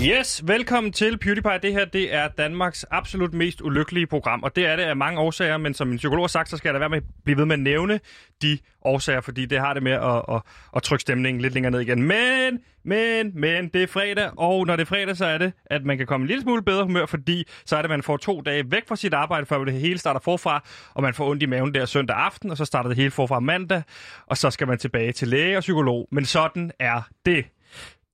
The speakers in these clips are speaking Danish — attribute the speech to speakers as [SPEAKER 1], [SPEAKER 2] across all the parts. [SPEAKER 1] Yes, velkommen til PewDiePie. Det her det er Danmarks absolut mest ulykkelige program, og det er det af mange årsager, men som min psykolog har sagt, så skal jeg da være med at blive ved med at nævne de årsager, fordi det har det med at, at, at trykke stemningen lidt længere ned igen. Men, men, men, det er fredag, og når det er fredag, så er det, at man kan komme en lille smule bedre humør, fordi så er det, at man får to dage væk fra sit arbejde, før det hele starter forfra, og man får ondt i maven der søndag aften, og så starter det hele forfra mandag, og så skal man tilbage til læge og psykolog. Men sådan er det.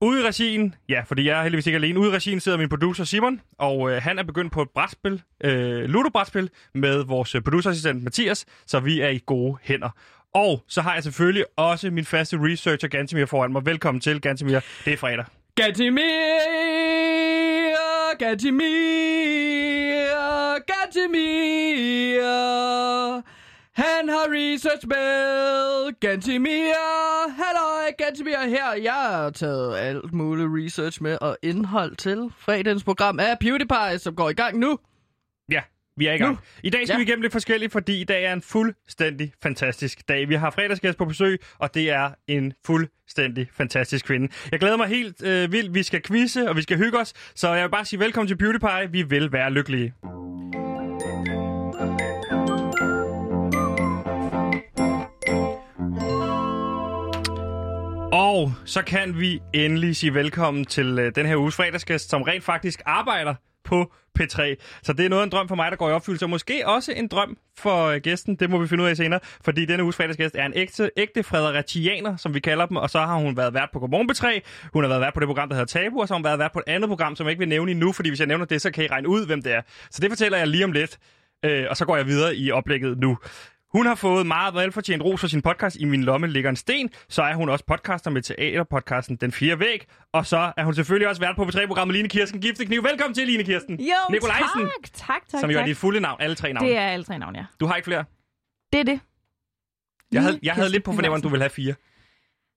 [SPEAKER 1] Ude i regien, ja, fordi jeg er heldigvis ikke alene. Ude i regien sidder min producer Simon, og øh, han er begyndt på et brætspil, øh, ludobrætspil, med vores øh, producerassistent Mathias, så vi er i gode hænder. Og så har jeg selvfølgelig også min faste researcher Gantemir foran mig. Velkommen til, Gantemir. Det er fredag.
[SPEAKER 2] Gatimir, Gatimir, Gatimir. Han har research med Gantimir. Halløj, Gantimir her. Jeg har taget alt muligt research med og indhold til fredagens program af PewDiePie, som går i gang nu.
[SPEAKER 1] Ja, vi er i gang.
[SPEAKER 2] Nu.
[SPEAKER 1] I dag skal
[SPEAKER 2] Ja.
[SPEAKER 1] vi igennem lidt forskelligt, fordi i dag er en fuldstændig fantastisk dag. Vi har fredagsgæst på besøg, og det er en fuldstændig fantastisk kvinde. Jeg glæder mig helt øh, vildt. Vi skal quizze, og vi skal hygge os. Så jeg vil bare sige velkommen til Beauty Pie. Vi vil være lykkelige. Og så kan vi endelig sige velkommen til øh, den her uges fredagsgæst, som rent faktisk arbejder på P3. Så det er noget af en drøm for mig, der går i opfyldelse, og måske også en drøm for øh, gæsten. Det må vi finde ud af senere, fordi denne uges fredagsgæst er en ægte, ægte fredericianer, som vi kalder dem, og så har hun været vært på Godmorgen P3, hun har været vært på det program, der hedder Tabu, og så har hun været vært på et andet program, som jeg ikke vil nævne endnu, fordi hvis jeg nævner det, så kan I regne ud, hvem det er. Så det fortæller jeg lige om lidt, øh, og så går jeg videre i oplægget nu. Hun har fået meget velfortjent ros for sin podcast I min lomme ligger en sten. Så er hun også podcaster med teaterpodcasten Den Fire Væg. Og så er hun selvfølgelig også vært på P3-programmet Line Kirsten Giftekniv. Velkommen til, Line Kirsten.
[SPEAKER 3] Jo,
[SPEAKER 1] Nikolajsen,
[SPEAKER 3] tak, tak, tak.
[SPEAKER 1] som jo
[SPEAKER 3] tak.
[SPEAKER 1] er dit fulde navn. Alle tre navne.
[SPEAKER 3] Det er alle tre navne, ja.
[SPEAKER 1] Du har ikke flere.
[SPEAKER 3] Det er det.
[SPEAKER 1] Jeg
[SPEAKER 3] Line
[SPEAKER 1] havde, jeg havde
[SPEAKER 3] Kirsten
[SPEAKER 1] lidt på fornemmeren, du
[SPEAKER 3] Nikolajsen.
[SPEAKER 1] ville have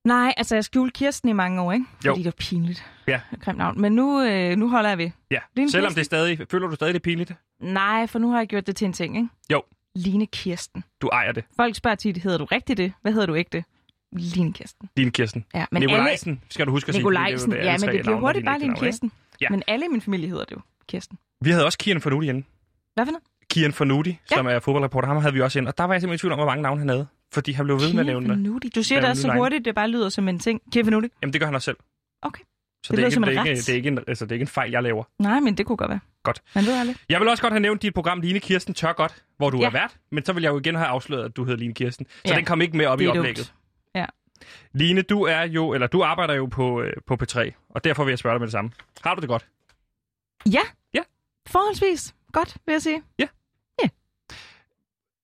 [SPEAKER 1] fire.
[SPEAKER 3] Nej, altså jeg skjulte Kirsten i mange år, ikke?
[SPEAKER 1] Jo.
[SPEAKER 3] Fordi det var pinligt.
[SPEAKER 1] Ja.
[SPEAKER 3] Grimt navn. Men nu, øh, nu holder jeg ved.
[SPEAKER 1] Ja,
[SPEAKER 3] Line
[SPEAKER 1] selvom
[SPEAKER 3] Kirsten.
[SPEAKER 1] det stadig, føler du stadig det er pinligt?
[SPEAKER 3] Nej, for nu har jeg gjort det til en ting, ikke?
[SPEAKER 1] Jo.
[SPEAKER 3] Line Kirsten.
[SPEAKER 1] Du ejer det,
[SPEAKER 3] Folk spørger tit, hedder du rigtigt det? Hvad hedder du ikke det? Line Kirsten.
[SPEAKER 1] Line Kirsten.
[SPEAKER 3] Ja,
[SPEAKER 1] Men
[SPEAKER 3] men
[SPEAKER 1] Nikolajsen skal du huske at
[SPEAKER 3] alle...
[SPEAKER 1] sige. fordi det er jo
[SPEAKER 3] Nikolajsen.
[SPEAKER 1] alle
[SPEAKER 3] Ja, men
[SPEAKER 1] tre
[SPEAKER 3] det bliver
[SPEAKER 1] navne,
[SPEAKER 3] hurtigt
[SPEAKER 1] der er
[SPEAKER 3] bare Line
[SPEAKER 1] ægte navne, ikke?
[SPEAKER 3] Kirsten.
[SPEAKER 1] Ja.
[SPEAKER 3] Men alle i min familie hedder det jo Kirsten.
[SPEAKER 1] Vi havde også Kian Fornuti inde.
[SPEAKER 3] Hvad for noget?
[SPEAKER 1] Kian Fornuti,
[SPEAKER 3] Ja.
[SPEAKER 1] som er fodboldreporter, ham havde vi også ind. Og der var jeg simpelthen i tvivl om, hvor mange navne han havde. Fordi han blev ved med at nævne det.
[SPEAKER 3] Fanuti. Du siger det
[SPEAKER 1] Nævne
[SPEAKER 3] også så
[SPEAKER 1] Line.
[SPEAKER 3] hurtigt, det bare lyder som en ting. Kevin Fanuti.
[SPEAKER 1] Jamen, det gør han også selv.
[SPEAKER 3] Okay.
[SPEAKER 1] Så
[SPEAKER 3] Det
[SPEAKER 1] det, det, er, ikke,
[SPEAKER 3] lyder som en
[SPEAKER 1] det, er ikke,
[SPEAKER 3] ret.
[SPEAKER 1] det, er ikke en, altså, det er ikke en fejl, jeg laver.
[SPEAKER 3] Nej, men det kunne godt være.
[SPEAKER 1] Godt.
[SPEAKER 3] Man ved aldrig.
[SPEAKER 1] Jeg vil også godt have nævnt dit program Line Kirsten Tør Godt, hvor du
[SPEAKER 3] Ja.
[SPEAKER 1] er vært, men så vil jeg jo igen have afsløret, at du hedder Line Kirsten. Så
[SPEAKER 3] Ja.
[SPEAKER 1] den kom ikke med op
[SPEAKER 3] Det
[SPEAKER 1] i
[SPEAKER 3] er dumt.
[SPEAKER 1] oplægget.
[SPEAKER 3] Ja.
[SPEAKER 1] Line, du er jo, eller du arbejder jo på, øh, på P3, og derfor vil jeg spørge dig med det samme. Har du det godt?
[SPEAKER 3] Ja.
[SPEAKER 1] Ja.
[SPEAKER 3] Forholdsvis godt, vil jeg sige.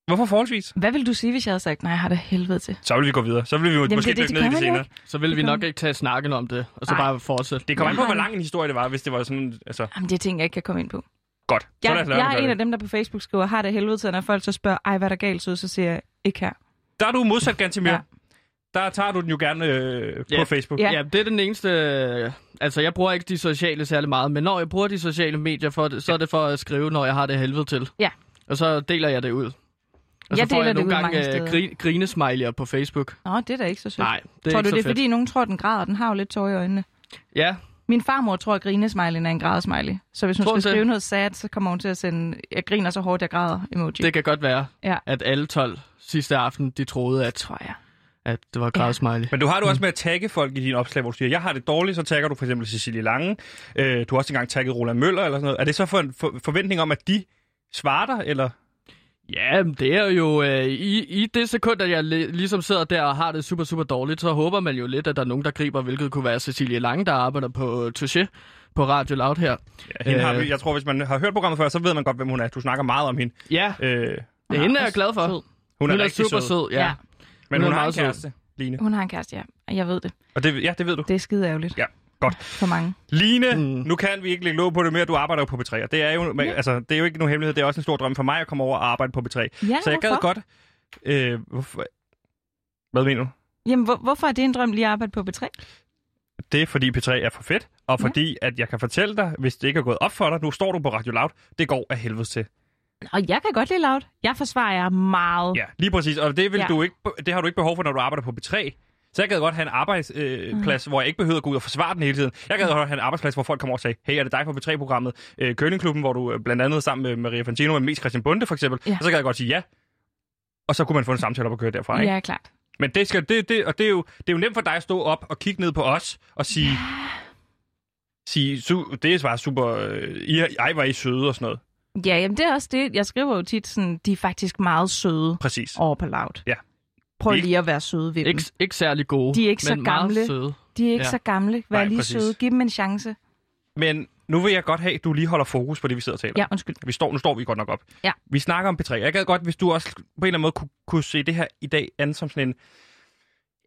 [SPEAKER 1] Hvorfor forholdsvis?
[SPEAKER 3] Hvad ville du sige, hvis jeg havde sagt, nej, jeg har det helvede til?
[SPEAKER 1] Så vil vi gå videre. Så vil vi Jamen, måske
[SPEAKER 3] det- det-
[SPEAKER 1] dykke
[SPEAKER 3] det
[SPEAKER 1] ned i
[SPEAKER 3] gør
[SPEAKER 1] det
[SPEAKER 3] man jo
[SPEAKER 1] senere.
[SPEAKER 3] ikke.
[SPEAKER 2] Så vil vi
[SPEAKER 3] Velkommen.
[SPEAKER 2] nok ikke tage snakken om det, og så
[SPEAKER 3] Nej.
[SPEAKER 2] bare fortsætte.
[SPEAKER 1] Det kommer an på,
[SPEAKER 3] Nej.
[SPEAKER 1] hvor lang en historie det var, hvis det var sådan... Altså,
[SPEAKER 3] Jamen, det er ting, jeg ikke kan komme ind på.
[SPEAKER 1] godt. så lad
[SPEAKER 3] Jeg,
[SPEAKER 1] os lade
[SPEAKER 3] jeg
[SPEAKER 1] det
[SPEAKER 3] er en
[SPEAKER 1] være.
[SPEAKER 3] af dem, der på Facebook skriver, har det helvede til, når folk så spørger, ej, hvad er der galt, så, så siger jeg, ikke her.
[SPEAKER 1] Der er du modsat, Gantimir.
[SPEAKER 3] Ja.
[SPEAKER 1] Ja. Der tager du den jo gerne øh, på
[SPEAKER 2] Ja.
[SPEAKER 1] Facebook.
[SPEAKER 3] Ja.
[SPEAKER 2] Ja. ja, det er den eneste... Altså, jeg bruger ikke de sociale særlig meget, men når jeg bruger de sociale medier, for det, så er det for at skrive, når jeg har det helvede til.
[SPEAKER 3] Ja.
[SPEAKER 2] Og så deler jeg det ud. Og
[SPEAKER 3] Jeg
[SPEAKER 2] så får
[SPEAKER 3] deler
[SPEAKER 2] jeg
[SPEAKER 3] det
[SPEAKER 2] nogle
[SPEAKER 3] ud mange
[SPEAKER 2] gange
[SPEAKER 3] steder.
[SPEAKER 2] øh, gri- grinesmiley'er på Facebook.
[SPEAKER 3] Nå, det er da ikke så sødt.
[SPEAKER 2] Nej, det er
[SPEAKER 3] tror
[SPEAKER 2] ikke
[SPEAKER 3] du,
[SPEAKER 2] så
[SPEAKER 3] det er
[SPEAKER 2] fedt.
[SPEAKER 3] fordi, nogen tror, den græder? Den har jo lidt tårer i øjnene.
[SPEAKER 2] Ja,
[SPEAKER 3] Min farmor tror, at grinesmileyen er en grædesmiley. Så hvis hun
[SPEAKER 2] Tror hun
[SPEAKER 3] skal
[SPEAKER 2] det?
[SPEAKER 3] skrive noget sad, så kommer hun til at sende, jeg griner så hårdt, jeg græder emoji.
[SPEAKER 2] det kan godt være,
[SPEAKER 3] Ja.
[SPEAKER 2] at alle 12 sidste aften, de troede, at,
[SPEAKER 3] tror jeg.
[SPEAKER 2] at det var grædsmiley.
[SPEAKER 1] Men du har det også med at tagge folk i dine opslag, hvor du siger, jeg har det dårligt, så tagger du for eksempel Cecilie Lange. Øh, du har også engang tagget Roland Møller eller sådan noget. Er det så for en for, forventning om, at de svarer dig, eller?
[SPEAKER 2] Ja, men det er jo... Øh, i, I det sekund, at jeg li- ligesom sidder der og har det super, super dårligt, så håber man jo lidt, at der er nogen, der griber, hvilket kunne være Cecilie Lange, der arbejder på øh, Touché på Radio Loud her.
[SPEAKER 1] Ja, hende øh. har
[SPEAKER 2] Øh.
[SPEAKER 1] vi, jeg tror, hvis man har hørt programmet før, så ved man godt, hvem hun er. Du snakker meget om hende.
[SPEAKER 2] Ja,
[SPEAKER 1] Øh,
[SPEAKER 2] det er hende, jeg er glad for.
[SPEAKER 3] Sød.
[SPEAKER 1] hun,
[SPEAKER 2] Hun
[SPEAKER 1] er,
[SPEAKER 2] er,
[SPEAKER 1] rigtig
[SPEAKER 2] super
[SPEAKER 1] sød,
[SPEAKER 2] sød, ja.
[SPEAKER 3] Ja.
[SPEAKER 2] ja.
[SPEAKER 1] men
[SPEAKER 2] Hun
[SPEAKER 1] hun,
[SPEAKER 2] er
[SPEAKER 1] har en
[SPEAKER 2] meget sød.
[SPEAKER 1] kæreste, Line.
[SPEAKER 3] Hun har en kæreste, ja. Og jeg ved det.
[SPEAKER 1] Og det, ja, det ved du.
[SPEAKER 3] Det er skide ærgerligt.
[SPEAKER 1] Ja, godt.
[SPEAKER 3] For mange.
[SPEAKER 1] Line,
[SPEAKER 2] Mm.
[SPEAKER 1] nu kan vi ikke lægge låg på det mere. Du arbejder jo på B3, og det er jo, men, altså, det er jo ikke nogen hemmelighed. Det er også en stor drøm for mig at komme over og arbejde på B3.
[SPEAKER 3] Ja,
[SPEAKER 1] så jeg gad
[SPEAKER 3] hvorfor?
[SPEAKER 1] godt... Øh, hvorfor? Hvad mener du?
[SPEAKER 3] Jamen, hvor, hvorfor er det en drøm lige at arbejde på B3?
[SPEAKER 1] Det er fordi P3 er for fedt, og
[SPEAKER 3] Ja.
[SPEAKER 1] fordi at jeg kan fortælle dig, hvis det ikke er gået op for dig, nu står du på Radio Loud, det går af helvede til.
[SPEAKER 3] Og jeg kan godt lide loud. Jeg forsvarer jer meget.
[SPEAKER 1] Ja, lige præcis. Og det, vil
[SPEAKER 3] Ja.
[SPEAKER 1] ja. du ikke, det har du ikke behov for, når du arbejder på P3. Så Så jeg gad godt have en arbejdsplads, øh, mm. hvor jeg ikke behøvede at gå ud og forsvare den hele tiden. Jeg gad godt have en arbejdsplads, hvor folk kommer over og sagde, hey, er det dig fra B3-programmet? Øh, Køllingklubben, hvor du øh, blandt andet sammen med Maria Fantino og mest Christian Bunde for eksempel.
[SPEAKER 3] Ja.
[SPEAKER 1] Og så gad jeg godt sige ja. Og så kunne man få en samtale op og køre derfra. Ikke?
[SPEAKER 3] Ja, klart.
[SPEAKER 1] Men det, skal, det, det, og det, er jo, det er jo nemt for dig at stå op og kigge ned på os og sige, sige su, det er bare super, øh, I, ej, var I søde og sådan noget.
[SPEAKER 3] Ja, jamen det er også det. Jeg skriver jo tit sådan, de er faktisk meget søde
[SPEAKER 1] Præcis.
[SPEAKER 3] over på laut.
[SPEAKER 1] Ja.
[SPEAKER 3] Prøv
[SPEAKER 1] Ikke-
[SPEAKER 3] lige at være søde ved dem.
[SPEAKER 2] Ikke, ikke særlig gode,
[SPEAKER 3] De er ikke så
[SPEAKER 2] men
[SPEAKER 3] gamle.
[SPEAKER 2] meget søde.
[SPEAKER 3] De er ikke
[SPEAKER 2] Ja.
[SPEAKER 3] ja. så gamle. Vær
[SPEAKER 1] Nej,
[SPEAKER 3] lige
[SPEAKER 1] præcis.
[SPEAKER 3] søde. Giv dem en chance.
[SPEAKER 1] Men nu vil jeg godt have, at du lige holder fokus på det, vi sidder og taler om.
[SPEAKER 3] Ja, undskyld.
[SPEAKER 1] Vi står, nu står vi godt nok op.
[SPEAKER 3] Ja.
[SPEAKER 1] Vi snakker om P3. Jeg gad godt, hvis du også på en eller anden måde kunne, kunne se det her i dag andet som sådan en...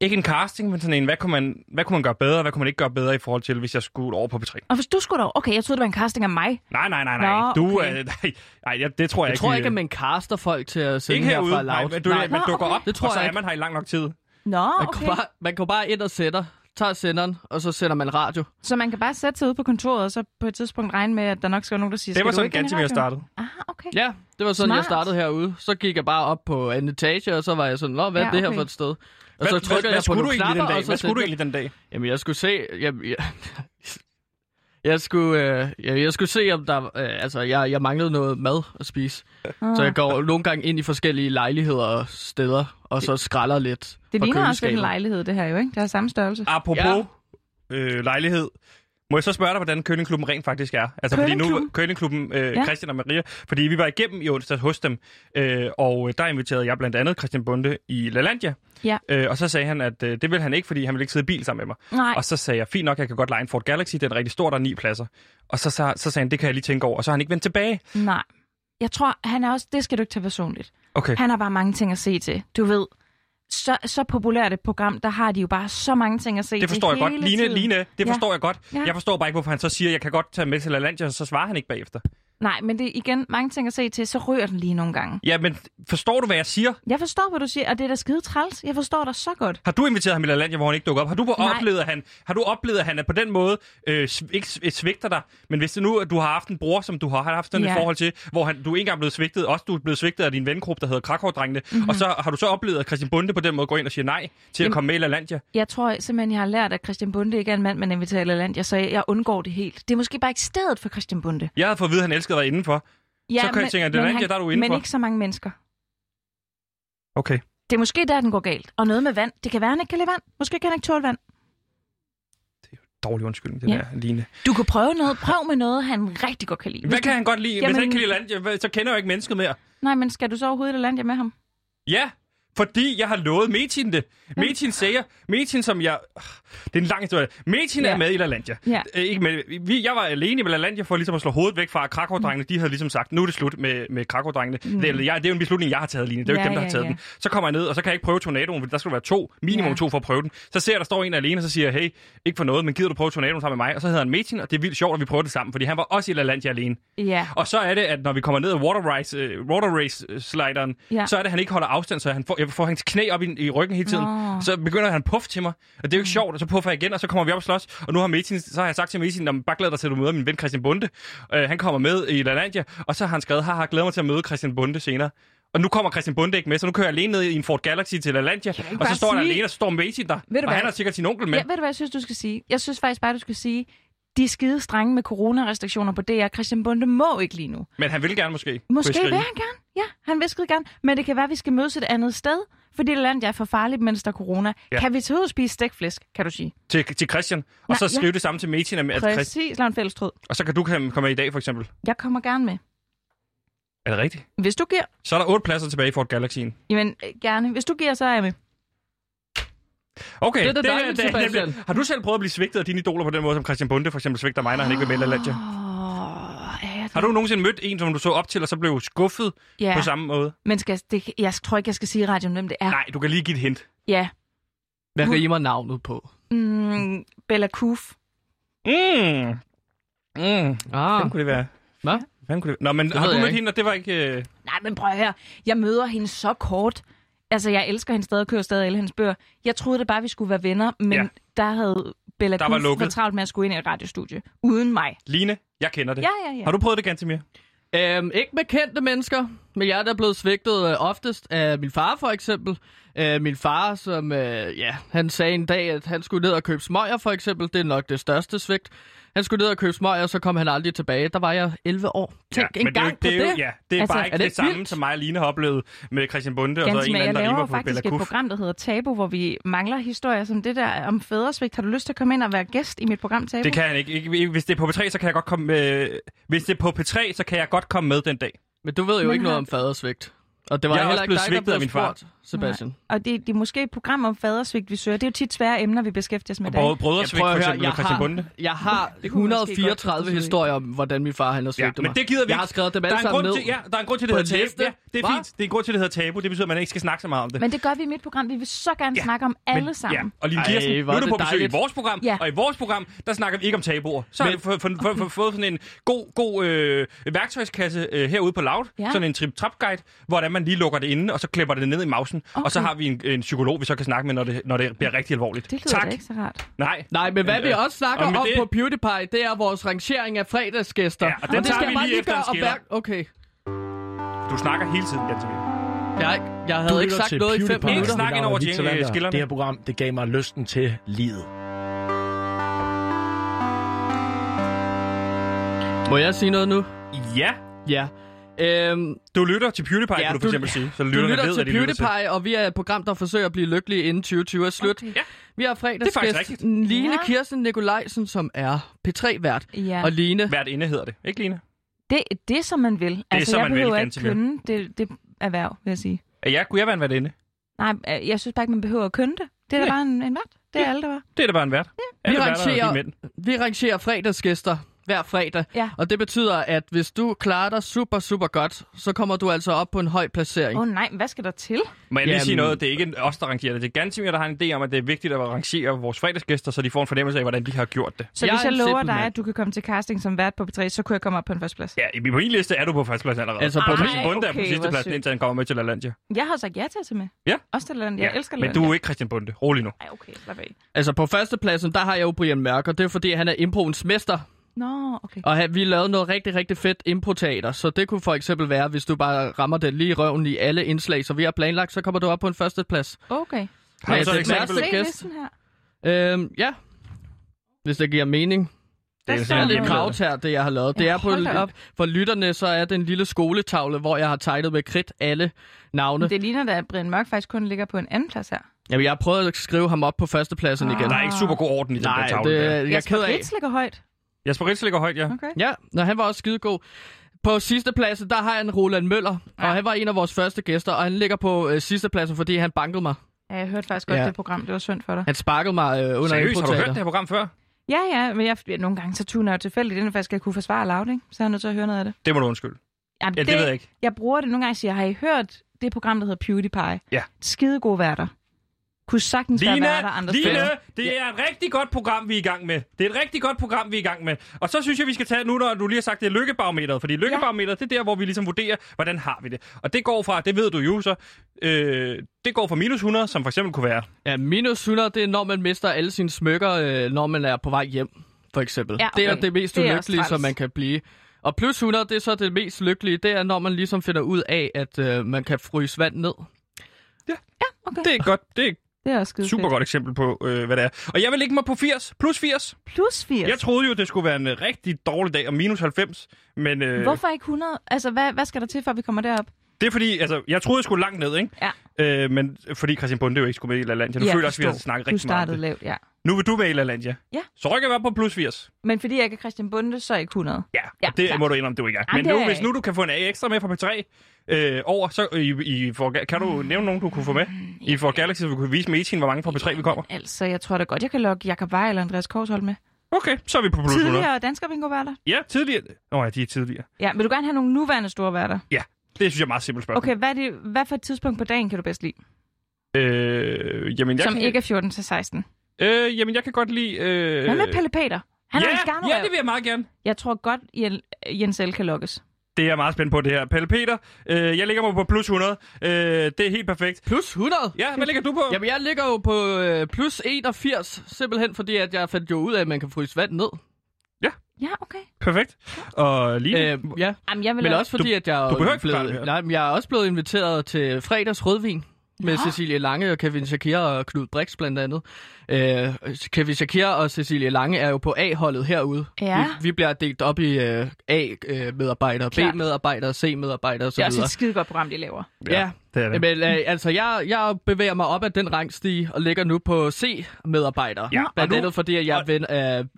[SPEAKER 1] Ikke en casting, men sådan en, hvad kunne, man, hvad kunne man gøre bedre, hvad kunne man ikke gøre bedre i forhold til, hvis jeg skulle over på P3?
[SPEAKER 3] Og hvis du skulle dog... Okay, jeg troede, det var en casting af mig.
[SPEAKER 1] Nej, nej, nej, nej.
[SPEAKER 3] Nå,
[SPEAKER 1] du,
[SPEAKER 3] okay.
[SPEAKER 1] øh, nej, nej, jeg- det tror jeg,
[SPEAKER 2] Jeg tror ikke, at
[SPEAKER 1] øh,
[SPEAKER 2] man caster folk til at synge
[SPEAKER 1] ikke
[SPEAKER 2] her fra
[SPEAKER 1] herude. Nej,
[SPEAKER 2] Loud.
[SPEAKER 1] men du, man
[SPEAKER 2] man,
[SPEAKER 3] Nå,
[SPEAKER 1] dukker
[SPEAKER 3] okay.
[SPEAKER 1] op,
[SPEAKER 2] Det tror
[SPEAKER 1] og så
[SPEAKER 2] jeg
[SPEAKER 1] er
[SPEAKER 2] ikke.
[SPEAKER 1] man her i lang nok tid.
[SPEAKER 3] Nå,
[SPEAKER 2] går
[SPEAKER 3] okay.
[SPEAKER 2] bare, man går bare ind og sætter, tager senderen, og så sender man radio.
[SPEAKER 3] Så man kan bare sætte sig ud på kontoret, og så på et tidspunkt regne med, at der nok skal være nogen, der siger...
[SPEAKER 1] Det var
[SPEAKER 3] "Skal du
[SPEAKER 1] sådan
[SPEAKER 3] ikke ind i
[SPEAKER 1] ganske mere
[SPEAKER 3] radioen?"
[SPEAKER 1] startet.
[SPEAKER 3] Ah, okay.
[SPEAKER 2] Ja, det var sådan,
[SPEAKER 3] Smart.
[SPEAKER 2] jeg startede herude. Så gik jeg bare op på anden etage, og så var jeg sådan, Nå, hvad ja,
[SPEAKER 3] Ja,
[SPEAKER 2] er det her
[SPEAKER 3] okay.
[SPEAKER 2] for et sted? Og
[SPEAKER 1] Hvad,
[SPEAKER 2] så
[SPEAKER 1] hvad,
[SPEAKER 2] trykker
[SPEAKER 1] hvad,
[SPEAKER 2] jeg på
[SPEAKER 1] skulle du
[SPEAKER 2] nogle
[SPEAKER 1] egentlig
[SPEAKER 2] knapper,
[SPEAKER 1] den dag?
[SPEAKER 2] og så
[SPEAKER 1] Hvad skulle du
[SPEAKER 2] tændte-
[SPEAKER 1] egentlig den dag?
[SPEAKER 2] Jamen, jeg skulle se... Jeg, jeg, jeg skulle, øh, jeg, jeg skulle se, om der... Øh, altså, jeg, jeg manglede noget mad at spise.
[SPEAKER 3] Ah.
[SPEAKER 2] Så jeg går nogle gange ind i forskellige lejligheder og steder, og så skralder lidt
[SPEAKER 3] Det
[SPEAKER 2] fra
[SPEAKER 3] ligner også lidt en
[SPEAKER 2] køleskabet.
[SPEAKER 3] lejlighed, det her jo, ikke? Det er samme størrelse.
[SPEAKER 1] Ah, Apropos ja. øh, lejlighed. Må jeg så spørge dig, hvordan Køllingklubben rent faktisk er? Altså, fordi nu
[SPEAKER 3] Køllingklubben?
[SPEAKER 1] Køllingklubben, øh, ja.
[SPEAKER 3] Ja.
[SPEAKER 1] Christian og Maria, fordi vi var igennem i onsdags hos dem, øh, og øh, der inviterede jeg blandt andet Christian Bunde i Lalandia,
[SPEAKER 3] Ja.
[SPEAKER 1] øh, og så sagde han, at øh, det ville han ikke, fordi han ville ikke sidde i bil sammen med mig.
[SPEAKER 3] Nej,
[SPEAKER 1] Og så sagde jeg, fint nok, jeg kan godt lege en Ford Galaxy, den er rigtig stor, der er ni pladser. Og så, så, så sagde han, det kan jeg lige tænke over, og så har han ikke vendt tilbage.
[SPEAKER 3] nej. Jeg tror, han er også... Det skal du ikke tage personligt.
[SPEAKER 1] Okay,
[SPEAKER 3] Han har bare mange ting at se til. Du ved, så, så populært et program, der har de jo bare så mange ting at se til
[SPEAKER 1] det forstår jeg
[SPEAKER 3] hele
[SPEAKER 1] godt. Line,
[SPEAKER 3] tiden.
[SPEAKER 1] Line, det
[SPEAKER 3] Ja.
[SPEAKER 1] forstår jeg godt.
[SPEAKER 3] Ja.
[SPEAKER 1] Jeg forstår bare ikke, hvorfor han så siger, jeg kan godt tage med til Lalandia, og så svarer han ikke bagefter.
[SPEAKER 3] Nej, men det er igen mange ting at se til, så rører den lige nogle gange.
[SPEAKER 1] Ja, men forstår du, hvad jeg siger?
[SPEAKER 3] Jeg forstår, hvad du siger, og det er da skide træls. Jeg forstår dig så godt.
[SPEAKER 1] Har du inviteret ham i LaLandia, hvor han ikke dukker op? Har du
[SPEAKER 3] Nej.
[SPEAKER 1] oplevet, at han, har du oplevet, at han er på den måde øh, sv- ikke sv- svigter dig? Men hvis det nu, at du har haft en bror, som du har, har haft sådan et
[SPEAKER 3] Ja.
[SPEAKER 1] forhold til, hvor han, du er ikke engang er blevet svigtet, også du er blevet svigtet af din vengruppe, der hedder Krakhårddrengene, mm-hmm. og så har du så oplevet, at Christian Bunde på den måde går ind og siger nej til at
[SPEAKER 3] Mhm. Jamen-
[SPEAKER 1] komme med i LaLandia?
[SPEAKER 3] Jeg tror simpelthen, jeg har lært, at Christian Bunde ikke er en mand, man inviterer eller land. Jeg så jeg undgår det helt. Det er måske bare ikke stedet for Christian Bunde.
[SPEAKER 1] Jeg havde fået at vide, at han elskede at være indenfor. Så kan jeg tænke, at det er
[SPEAKER 3] men
[SPEAKER 1] rigtigt,
[SPEAKER 3] han-
[SPEAKER 1] der er du
[SPEAKER 3] Men
[SPEAKER 1] indenfor.
[SPEAKER 3] ikke så mange mennesker.
[SPEAKER 1] Okay.
[SPEAKER 3] Det er måske der, den går galt. Og noget med vand. Det kan være, han ikke kan lide vand. Måske kan han ikke tåle vand.
[SPEAKER 1] Dårlig undskyldning, det
[SPEAKER 3] Ja.
[SPEAKER 1] der, Line.
[SPEAKER 3] Du kan prøve noget. Prøv med noget, han rigtig godt kan lide.
[SPEAKER 1] Hvad kan han godt lide? Hvis
[SPEAKER 3] Jamen-
[SPEAKER 1] han ikke kan lide LaLandia, hvad- så kender jeg jo ikke mennesket mere.
[SPEAKER 3] Nej, men skal du så overhovedet eller land med ham?
[SPEAKER 1] Ja, fordi jeg har lovet Metin det. Metin siger, Metin som jeg... Det er en lang historie. Metin ja.
[SPEAKER 3] Ja.
[SPEAKER 1] er med i LaLandia.
[SPEAKER 3] Ja.
[SPEAKER 1] Øh, ikke med, vi, jeg var alene med LaLandia for ligesom at slå hovedet væk fra Krakow-drengene. De havde ligesom sagt, nu er det slut med, med Krakow-drengene. Mm. Det, eller jeg, det er jo en beslutning, jeg har taget, Line. Det er jo ikke
[SPEAKER 3] Ja,
[SPEAKER 1] dem, der har
[SPEAKER 3] ja,
[SPEAKER 1] taget
[SPEAKER 3] ja.
[SPEAKER 1] den. Så kommer jeg ned, og så kan jeg ikke prøve tornadoen, for der skulle være to, minimum
[SPEAKER 3] Ja.
[SPEAKER 1] to for at prøve den. Så ser jeg, der står en alene, og så siger jeg, hey, ikke for noget, men gider du prøve tornadoen sammen med mig? Og så hedder han Metin, og det er vildt sjovt, at vi prøver det sammen, fordi han var også i LaLandia alene.
[SPEAKER 3] Ja.
[SPEAKER 1] Og så er det, at når vi kommer ned af water, race, øh, water race øh, slideren, ja.
[SPEAKER 3] Ja.
[SPEAKER 1] så er det, at han ikke holder afstand, så han får, jeg får hans knæ op i, i ryggen hele tiden. Nå.
[SPEAKER 3] Nå. Mm.
[SPEAKER 1] Så begynder han at puffe til mig, og det er jo ikke sjovt, og så puffer jeg igen, og så kommer vi op og slås. Og nu har Metin, så har jeg sagt til Metin, "Nå, men bare glæder dig til, at du møder min ven Christian Bunde. Øh, han kommer med i LaLandia, og så har han skrevet, har glæder mig til at møde Christian Bunde senere. Og nu kommer Christian Bunde ikke med, så nu kører jeg alene ned i en Ford Galaxy til LaLandia,
[SPEAKER 3] Kan du ikke
[SPEAKER 1] og så
[SPEAKER 3] bare
[SPEAKER 1] står jeg
[SPEAKER 3] sige-
[SPEAKER 1] alene, og så står Metin der,
[SPEAKER 3] Ved du
[SPEAKER 1] og
[SPEAKER 3] hvad?
[SPEAKER 1] han har sikkert sin onkel med.
[SPEAKER 3] Men... Ja, ved du hvad, jeg synes, du skal sige? Jeg synes faktisk bare, du skal sige, de er skide strenge med coronarestriktioner på DR. Christian Bunde må ikke lige nu.
[SPEAKER 1] Men han vil gerne måske. kunne jeg
[SPEAKER 3] Måske vil
[SPEAKER 1] skrive.
[SPEAKER 3] han gerne. Ja, han viskede gerne. Men det kan være, at vi skal mødes et andet sted, fordi det land, jeg er for farligt, mens der er corona.
[SPEAKER 1] Ja.
[SPEAKER 3] Ja. Kan vi tage ud og spise stækflæsk, kan du sige?
[SPEAKER 1] Til, til Christian, og
[SPEAKER 3] Nej,
[SPEAKER 1] så
[SPEAKER 3] ja.
[SPEAKER 1] skrive det samme til Metin, at at Christian,
[SPEAKER 3] Præcis, lav en fælles tråd.
[SPEAKER 1] og så kan du komme med i dag for eksempel.
[SPEAKER 3] Jeg kommer gerne med.
[SPEAKER 1] Er det rigtigt?
[SPEAKER 3] Hvis du giver,
[SPEAKER 1] Så er der otte pladser tilbage i Ford Galaxien.
[SPEAKER 3] jamen øh, gerne. Hvis du giver, så er jeg med.
[SPEAKER 1] Okay,
[SPEAKER 2] Det er da dejligt, Sebastian.
[SPEAKER 1] nemlig- Har du selv prøvet at blive svigtet af dine idoler på den måde, som Christian Bunde for eksempel svigter mig, når han ikke vil melde Lalandia?
[SPEAKER 3] Åh, er jeg
[SPEAKER 1] Har du nogensinde mødt en, som du så op til, og så blev skuffet ja.
[SPEAKER 3] Ja,
[SPEAKER 1] på samme måde?
[SPEAKER 3] men skal, det, jeg tror ikke, jeg skal sige i radioen, hvem det er.
[SPEAKER 1] Nej, du kan lige give et hint.
[SPEAKER 3] Ja.
[SPEAKER 2] Hvad
[SPEAKER 3] Nu-
[SPEAKER 2] rimer navnet på?
[SPEAKER 3] Mm, Bella Kuf.
[SPEAKER 1] Mm. Mm.
[SPEAKER 2] Ah,
[SPEAKER 1] Hvem kunne det være?
[SPEAKER 2] hvad?
[SPEAKER 1] Hvem kunne det være? Nå, men
[SPEAKER 2] Det
[SPEAKER 1] har
[SPEAKER 2] ved
[SPEAKER 1] du
[SPEAKER 2] jeg
[SPEAKER 1] mødt
[SPEAKER 2] ikke.
[SPEAKER 1] hende, og det var ikke... Øh...
[SPEAKER 3] Nej, men prøv her. Jeg møder hende så kort. Altså, jeg elsker hende stadig og kører stadig alle hendes bøger. Jeg troede det bare, vi skulle være venner, men
[SPEAKER 1] Ja.
[SPEAKER 3] ja. der havde Bella
[SPEAKER 1] Der var
[SPEAKER 3] Kuf
[SPEAKER 1] lukket.
[SPEAKER 3] for travlt med at skulle ind i et radiostudie. Uden mig.
[SPEAKER 1] Line, jeg kender det.
[SPEAKER 3] Ja, ja, ja.
[SPEAKER 1] Har du prøvet det, Gantemir?
[SPEAKER 2] Øhm, ikke med kendte mennesker, men jeg er da blevet svigtet øh, oftest af min far for eksempel. Øh, min far, som øh, ja, han sagde en dag, at han skulle ned og købe smøger for eksempel. Det er nok det største svigt. Han skulle ned og købe smøger, så kom han aldrig tilbage. Der var jeg 11 år. Tænk ja,
[SPEAKER 1] men det, er jo-
[SPEAKER 2] engang på
[SPEAKER 1] det, er jo-
[SPEAKER 2] det.
[SPEAKER 1] Ja, det er
[SPEAKER 3] Altså,
[SPEAKER 1] bare
[SPEAKER 3] er
[SPEAKER 1] ikke
[SPEAKER 2] det
[SPEAKER 1] det,
[SPEAKER 2] ikke
[SPEAKER 1] samme,
[SPEAKER 2] vildt?
[SPEAKER 1] som mig og Line har oplevet med Christian Bunde, og så
[SPEAKER 3] Ganske
[SPEAKER 1] en
[SPEAKER 3] med,
[SPEAKER 1] eller
[SPEAKER 3] jeg
[SPEAKER 1] anden, der rimer
[SPEAKER 3] laver
[SPEAKER 1] på Bella
[SPEAKER 3] faktisk et
[SPEAKER 1] Kuf.
[SPEAKER 3] program, der hedder Tabu, hvor vi mangler historier som det der om fædresvigt. Har du lyst til at komme ind og være gæst i mit program Tabu?
[SPEAKER 1] Det kan han ikke. ikke. ikke- Hvis det er på P3, så kan jeg godt komme med. Hvis det er på P3, så kan jeg godt komme med den dag.
[SPEAKER 2] Men du ved jo
[SPEAKER 3] Men
[SPEAKER 2] ikke noget
[SPEAKER 3] har-
[SPEAKER 2] om fadersvigt. Og det var
[SPEAKER 1] Jeg er
[SPEAKER 2] heller
[SPEAKER 1] også
[SPEAKER 2] ikke
[SPEAKER 1] blevet
[SPEAKER 2] dig, der
[SPEAKER 1] svigtet
[SPEAKER 2] blev
[SPEAKER 1] af min far.
[SPEAKER 2] spurgt, Sebastian. Nej.
[SPEAKER 3] Og det, det er måske et program om fadersvigt, vi søger. Det er jo tit svære emner, vi beskæftiger os med.
[SPEAKER 1] Og
[SPEAKER 3] der, ikke?
[SPEAKER 1] både brødresvigt for eksempel med
[SPEAKER 2] jeg
[SPEAKER 1] Christian Bunde.
[SPEAKER 2] har, jeg har
[SPEAKER 3] Det kunne man måske godt
[SPEAKER 2] 134
[SPEAKER 3] sige.
[SPEAKER 2] historier om, hvordan min far han har
[SPEAKER 1] Ja,
[SPEAKER 2] svigtet
[SPEAKER 1] men
[SPEAKER 2] mig.
[SPEAKER 1] det gider vi
[SPEAKER 2] Jeg har
[SPEAKER 1] ikke.
[SPEAKER 2] skrevet dem
[SPEAKER 1] der
[SPEAKER 2] alle
[SPEAKER 1] er en
[SPEAKER 2] sammen
[SPEAKER 1] grund
[SPEAKER 2] ned.
[SPEAKER 1] til, ja, der er en grund til, det
[SPEAKER 2] på
[SPEAKER 1] hedder
[SPEAKER 2] en
[SPEAKER 1] tabu.
[SPEAKER 2] liste.
[SPEAKER 1] Ja, det er
[SPEAKER 2] Hva?
[SPEAKER 1] fint. Det er en grund til, det hedder tabu. Det betyder, at man ikke skal snakke så meget om det.
[SPEAKER 3] Men det gør vi i mit program. Vi vil så gerne
[SPEAKER 1] Ja,
[SPEAKER 3] snakke om alle sammen.
[SPEAKER 1] Ja, og Line
[SPEAKER 2] Ej,
[SPEAKER 1] Kirsten, nu
[SPEAKER 2] hvor
[SPEAKER 1] er
[SPEAKER 2] er
[SPEAKER 1] du
[SPEAKER 2] det
[SPEAKER 1] på besøg i
[SPEAKER 2] dejligt.
[SPEAKER 1] vores program,
[SPEAKER 3] Ja.
[SPEAKER 1] og i vores program, der snakker vi ikke om tabuer. Så har vi fået- fået- fået- fået- fået sådan en god, god øh, værktøjskasse øh, herude på Loud,
[SPEAKER 3] Ja.
[SPEAKER 1] sådan en trip-trap-guide, hvordan man lige lukker det inde, og så klipper det ned i mausen, og så
[SPEAKER 3] Okay.
[SPEAKER 1] har vi en, en psykolog, vi så kan snakke med, når det, når det bliver rigtig alvorligt.
[SPEAKER 3] Det lyder
[SPEAKER 1] tak.
[SPEAKER 3] da ikke så rart.
[SPEAKER 1] Nej.
[SPEAKER 2] Nej, men hvad vi også snakker
[SPEAKER 1] og
[SPEAKER 2] om
[SPEAKER 1] med det-
[SPEAKER 2] på PewDiePie, det er vores rangering af fredagsgæster.
[SPEAKER 1] Ja, og den tager
[SPEAKER 2] skal
[SPEAKER 1] vi
[SPEAKER 2] jeg bare
[SPEAKER 1] lige efter en
[SPEAKER 2] gøre
[SPEAKER 1] skiller.
[SPEAKER 2] opmærk- Okay.
[SPEAKER 1] Du snakker hele tiden, Jens Emil.
[SPEAKER 2] Jeg, jeg
[SPEAKER 4] Du
[SPEAKER 2] havde ikke
[SPEAKER 4] lytter
[SPEAKER 2] sagt
[SPEAKER 4] til
[SPEAKER 2] noget i fem
[SPEAKER 4] PewDiePie.
[SPEAKER 2] minutter.
[SPEAKER 1] Ikke snak
[SPEAKER 4] Mit
[SPEAKER 1] ind
[SPEAKER 4] navn
[SPEAKER 1] over
[SPEAKER 4] er Victor
[SPEAKER 1] jingle-
[SPEAKER 4] Lander.
[SPEAKER 1] skillerne.
[SPEAKER 4] Det her program, det gav mig lysten til livet.
[SPEAKER 2] Må jeg sige noget nu?
[SPEAKER 1] Ja,
[SPEAKER 2] Ja. Øhm,
[SPEAKER 1] du lytter til PewDiePie,
[SPEAKER 2] Ja,
[SPEAKER 1] ja, kunne du for
[SPEAKER 2] du-
[SPEAKER 1] eksempel sige. Så
[SPEAKER 2] du
[SPEAKER 1] lytterne
[SPEAKER 2] lytter
[SPEAKER 1] ved,
[SPEAKER 2] til
[SPEAKER 1] at de lytter til.
[SPEAKER 2] PewDiePie, og vi er et program, der forsøger at blive lykkelige inden 2020 er slut.
[SPEAKER 3] Okay.
[SPEAKER 1] Ja.
[SPEAKER 2] Vi har
[SPEAKER 1] faktisk
[SPEAKER 2] fredagsgæst
[SPEAKER 1] rigtigt.
[SPEAKER 2] Line
[SPEAKER 3] Ja.
[SPEAKER 2] Kirsten Nikolajsen, som er P3-vært.
[SPEAKER 3] Ja.
[SPEAKER 2] Og Line,
[SPEAKER 1] Hvert inde hedder det, ikke Line?
[SPEAKER 3] Det er det, som man vil.
[SPEAKER 1] er,
[SPEAKER 3] altså,
[SPEAKER 1] som
[SPEAKER 3] jeg
[SPEAKER 1] man vil,
[SPEAKER 3] behøver ikke
[SPEAKER 1] ganske mere.
[SPEAKER 3] kønne det, det erhverv, vil jeg sige.
[SPEAKER 1] Er jeg, Øh, kunne jeg være en vært inde?
[SPEAKER 3] Nej, øh, jeg synes bare ikke, man behøver at kønne det. Det er da
[SPEAKER 1] Nej.
[SPEAKER 3] bare en, en vært. Det er alle, der var.
[SPEAKER 1] Det er da bare en vært. Ja.
[SPEAKER 2] Vi
[SPEAKER 1] Alle værter er
[SPEAKER 2] rangerer-
[SPEAKER 1] lige mænd.
[SPEAKER 2] vi rangerer fredagsgæster hver fredag.
[SPEAKER 3] Ja.
[SPEAKER 2] Og det betyder, at hvis du klarer dig super, super godt, så kommer du altså op på en høj placering.
[SPEAKER 3] Åh oh, nej, men hvad skal der til?
[SPEAKER 1] Må jeg lige
[SPEAKER 2] Jamen-
[SPEAKER 1] sige noget? Det er ikke os, der rangerer det. Det er Gansimir, der har en idé om, at det er vigtigt at rangere vores fredagsgæster, så de får en fornemmelse af, hvordan de har gjort det.
[SPEAKER 3] Så
[SPEAKER 2] Jeg
[SPEAKER 3] jeg
[SPEAKER 2] er
[SPEAKER 3] hvis jeg
[SPEAKER 2] en
[SPEAKER 3] lover
[SPEAKER 2] simpel
[SPEAKER 3] dig,
[SPEAKER 2] mand.
[SPEAKER 3] at du kan komme til casting som vært på P3, så kunne jeg komme op på en førsteplads.
[SPEAKER 1] Ja, i- på min liste er du på førsteplads allerede.
[SPEAKER 2] Altså, på
[SPEAKER 1] på
[SPEAKER 2] min-
[SPEAKER 1] min Bunde er på
[SPEAKER 3] okay,
[SPEAKER 1] sidste
[SPEAKER 3] hvor
[SPEAKER 1] plads,
[SPEAKER 3] sygt.
[SPEAKER 1] indtil han kommer med til LaLandia.
[SPEAKER 3] Jeg har jo sagt ja til at tage med.
[SPEAKER 1] Ja.
[SPEAKER 3] Også til London. Jeg elsker
[SPEAKER 1] Men
[SPEAKER 3] London.
[SPEAKER 1] du er ikke Christian Bunde. Rolig nu.
[SPEAKER 3] Ej, okay, slap af.
[SPEAKER 2] Altså på førstepladsen, der har jeg jo Brian Mørk, og det er fordi, han er improens mester.
[SPEAKER 3] Nå, okay.
[SPEAKER 2] Og han, vi lavede noget rigtig, rigtig fedt improteater, så det kunne for eksempel være, hvis du bare rammer den lige i røven i alle indslag, så vi har planlagt, så kommer du op på en førsteplads.
[SPEAKER 3] Okay.
[SPEAKER 1] Har
[SPEAKER 2] Ja,
[SPEAKER 1] du så et
[SPEAKER 2] det er
[SPEAKER 1] eksempel?
[SPEAKER 2] mærkeligt.
[SPEAKER 3] Se
[SPEAKER 2] gæst.
[SPEAKER 3] listen her.
[SPEAKER 2] Øhm, ja, hvis det giver mening.
[SPEAKER 1] Det er
[SPEAKER 3] Der
[SPEAKER 2] Det
[SPEAKER 1] sådan
[SPEAKER 2] er
[SPEAKER 3] står
[SPEAKER 1] lidt
[SPEAKER 2] lidt
[SPEAKER 3] noget.
[SPEAKER 1] krav.
[SPEAKER 2] kravtær, det jeg har lavet. Det
[SPEAKER 3] Ja,
[SPEAKER 2] er på,
[SPEAKER 3] hold da op.
[SPEAKER 2] for lytterne, så er det en lille skoletavle, hvor jeg har tegnet med kridt alle navne.
[SPEAKER 3] Det ligner da, at Brian Mørk faktisk kun ligger på en anden plads her.
[SPEAKER 2] Jamen, jeg har prøvet at skrive ham op på førstepladsen
[SPEAKER 3] Ah.
[SPEAKER 2] igen.
[SPEAKER 1] Der er ikke super god orden i den der
[SPEAKER 2] Nej,
[SPEAKER 1] tavle.
[SPEAKER 2] det,
[SPEAKER 1] der.
[SPEAKER 2] jeg er ked af.
[SPEAKER 3] Ritz ligger højt.
[SPEAKER 1] Jesper Ritz ligger højt, ja.
[SPEAKER 3] Okay.
[SPEAKER 2] Ja, og han var også skidegod. På sidste pladsen, der har jeg en Roland Møller, ja. og han var en af vores første gæster, og han ligger på øh, sidste pladsen, fordi han bankede mig.
[SPEAKER 3] Ja, jeg hørte faktisk godt
[SPEAKER 2] Ja.
[SPEAKER 3] det program. Det var synd for dig.
[SPEAKER 2] Han sparkede mig øh, under
[SPEAKER 1] Seriøst, har du hørt det
[SPEAKER 2] improteater.
[SPEAKER 1] her program før?
[SPEAKER 3] Ja, ja, men jeg, ja, nogle gange så tuner jeg jo tilfældigt, inden for jeg skal kunne forsvare loud, ikke? Så er jeg nødt til at høre noget af det.
[SPEAKER 1] Det må du undskylde.
[SPEAKER 3] Jamen,
[SPEAKER 1] Ja, det ved jeg ikke.
[SPEAKER 3] jeg bruger det nogle gange og siger, har I hørt det program, der hedder PewDiePie?
[SPEAKER 1] Ja.
[SPEAKER 3] Skide gode værter. Kunne sagtens være
[SPEAKER 1] Line,
[SPEAKER 3] værter andre
[SPEAKER 1] Line,
[SPEAKER 3] steder.
[SPEAKER 1] det er et rigtig godt program, vi er i gang med. Det er et rigtig godt program, vi er i gang med. Og så synes jeg, vi skal tage nu, når du lige har sagt, det er lykkebarometeret. Fordi lykkebarometeret, det er der, hvor vi ligesom vurderer, hvordan har vi det. Og det går fra, det ved du jo så, øh, det går fra minus 100, som for eksempel kunne være.
[SPEAKER 2] Ja, minus 100, det er, når man mister alle sine smykker, øh, når man er på vej hjem, for eksempel.
[SPEAKER 3] Ja,
[SPEAKER 2] Det er
[SPEAKER 3] okay.
[SPEAKER 2] det mest
[SPEAKER 3] Det er også
[SPEAKER 2] ulykkelige,
[SPEAKER 3] træls.
[SPEAKER 2] som man kan blive. Og plus 100, det er så det mest lykkelige, det er, når man ligesom finder ud af, at øh, man kan fryse vand ned.
[SPEAKER 3] Okay.
[SPEAKER 1] Det er godt, det er
[SPEAKER 3] Det er også skide
[SPEAKER 1] et super
[SPEAKER 3] fedt.
[SPEAKER 1] godt eksempel på, øh, hvad det er. Og jeg vil ligge mig på 80, plus 80.
[SPEAKER 3] Plus 80.
[SPEAKER 1] Jeg troede jo, det skulle være en øh, rigtig dårlig dag, og minus 90. Men øh,
[SPEAKER 3] Hvorfor ikke 100? Altså, hvad, hvad skal der til, før vi kommer derop?
[SPEAKER 1] det er fordi, altså, jeg troede, jeg skulle langt ned, ikke?
[SPEAKER 3] Ja.
[SPEAKER 1] Øh, men fordi Christian Bunde jo ikke skulle med i LaLandia. Nu
[SPEAKER 3] Ja,
[SPEAKER 1] føler jeg også, vi har
[SPEAKER 3] forstå.
[SPEAKER 1] snakket
[SPEAKER 3] Du
[SPEAKER 1] rigtig meget om
[SPEAKER 3] startede
[SPEAKER 1] det.
[SPEAKER 3] lavt, ja.
[SPEAKER 1] Nu vil du med i LaLandia.
[SPEAKER 3] Ja.
[SPEAKER 1] Så rykker vi op på plus 80.
[SPEAKER 3] Men fordi jeg ikke er Christian Bunde, så er jeg ikke 100.
[SPEAKER 1] Ja,
[SPEAKER 3] Ja,
[SPEAKER 1] og det
[SPEAKER 3] klart.
[SPEAKER 1] må du indrømme, du ikke er.
[SPEAKER 3] Ej,
[SPEAKER 1] Men
[SPEAKER 3] det er
[SPEAKER 1] nu,
[SPEAKER 3] jeg
[SPEAKER 1] hvis nu
[SPEAKER 3] ikke.
[SPEAKER 1] du kan få en A ekstra med fra P3 øh, over, så øh, i, i for, kan
[SPEAKER 3] Mm.
[SPEAKER 1] du nævne nogen, du kunne få med? I for Galaxy, så vi kunne vise Metin, hvor mange fra P3 vi kommer.
[SPEAKER 3] Altså, jeg tror da godt, jeg kan lokke Jakob Vej eller Andreas Korshold med.
[SPEAKER 1] Okay, så er vi på plus 100.
[SPEAKER 3] Tidligere dansker bingo værter.
[SPEAKER 1] Ja, tidligere. Nå ja, de er tidligere.
[SPEAKER 3] Ja, vil du gerne have nogle nuværende store værter?
[SPEAKER 1] Det synes jeg er et meget simpelt spørgsmål.
[SPEAKER 3] Okay, hvad, er det, hvad for et tidspunkt på dagen kan du bedst lide?
[SPEAKER 1] Øh, jamen, jeg
[SPEAKER 3] Som
[SPEAKER 1] kan,
[SPEAKER 3] ikke er 14 til 16.
[SPEAKER 1] Øh, jamen, jeg kan godt lide... Øh...
[SPEAKER 3] Hvad med Pelle Peter? Han
[SPEAKER 1] ja,
[SPEAKER 3] er en skarnerøv.
[SPEAKER 1] ja, det vil jeg meget gerne.
[SPEAKER 3] Jeg tror godt, Jen- Jens L. kan lokkes.
[SPEAKER 1] Det er jeg meget spændt på, det her. Pelle Peter, øh, jeg ligger mig på plus 100. Øh, det er helt perfekt.
[SPEAKER 2] Plus 100?
[SPEAKER 1] Ja, hvad ligger du på?
[SPEAKER 2] Jamen, jeg ligger jo på øh, plus 81, simpelthen fordi, at jeg fandt jo ud af, at man kan fryse vand ned.
[SPEAKER 3] Ja, okay.
[SPEAKER 1] perfekt. Og lige...
[SPEAKER 2] Øh, ja.
[SPEAKER 3] Jamen, jeg vil
[SPEAKER 2] Men
[SPEAKER 3] også...
[SPEAKER 2] også fordi, at jeg,
[SPEAKER 1] du
[SPEAKER 2] er
[SPEAKER 1] behøver ikke forklare det
[SPEAKER 2] blevet,
[SPEAKER 1] mere.
[SPEAKER 2] nej, men jeg er også blevet inviteret til fredags rødvin med
[SPEAKER 3] Nå.
[SPEAKER 2] Cecilie Lange og Kevin Shakir og Knud Brix blandt andet. Øh, Kevin Shakir og Cecilie Lange er jo på A-holdet herude.
[SPEAKER 3] Ja.
[SPEAKER 2] Vi, vi bliver delt op i øh, A-medarbejdere,
[SPEAKER 3] Klart.
[SPEAKER 2] B-medarbejdere, C-medarbejdere osv.
[SPEAKER 3] Det er også et skide godt program, de laver.
[SPEAKER 2] Ja,
[SPEAKER 1] det er det.
[SPEAKER 2] Men øh, altså, jeg, jeg bevæger mig op ad den rangstige og ligger nu på C-medarbejdere.
[SPEAKER 1] Ja, og
[SPEAKER 2] blandt
[SPEAKER 1] nu-
[SPEAKER 2] andet fordi, at jeg er ven,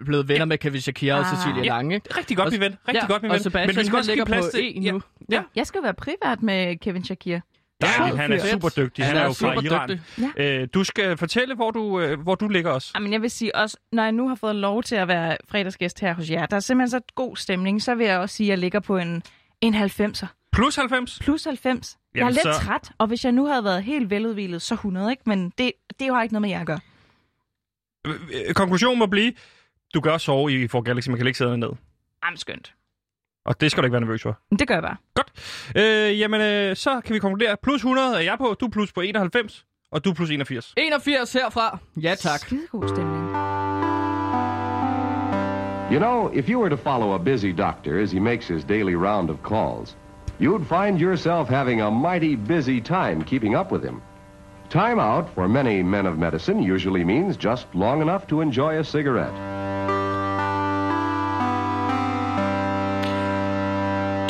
[SPEAKER 2] øh, blevet venner med Kevin Shakir og
[SPEAKER 3] Ah.
[SPEAKER 2] Cecilie Lange.
[SPEAKER 1] Rigtig godt,
[SPEAKER 2] Og-
[SPEAKER 1] min ven. Rigtig godt, min
[SPEAKER 2] og
[SPEAKER 1] ven.
[SPEAKER 2] Sebastian,
[SPEAKER 1] Men vi skal
[SPEAKER 2] han
[SPEAKER 1] også give
[SPEAKER 2] ligger
[SPEAKER 1] plads
[SPEAKER 2] på
[SPEAKER 1] til...
[SPEAKER 2] E nu.
[SPEAKER 1] ja.
[SPEAKER 3] Jeg skal jo være privat med Kevin Shakir.
[SPEAKER 1] Dejligt,
[SPEAKER 2] Ja,
[SPEAKER 1] han er
[SPEAKER 2] fedt.
[SPEAKER 1] super dygtig. Han,
[SPEAKER 2] Han
[SPEAKER 1] er
[SPEAKER 2] er
[SPEAKER 1] jo fra Iran.
[SPEAKER 2] superdygtig.
[SPEAKER 1] Øh, du skal fortælle, hvor du, øh, hvor du ligger os.
[SPEAKER 3] Jamen, jeg vil sige også, når jeg nu har fået lov til at være fredagsgæst her hos jer, der er simpelthen så god stemning, så vil jeg også sige, at jeg ligger på en, en 90'er.
[SPEAKER 1] Plus 90.
[SPEAKER 3] Plus 90. jeg er
[SPEAKER 1] Jamen,
[SPEAKER 3] lidt
[SPEAKER 1] så-
[SPEAKER 3] så... træt, og hvis jeg nu havde været helt veludvilet, så 100, ikke? Men det, det har ikke noget med jer at gøre.
[SPEAKER 1] Øh, øh, Konklusionen må blive, du kan også sove i For Galaxy, man kan ligge sæderne ned.
[SPEAKER 3] Jamen, skønt.
[SPEAKER 1] Og det skal du ikke være nervøs for.
[SPEAKER 3] Men Det gør jeg bare.
[SPEAKER 1] Øh, jamen, øh, så kan vi konkludere. Plus 100 er jeg på, du er plus på 91, og du er plus 81.
[SPEAKER 2] 81 herfra. Ja, tak.
[SPEAKER 3] Skide god stemning.
[SPEAKER 5] You know, if you were to follow a busy doctor as he makes his daily round of calls, you'd find yourself having a mighty busy time keeping up with him. Time out for many men of medicine usually means just long enough to enjoy a cigarette.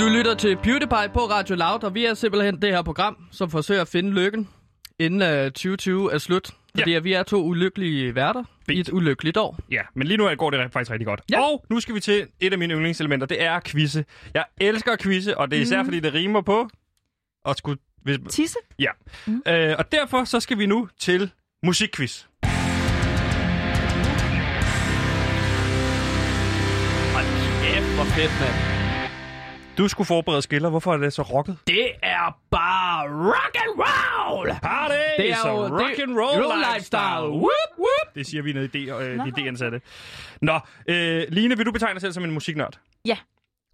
[SPEAKER 2] Du lytter til PewDiePie på Radio Loud, og vi er simpelthen det her program, som forsøger at finde lykken, inden øh, 2020 er slut. Fordi ja. vi er to ulykkelige værter i et ulykkeligt år.
[SPEAKER 1] Ja, men lige nu går det rent faktisk rigtig godt.
[SPEAKER 2] Ja.
[SPEAKER 1] Og nu skal vi til et af mine yndlingselementer, det er quizze. Jeg elsker quizze, og det er især mm. fordi, det rimer på at skulle... Hvis,
[SPEAKER 3] Tisse?
[SPEAKER 1] ja. Mm. Øh, og derfor så skal vi nu til musikquiz.
[SPEAKER 2] Kæft, hvor fedt, mand.
[SPEAKER 1] Du skulle forberede skiller. Hvorfor er det så rocket?
[SPEAKER 2] Det er bare rock and roll!
[SPEAKER 1] Party!
[SPEAKER 2] Det er jo
[SPEAKER 1] rock
[SPEAKER 2] det-
[SPEAKER 1] and roll,
[SPEAKER 2] roll lifestyle.
[SPEAKER 1] Whoop, whop. Det siger vi nede i D, øh, de D-ansatte. Nå, øh, Line, vil du betegne dig selv som en musiknørd?
[SPEAKER 3] Ja.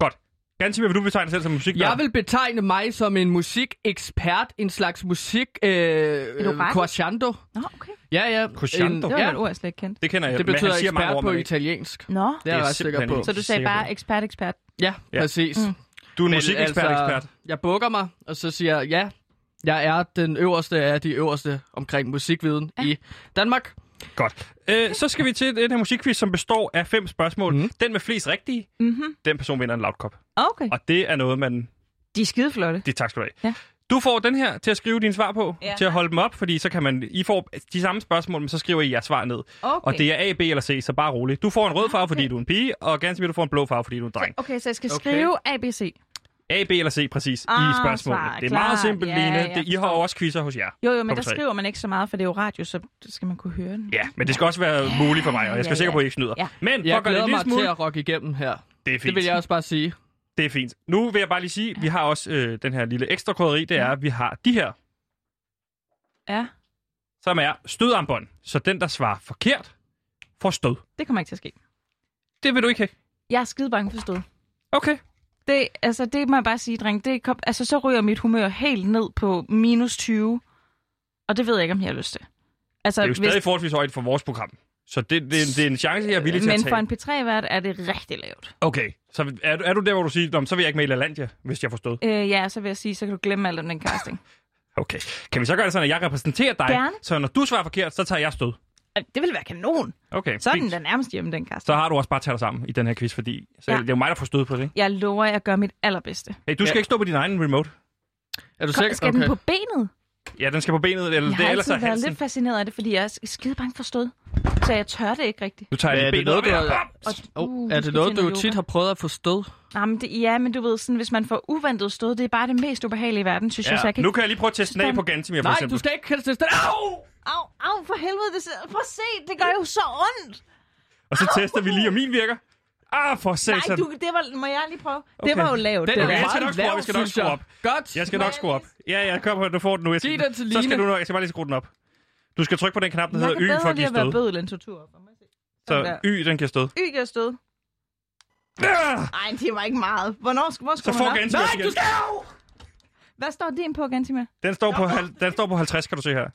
[SPEAKER 1] Godt. Ganske vil du betegne dig selv som en musiknørd?
[SPEAKER 2] Jeg vil betegne mig som en musikekspert, en slags musik... Øh,
[SPEAKER 3] orakel?
[SPEAKER 2] quasciando.
[SPEAKER 3] Nå, okay.
[SPEAKER 2] Ja, ja.
[SPEAKER 1] Quasciando?
[SPEAKER 3] Det
[SPEAKER 2] En,
[SPEAKER 3] var
[SPEAKER 2] ja,
[SPEAKER 3] ja. et ord, jeg slet ikke kendte.
[SPEAKER 1] Det kender jeg.
[SPEAKER 2] det
[SPEAKER 1] men
[SPEAKER 2] betyder
[SPEAKER 1] han siger mange
[SPEAKER 2] ekspert
[SPEAKER 1] ord,
[SPEAKER 2] på
[SPEAKER 1] man ikke-
[SPEAKER 2] italiensk.
[SPEAKER 3] Nå,
[SPEAKER 2] Det er
[SPEAKER 1] Det
[SPEAKER 2] jeg
[SPEAKER 1] er
[SPEAKER 2] ret sikker
[SPEAKER 1] simpelthen
[SPEAKER 2] på.
[SPEAKER 1] ikke.
[SPEAKER 3] så du sagde
[SPEAKER 1] sikker på
[SPEAKER 3] bare
[SPEAKER 1] det.
[SPEAKER 3] ekspert, ekspert.
[SPEAKER 2] Ja,
[SPEAKER 1] Ja.
[SPEAKER 2] præcis.
[SPEAKER 3] Mm.
[SPEAKER 1] Du er en
[SPEAKER 2] Men
[SPEAKER 1] musikekspert-ekspert. Altså...
[SPEAKER 2] jeg bukker mig, og så siger jeg, ja, jeg er den øverste af de øverste omkring musikviden ja. i Danmark.
[SPEAKER 1] Godt. Øh, så skal vi til den her musikquiz, som består af fem spørgsmål.
[SPEAKER 2] Mhm.
[SPEAKER 1] Mm. Den med flest rigtige,
[SPEAKER 3] Mhm.
[SPEAKER 1] den person vinder en loudkop.
[SPEAKER 3] Ah, Okay.
[SPEAKER 1] Og det er noget, man...
[SPEAKER 3] De er skide flotte.
[SPEAKER 1] Det er tak skal du have.
[SPEAKER 3] Ja.
[SPEAKER 1] Du får den her til at skrive dine svar på,
[SPEAKER 3] Ja.
[SPEAKER 1] til at holde dem op, fordi så kan man... I får de samme spørgsmål, men så skriver I jeres svar ned.
[SPEAKER 3] Okay.
[SPEAKER 1] Og det er A, B eller C, så bare rolig. Du får en
[SPEAKER 3] Ah,
[SPEAKER 1] rød farve, fordi du er en pige, og ganske du får en blå farve, fordi du er en dreng.
[SPEAKER 3] Okay, så jeg skal
[SPEAKER 2] Okay.
[SPEAKER 3] skrive ABC.
[SPEAKER 1] A, B eller C, præcis, i
[SPEAKER 3] Ah,
[SPEAKER 1] spørgsmålet.
[SPEAKER 3] svar,
[SPEAKER 1] det er
[SPEAKER 3] klart.
[SPEAKER 1] meget simpelt,
[SPEAKER 3] Ja,
[SPEAKER 1] Line.
[SPEAKER 3] jeg
[SPEAKER 1] Det, I har
[SPEAKER 3] forstår.
[SPEAKER 1] jo også quizzer hos jer.
[SPEAKER 3] Jo, jo, men
[SPEAKER 1] Nummer
[SPEAKER 3] der
[SPEAKER 1] tre.
[SPEAKER 3] skriver man ikke så meget, for det er jo radio, så skal man kunne høre den.
[SPEAKER 1] Ja, men det skal også være muligt for mig, og jeg skal
[SPEAKER 3] Ja,
[SPEAKER 1] være sikker
[SPEAKER 3] ja.
[SPEAKER 1] på, at I ikke snyder.
[SPEAKER 3] Ja.
[SPEAKER 1] Men for
[SPEAKER 2] Jeg
[SPEAKER 1] at gøre det
[SPEAKER 2] glæder
[SPEAKER 1] en
[SPEAKER 2] mig
[SPEAKER 1] lille smule,
[SPEAKER 2] til at rocke igennem her.
[SPEAKER 1] det er fint.
[SPEAKER 2] Det vil jeg også bare sige.
[SPEAKER 1] Det er fint. Nu vil jeg bare lige sige, at vi har også øh, den her lille ekstra koderi, det er, at vi har de her,
[SPEAKER 3] Ja,
[SPEAKER 1] som er stødarmbånd. Så den, der svarer forkert, får stød.
[SPEAKER 3] det kommer ikke til at ske.
[SPEAKER 1] Det vil du ikke have.
[SPEAKER 3] Jeg er skide bange for stød.
[SPEAKER 1] Okay.
[SPEAKER 3] Det, altså, det må jeg bare sige, dreng. Det kom, altså, så ryger mit humør helt ned på minus 20. Og det ved jeg ikke, om jeg har lyst til. Altså,
[SPEAKER 1] Det er jo stadig forholdsvis højt for vores program. Så det, det, det er en chance, jeg er villig til at
[SPEAKER 3] Men
[SPEAKER 1] tage.
[SPEAKER 3] for en P3-vært er det rigtig lavt.
[SPEAKER 1] Okay, så er, du- er du der, hvor du siger, "Nå, men så vil jeg ikke med i LaLandia, hvis jeg forstod?
[SPEAKER 3] Øh, ja, så vil jeg sige, så kan du glemme alt om den casting.
[SPEAKER 1] Okay. Kan vi så gøre det sådan, at jeg repræsenterer dig?
[SPEAKER 3] Gerne.
[SPEAKER 1] Så når du svarer forkert, så tager jeg stød.
[SPEAKER 3] Øh, Det ville være kanon.
[SPEAKER 1] Okay,
[SPEAKER 3] Så er den
[SPEAKER 1] fint.
[SPEAKER 3] da nærmest hjemme, den
[SPEAKER 1] Så
[SPEAKER 3] casting.
[SPEAKER 1] har du også bare taget dig sammen i den her quiz, fordi så
[SPEAKER 3] Ja.
[SPEAKER 1] det er jo mig, der får stød på det. ikke?
[SPEAKER 3] Jeg lover, at jeg gør mit allerbedste.
[SPEAKER 1] Hey, du skal
[SPEAKER 2] Ja.
[SPEAKER 1] ikke stå på din egen remote.
[SPEAKER 2] Er du
[SPEAKER 3] Kom,
[SPEAKER 2] sikker?
[SPEAKER 3] skal den på benet?
[SPEAKER 1] Ja, den skal på benet, eller
[SPEAKER 3] Jeg
[SPEAKER 1] det
[SPEAKER 3] har
[SPEAKER 1] er ellers
[SPEAKER 3] altid
[SPEAKER 1] er
[SPEAKER 3] været
[SPEAKER 1] halsen.
[SPEAKER 3] lidt fascineret af det, fordi jeg er skide bange for stød. Så jeg tør det ikke rigtigt.
[SPEAKER 1] Nu tager
[SPEAKER 2] Men
[SPEAKER 1] jeg
[SPEAKER 2] er
[SPEAKER 1] lige
[SPEAKER 2] det
[SPEAKER 1] benet
[SPEAKER 2] noget,
[SPEAKER 1] op.
[SPEAKER 2] du har...
[SPEAKER 3] Og,
[SPEAKER 2] Oh,
[SPEAKER 3] Uh, vi
[SPEAKER 2] er
[SPEAKER 3] skal
[SPEAKER 2] det noget,
[SPEAKER 3] til
[SPEAKER 2] du jo
[SPEAKER 3] noget
[SPEAKER 2] tit
[SPEAKER 3] yoga.
[SPEAKER 2] har prøvet at forstå?
[SPEAKER 3] Nej, men det, ja, men du ved, sådan, hvis man får uventet stød, det er bare det mest ubehagelige i verden, synes jeg. Så
[SPEAKER 1] Ja.
[SPEAKER 3] jeg kan
[SPEAKER 1] Nu kan jeg lige prøve at teste den af på Gantemir, for
[SPEAKER 2] Nej,
[SPEAKER 1] eksempel.
[SPEAKER 2] du skal ikke kalde det Au!
[SPEAKER 3] Au, au, for helvede, det sidder... Prøv at se, det gør jo så ondt.
[SPEAKER 1] Og så tester vi lige, om min virker. Ah, for
[SPEAKER 3] Nej,
[SPEAKER 1] satan.
[SPEAKER 3] du, det var... Må jeg lige prøve?
[SPEAKER 1] Okay.
[SPEAKER 3] Det var jo lavt.
[SPEAKER 2] Den
[SPEAKER 3] det
[SPEAKER 2] er
[SPEAKER 1] okay, jeg
[SPEAKER 3] der.
[SPEAKER 1] skal
[SPEAKER 2] meget
[SPEAKER 1] nok skrue op, jeg skal nok
[SPEAKER 2] lav, synes jeg.
[SPEAKER 1] skrue op.
[SPEAKER 2] Godt.
[SPEAKER 1] Jeg skal nok skrue op. Ja, ja, kom på, du får den nu. Jeg
[SPEAKER 2] Sig
[SPEAKER 1] skal,
[SPEAKER 2] den til
[SPEAKER 1] så skal
[SPEAKER 2] Line.
[SPEAKER 1] du nok, jeg skal bare lige skrue den op. Du skal trykke på den knap, der
[SPEAKER 3] Jeg
[SPEAKER 1] hedder Y
[SPEAKER 3] kan
[SPEAKER 1] for
[SPEAKER 3] bedre
[SPEAKER 1] at
[SPEAKER 3] lige
[SPEAKER 1] give
[SPEAKER 3] at være
[SPEAKER 1] stød.
[SPEAKER 3] bødel end tortur.
[SPEAKER 1] Så Y, den giver stød.
[SPEAKER 3] Y gør stød.
[SPEAKER 1] Ah!
[SPEAKER 3] Nej, det var ikke meget. Hvornår skal, hvor
[SPEAKER 1] Så
[SPEAKER 3] skal man
[SPEAKER 1] får
[SPEAKER 3] op?
[SPEAKER 1] Gantemir
[SPEAKER 2] Nej, du
[SPEAKER 1] igen.
[SPEAKER 2] skal... Au!
[SPEAKER 3] Hvad står din på, Gantimer?
[SPEAKER 1] Den står, på, hal- den står på 50, kan du se her.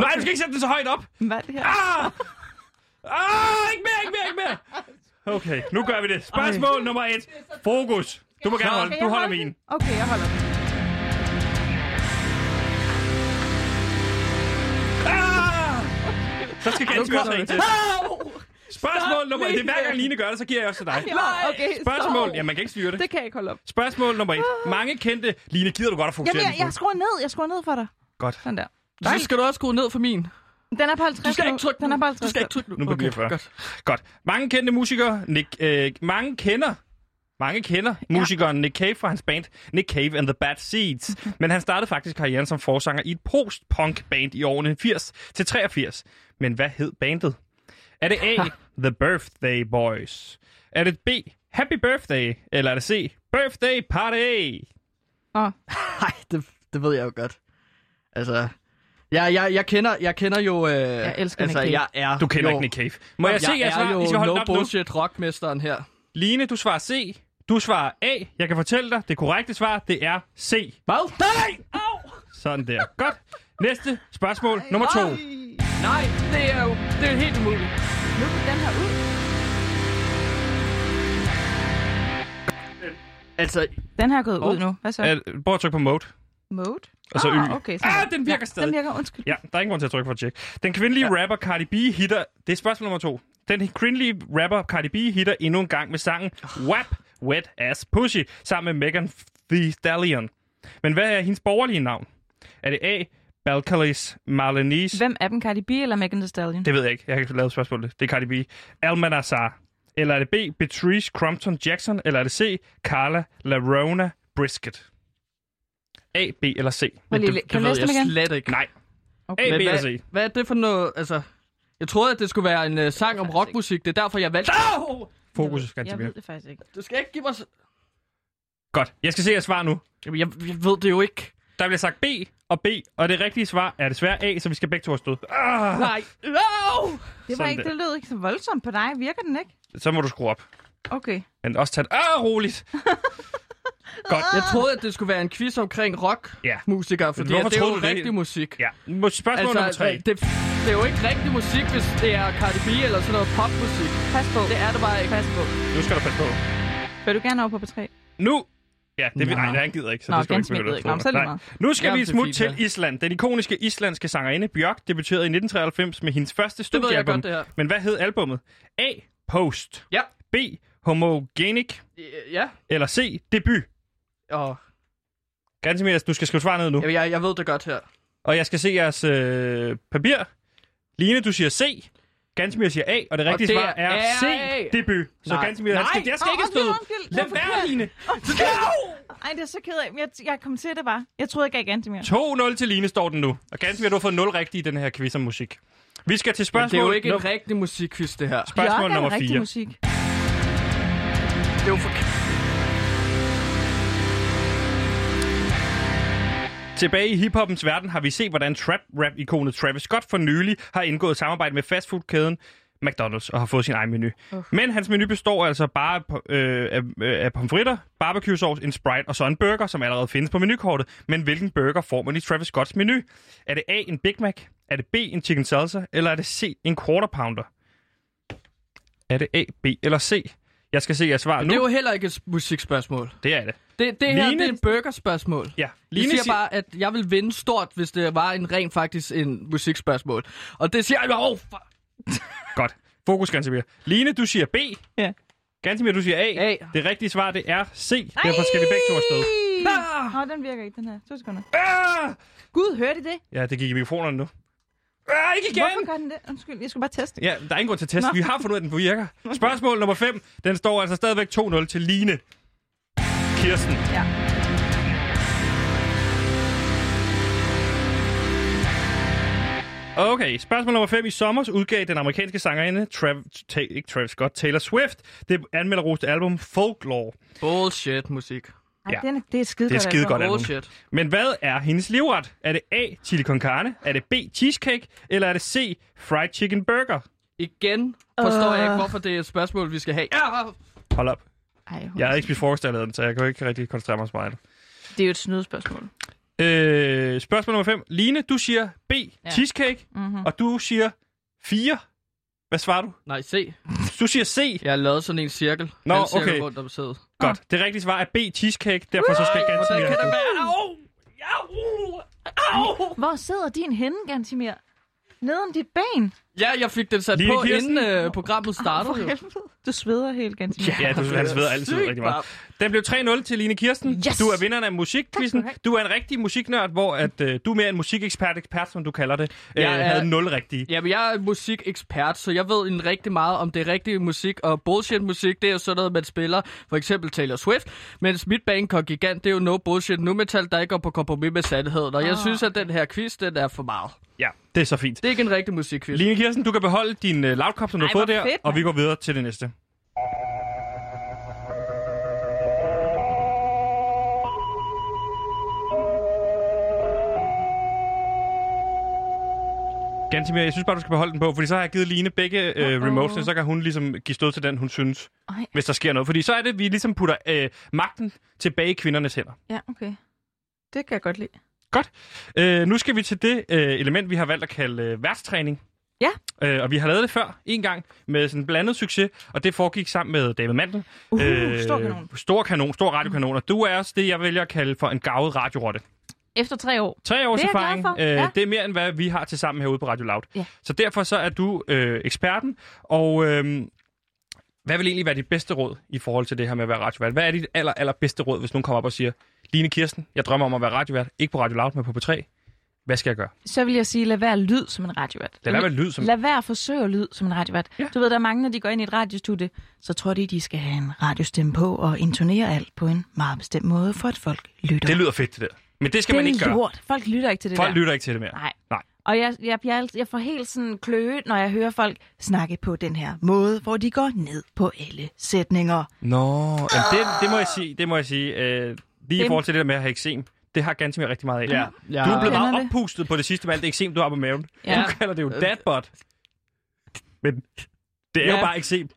[SPEAKER 1] Nej, du skal ikke sætte den så højt op.
[SPEAKER 3] Hvad er det her?
[SPEAKER 1] Ah! Ah, ikke mere, ikke mere, ikke mere. Okay, nu gør vi det. Spørgsmål Ej. nummer et. Fokus. Du må gerne holde.
[SPEAKER 3] Skal
[SPEAKER 1] Du
[SPEAKER 3] jeg
[SPEAKER 1] holder
[SPEAKER 3] holde
[SPEAKER 1] min.
[SPEAKER 3] den? Okay, jeg holder min.
[SPEAKER 1] Ah! Så skal Ganske
[SPEAKER 2] kommer
[SPEAKER 1] også have en
[SPEAKER 2] det.
[SPEAKER 1] til. Spørgsmål
[SPEAKER 2] Stop
[SPEAKER 1] nummer et. Det er hver gang
[SPEAKER 2] lige.
[SPEAKER 1] Line gør det, så giver jeg også til dig.
[SPEAKER 2] Nej,
[SPEAKER 3] Okay,
[SPEAKER 1] Spørgsmål.
[SPEAKER 3] stop.
[SPEAKER 1] Ja, man kan ikke styre det.
[SPEAKER 2] det kan jeg ikke holde op.
[SPEAKER 1] Spørgsmål nummer et. Mange kendte. Line, gider du godt at fokusere
[SPEAKER 3] Jamen, jeg,
[SPEAKER 1] lidt på
[SPEAKER 3] jeg skruer ned. Jeg skruer ned for dig.
[SPEAKER 1] Godt.
[SPEAKER 3] Sådan der.
[SPEAKER 2] Så skal du også skrue ned for min.
[SPEAKER 3] Den er på 50
[SPEAKER 2] Du skal ikke trykke
[SPEAKER 3] Den er
[SPEAKER 2] nu. Du
[SPEAKER 3] på 50
[SPEAKER 2] skal ikke trykke nu.
[SPEAKER 1] Nu på 44.
[SPEAKER 2] godt.
[SPEAKER 1] Godt. Mange kendte musikere, Nick, øh, mange kender, mange kender musikeren Nick Cave fra hans band Nick Cave and the Bad Seeds. Men han startede faktisk karrieren som forsanger i et post-punk band i årene 80 til 83. Men hvad hed bandet? Er det A, The Birthday Boys? Er det B, Happy Birthday? Eller er det C, Birthday Party?
[SPEAKER 3] Åh,
[SPEAKER 2] Nej, det, det ved jeg jo godt. Altså, jeg, jeg, jeg, kender, jeg kender jo... Øh, jeg
[SPEAKER 3] elsker
[SPEAKER 2] altså,
[SPEAKER 3] Nick Cave.
[SPEAKER 2] jeg er
[SPEAKER 1] Du kender
[SPEAKER 2] jo,
[SPEAKER 1] ikke Nick Cave. Må jeg, se,
[SPEAKER 2] jeg
[SPEAKER 1] jeg
[SPEAKER 2] er
[SPEAKER 1] svarer?
[SPEAKER 2] jo
[SPEAKER 1] I skal holde
[SPEAKER 2] no
[SPEAKER 1] den op nu.
[SPEAKER 2] bullshit rockmesteren her.
[SPEAKER 1] Line, du svarer C. Du svarer A. Jeg kan fortælle dig, det korrekte svar, det er C.
[SPEAKER 2] Hvad? Nej!
[SPEAKER 1] Sådan der. Godt. Næste spørgsmål, nummer to.
[SPEAKER 2] Nej, det er jo det er helt umuligt.
[SPEAKER 3] nu er den her ud.
[SPEAKER 2] Altså,
[SPEAKER 3] Den her er gået ud nu. Hvad så?
[SPEAKER 1] Uh, prøv at trykke på mode.
[SPEAKER 3] Mode?
[SPEAKER 1] Og så
[SPEAKER 3] ah,
[SPEAKER 1] Y.
[SPEAKER 3] okay, sådan
[SPEAKER 1] ah,
[SPEAKER 3] der.
[SPEAKER 1] den virker
[SPEAKER 3] ja, den
[SPEAKER 1] stadig.
[SPEAKER 3] virker, undskyld.
[SPEAKER 1] Ja, der er ingen grund til at trykke for at tjekke. Den kvindelige ja. rapper Cardi B hitter... Det er spørgsmål nummer to. Den kvindelige rapper Cardi B hitter endnu en gang med sangen Wap Wet Ass Pussy sammen med Megan Thee Stallion. Men hvad er hendes borgerlige navn? Er det A. Balcalis Marlenis?
[SPEAKER 3] Hvem er den, Cardi B eller Megan Thee Stallion?
[SPEAKER 1] Det ved jeg ikke. Jeg har ikke lavet spørgsmålet. Det er Cardi B. Almanazar. Eller er det B. Patrice Crompton Jackson? Eller er det C. Carla Larona Brisket? A, B eller C?
[SPEAKER 3] Prøv lige,
[SPEAKER 2] det,
[SPEAKER 3] kan
[SPEAKER 2] det ved
[SPEAKER 3] du læse dem
[SPEAKER 2] jeg
[SPEAKER 3] igen?
[SPEAKER 2] slet ikke.
[SPEAKER 1] Nej.
[SPEAKER 3] Okay.
[SPEAKER 1] A, B eller
[SPEAKER 2] hvad,
[SPEAKER 1] C?
[SPEAKER 2] hvad er det for noget, altså... Jeg troede, at det skulle være en uh, sang om rockmusik. Det er derfor, jeg valgte... Oh!
[SPEAKER 1] Fokus skal
[SPEAKER 3] Jeg
[SPEAKER 1] tilbage.
[SPEAKER 3] ved det faktisk ikke.
[SPEAKER 2] Du skal ikke give mig... s-
[SPEAKER 1] Godt. Jeg skal se jeres svar nu.
[SPEAKER 2] Jamen, jeg, jeg ved det jo ikke.
[SPEAKER 1] Der bliver sagt B og B, og det rigtige svar er desværre A, så vi skal begge to have stået. Ah,
[SPEAKER 2] Nej. Au!
[SPEAKER 3] Det, var
[SPEAKER 1] Sådan
[SPEAKER 3] ikke,
[SPEAKER 1] der.
[SPEAKER 3] det lød ikke så voldsomt på dig. Virker den ikke?
[SPEAKER 1] så må du skrue op.
[SPEAKER 3] Okay.
[SPEAKER 1] Men også tage det. Ah, roligt. Godt.
[SPEAKER 2] Jeg troede, at det skulle være en quiz omkring
[SPEAKER 1] Ja.
[SPEAKER 2] rockmusikere, fordi
[SPEAKER 1] Hvorfor
[SPEAKER 2] at det er jo
[SPEAKER 1] troede du det?
[SPEAKER 2] rigtig musik.
[SPEAKER 1] Ja. Må- Spørgsmål altså, nummer tre.
[SPEAKER 2] Det, det er jo ikke rigtig musik, hvis det er Cardi B eller sådan noget popmusik.
[SPEAKER 3] Pas på.
[SPEAKER 2] Det er det bare ikke.
[SPEAKER 3] Pas på.
[SPEAKER 1] Nu skal du passe på.
[SPEAKER 3] Vil du gerne over på P3?
[SPEAKER 1] Nu! Ja, det vil nej, nej, han gider ikke, så
[SPEAKER 3] Nå,
[SPEAKER 1] det skal du ikke
[SPEAKER 3] Gansmik
[SPEAKER 1] begynde
[SPEAKER 3] gider
[SPEAKER 1] at
[SPEAKER 3] ikke. Nå,
[SPEAKER 1] få.
[SPEAKER 3] så er det
[SPEAKER 1] Nej.
[SPEAKER 3] lige meget.
[SPEAKER 1] Nu skal
[SPEAKER 2] Jamen,
[SPEAKER 1] vi et
[SPEAKER 2] det er
[SPEAKER 1] smut
[SPEAKER 2] fint,
[SPEAKER 1] til Island. Den ikoniske islandske sangerinde Björk debuterede i 1993 med hendes første
[SPEAKER 2] Det ved jeg
[SPEAKER 1] studiealbum.
[SPEAKER 2] godt, det her.
[SPEAKER 1] Men hvad hed albummet? A. Post.
[SPEAKER 2] Ja.
[SPEAKER 1] B. Homogenic.
[SPEAKER 2] Ja.
[SPEAKER 1] Eller C. Debut.
[SPEAKER 2] Og,
[SPEAKER 1] Gansimir, du skal skrive svar ned nu.
[SPEAKER 2] jamen, jeg, jeg ved det godt her.
[SPEAKER 1] Og jeg skal se jeres øh, papir. Line, du siger C. Gansimir siger A. Og det rigtige
[SPEAKER 2] det
[SPEAKER 1] svar er,
[SPEAKER 2] er
[SPEAKER 1] C.
[SPEAKER 2] A.
[SPEAKER 1] Debut. Så
[SPEAKER 2] Nej.
[SPEAKER 1] Gansimir, jeg skal, jeg skal
[SPEAKER 3] Åh,
[SPEAKER 1] ikke
[SPEAKER 3] undskyld,
[SPEAKER 1] stå.
[SPEAKER 3] undskyld. Det
[SPEAKER 1] Lad
[SPEAKER 3] var
[SPEAKER 1] være,
[SPEAKER 3] forkert.
[SPEAKER 1] Line.
[SPEAKER 3] Ej, det er så ked af. Jeg, jeg kom til det bare. Jeg troede, jeg gav igen til mere.
[SPEAKER 1] 2-0 til Line står den nu. Og Gansimir, du har fået 0 rigtigt i den her quiz om musik. Vi skal til
[SPEAKER 2] Men
[SPEAKER 1] spørgsmål,
[SPEAKER 2] det er jo ikke en
[SPEAKER 1] num-
[SPEAKER 2] rigtig musikquiz, det her.
[SPEAKER 1] spørgsmål nummer 4.
[SPEAKER 3] musik.
[SPEAKER 2] Det er jo for...
[SPEAKER 1] Tilbage i hiphoppens verden har vi set, hvordan trap-rap-ikonet Travis Scott for nylig har indgået samarbejde med fastfoodkæden McDonald's og har fået sin egen menu. Uh. Men hans menu består altså bare af, po- øh, af, øh, af pomfritter, barbecue sauce, en Sprite og så en burger, som allerede findes på menukortet. Men hvilken burger får man i Travis Scotts menu? Er det A, en Big Mac? Er det B, en chicken salsa? Eller er det C, en quarter pounder? Er det A, B eller C? Jeg skal se jeres svar
[SPEAKER 2] Det er
[SPEAKER 1] nu.
[SPEAKER 2] jo heller ikke et musikspørgsmål.
[SPEAKER 1] Det er det.
[SPEAKER 2] Det, det her
[SPEAKER 1] Line-
[SPEAKER 2] det er et burgerspørgsmål.
[SPEAKER 1] Ja. Line
[SPEAKER 2] Line jeg siger
[SPEAKER 1] siger-
[SPEAKER 2] bare, at jeg vil vinde stort, hvis det var en ren faktisk en musikspørgsmål. Og det siger jeg, åh, oh, fuck.
[SPEAKER 1] Godt. Fokus, Gansimir. Line, du siger B.
[SPEAKER 3] Ja.
[SPEAKER 1] Gansimir, du siger A.
[SPEAKER 2] A.
[SPEAKER 1] Det rigtige svar, det er C. Derfor skal vi begge to afsted.
[SPEAKER 3] Ah! Nå, den virker ikke, den her. To sekunder.
[SPEAKER 1] Ah!
[SPEAKER 3] Gud, hørte I det?
[SPEAKER 1] Ja, det gik i mikrofonerne nu. Ah, ikke igen!
[SPEAKER 3] Hvorfor gør den det? Undskyld, jeg skulle bare teste.
[SPEAKER 1] Ja, der er ingen grund til at teste. Vi har fundet ud af, at den virker. Spørgsmål nummer 5. Den står altså stadigvæk 2-0 til Line. Kirsten.
[SPEAKER 3] Ja.
[SPEAKER 1] Okay, spørgsmål nummer 5. I sommer udgav den amerikanske sangerinde Trav- ta- ikke Travis Scott, Taylor Swift det anmelderoste album Folklore.
[SPEAKER 2] Bullshit musik.
[SPEAKER 3] Ej,
[SPEAKER 1] Ja.
[SPEAKER 3] den er, det er skide altså.
[SPEAKER 1] Det er skide godt album.
[SPEAKER 2] Bullshit.
[SPEAKER 1] Men hvad er hendes livret? Er det A. Chili con carne? Er det B. Cheesecake? Eller er det C. Fried chicken burger?
[SPEAKER 2] Igen forstår jeg ikke,
[SPEAKER 3] Øh.
[SPEAKER 2] hvorfor det er et spørgsmål, vi skal have. Ja,
[SPEAKER 1] Hold op.
[SPEAKER 3] Ej, hun,
[SPEAKER 1] Jeg havde ikke spist frokost, da jeg lavede den, så jeg kan jo ikke rigtig koncentrere mig så meget.
[SPEAKER 3] Det er jo et snydespørgsmål.
[SPEAKER 1] Øh, spørgsmål nummer 5. Line, du siger B. Ja. Cheesecake. Mm-hmm. Og du siger 4. Hvad svarer du?
[SPEAKER 2] nej, se.
[SPEAKER 1] Du siger C.
[SPEAKER 2] Jeg har lavet sådan en cirkel.
[SPEAKER 1] Nå,
[SPEAKER 2] Alle cirkler
[SPEAKER 1] okay.
[SPEAKER 2] Rundt om sædet.
[SPEAKER 1] Godt. Det rigtige svar er B, cheesecake. Derfor så skal
[SPEAKER 2] Hvordan
[SPEAKER 1] Gantimir...
[SPEAKER 2] kan det være?
[SPEAKER 3] Au! Au! Au! Hvor sidder din henne, Gantimir? Neden dit ben?
[SPEAKER 2] Ja, jeg fik den sat
[SPEAKER 1] Line
[SPEAKER 2] på,
[SPEAKER 1] Kirsten.
[SPEAKER 2] inden øh, programmet startede. jo.
[SPEAKER 3] Du sveder helt, Gantimir.
[SPEAKER 1] Ja, du, han sveder altid
[SPEAKER 2] Sygt
[SPEAKER 1] rigtig meget. Den blev 3-0 til Line Kirsten.
[SPEAKER 3] Yes!
[SPEAKER 1] Du er vinderen af musikquizzen.
[SPEAKER 3] Tak skal
[SPEAKER 1] Du er en rigtig musiknørd, hvor at, øh, du er mere en musikekspert, ekspert, som du kalder det. Jeg øh,
[SPEAKER 2] Jeg er-
[SPEAKER 1] havde 0 rigtige.
[SPEAKER 2] Jamen, jeg er musikekspert, så jeg ved en rigtig meget om det rigtige musik, og bullshit musik, det er jo sådan noget, man spiller, for eksempel Taylor Swift, mens mit band Gigant, det er jo no bullshit nu metal, der ikke går på kompromis med sandheden, og jeg
[SPEAKER 3] Ah,
[SPEAKER 2] synes, at den her quiz, den er for meget.
[SPEAKER 1] Ja, det er så fint.
[SPEAKER 2] Det er ikke en rigtig musikquiz.
[SPEAKER 1] Line Kirsten, du kan beholde din øh, lavkop, som du
[SPEAKER 3] Ej,
[SPEAKER 1] har fået
[SPEAKER 3] hvor
[SPEAKER 1] der,
[SPEAKER 3] fedt,
[SPEAKER 1] og vi
[SPEAKER 3] mand.
[SPEAKER 1] går videre til det næste. Gantimir, jeg synes bare, du skal beholde den på, fordi så har jeg givet Line begge øh,
[SPEAKER 3] Uh-oh.
[SPEAKER 1] remotesene, så kan hun ligesom give stød til den, hun synes,
[SPEAKER 3] Ej.
[SPEAKER 1] hvis der sker noget. Fordi så er det, vi ligesom putter øh, magten tilbage i kvindernes hænder.
[SPEAKER 3] Ja, okay. Det kan jeg godt lide.
[SPEAKER 1] Godt. Øh, nu skal vi til det øh, element, vi har valgt at kalde øh, værtstræning.
[SPEAKER 3] Ja.
[SPEAKER 1] Øh, og vi har lavet det før, en gang, med sådan blandet succes, og det foregik sammen med David Mandel.
[SPEAKER 3] Uh,
[SPEAKER 1] Øh.
[SPEAKER 3] stor kanon.
[SPEAKER 1] Stor kanon, stor radiokanon, og du er også det, jeg vælger at kalde for en gavet radiorotte.
[SPEAKER 3] Efter tre år.
[SPEAKER 1] Tre års
[SPEAKER 3] Det er jeg glad
[SPEAKER 1] erfaring, Øh,
[SPEAKER 3] for, ja.
[SPEAKER 1] det er mere end hvad vi har til sammen herude på Radio Loud.
[SPEAKER 3] Ja.
[SPEAKER 1] Så derfor så er du øh, eksperten, og øh, hvad vil egentlig være dit bedste råd i forhold til det her med at være radiovært? Hvad er dit aller, aller bedste råd, hvis nogen kommer op og siger, Line Kirsten, jeg drømmer om at være radiovært, ikke på Radio Loud, men på P3. Hvad skal jeg gøre?
[SPEAKER 3] Så vil jeg sige, lad være lyd som en radiovært.
[SPEAKER 1] Lad være med lyd, som...
[SPEAKER 3] Lad være at forsøge at lyde som en radiovært.
[SPEAKER 1] Ja.
[SPEAKER 3] Ja. Du ved, der er mange, når de går ind i et radiostudie, så tror de, de skal have en radiostemme på og intonere alt på en meget bestemt måde, for at folk lytter.
[SPEAKER 1] Det lyder fedt, det der. Men det skal
[SPEAKER 3] det
[SPEAKER 1] man ikke
[SPEAKER 3] er
[SPEAKER 1] gøre.
[SPEAKER 3] lort. Folk lytter ikke til det
[SPEAKER 1] Folk
[SPEAKER 3] der.
[SPEAKER 1] lytter ikke til det mere.
[SPEAKER 3] Nej.
[SPEAKER 1] Nej.
[SPEAKER 3] Og jeg, jeg, bliver alt- jeg får helt sådan kløe, når jeg hører folk snakke på den her måde, hvor de går ned på alle sætninger.
[SPEAKER 1] Nå, jamen det, det må jeg sige. Det må jeg sige. Øh, lige i
[SPEAKER 3] Det-
[SPEAKER 1] forhold til det der med at have eksem. Det har ganske mere rigtig meget af.
[SPEAKER 2] Ja, ja.
[SPEAKER 1] Du er blevet
[SPEAKER 3] Kender
[SPEAKER 1] meget
[SPEAKER 3] det.
[SPEAKER 1] oppustet på det sidste med alt det eksem, du har på maven.
[SPEAKER 3] Ja.
[SPEAKER 1] Du kalder det jo dadbot. Men det er
[SPEAKER 2] Ja.
[SPEAKER 1] jo bare eksem.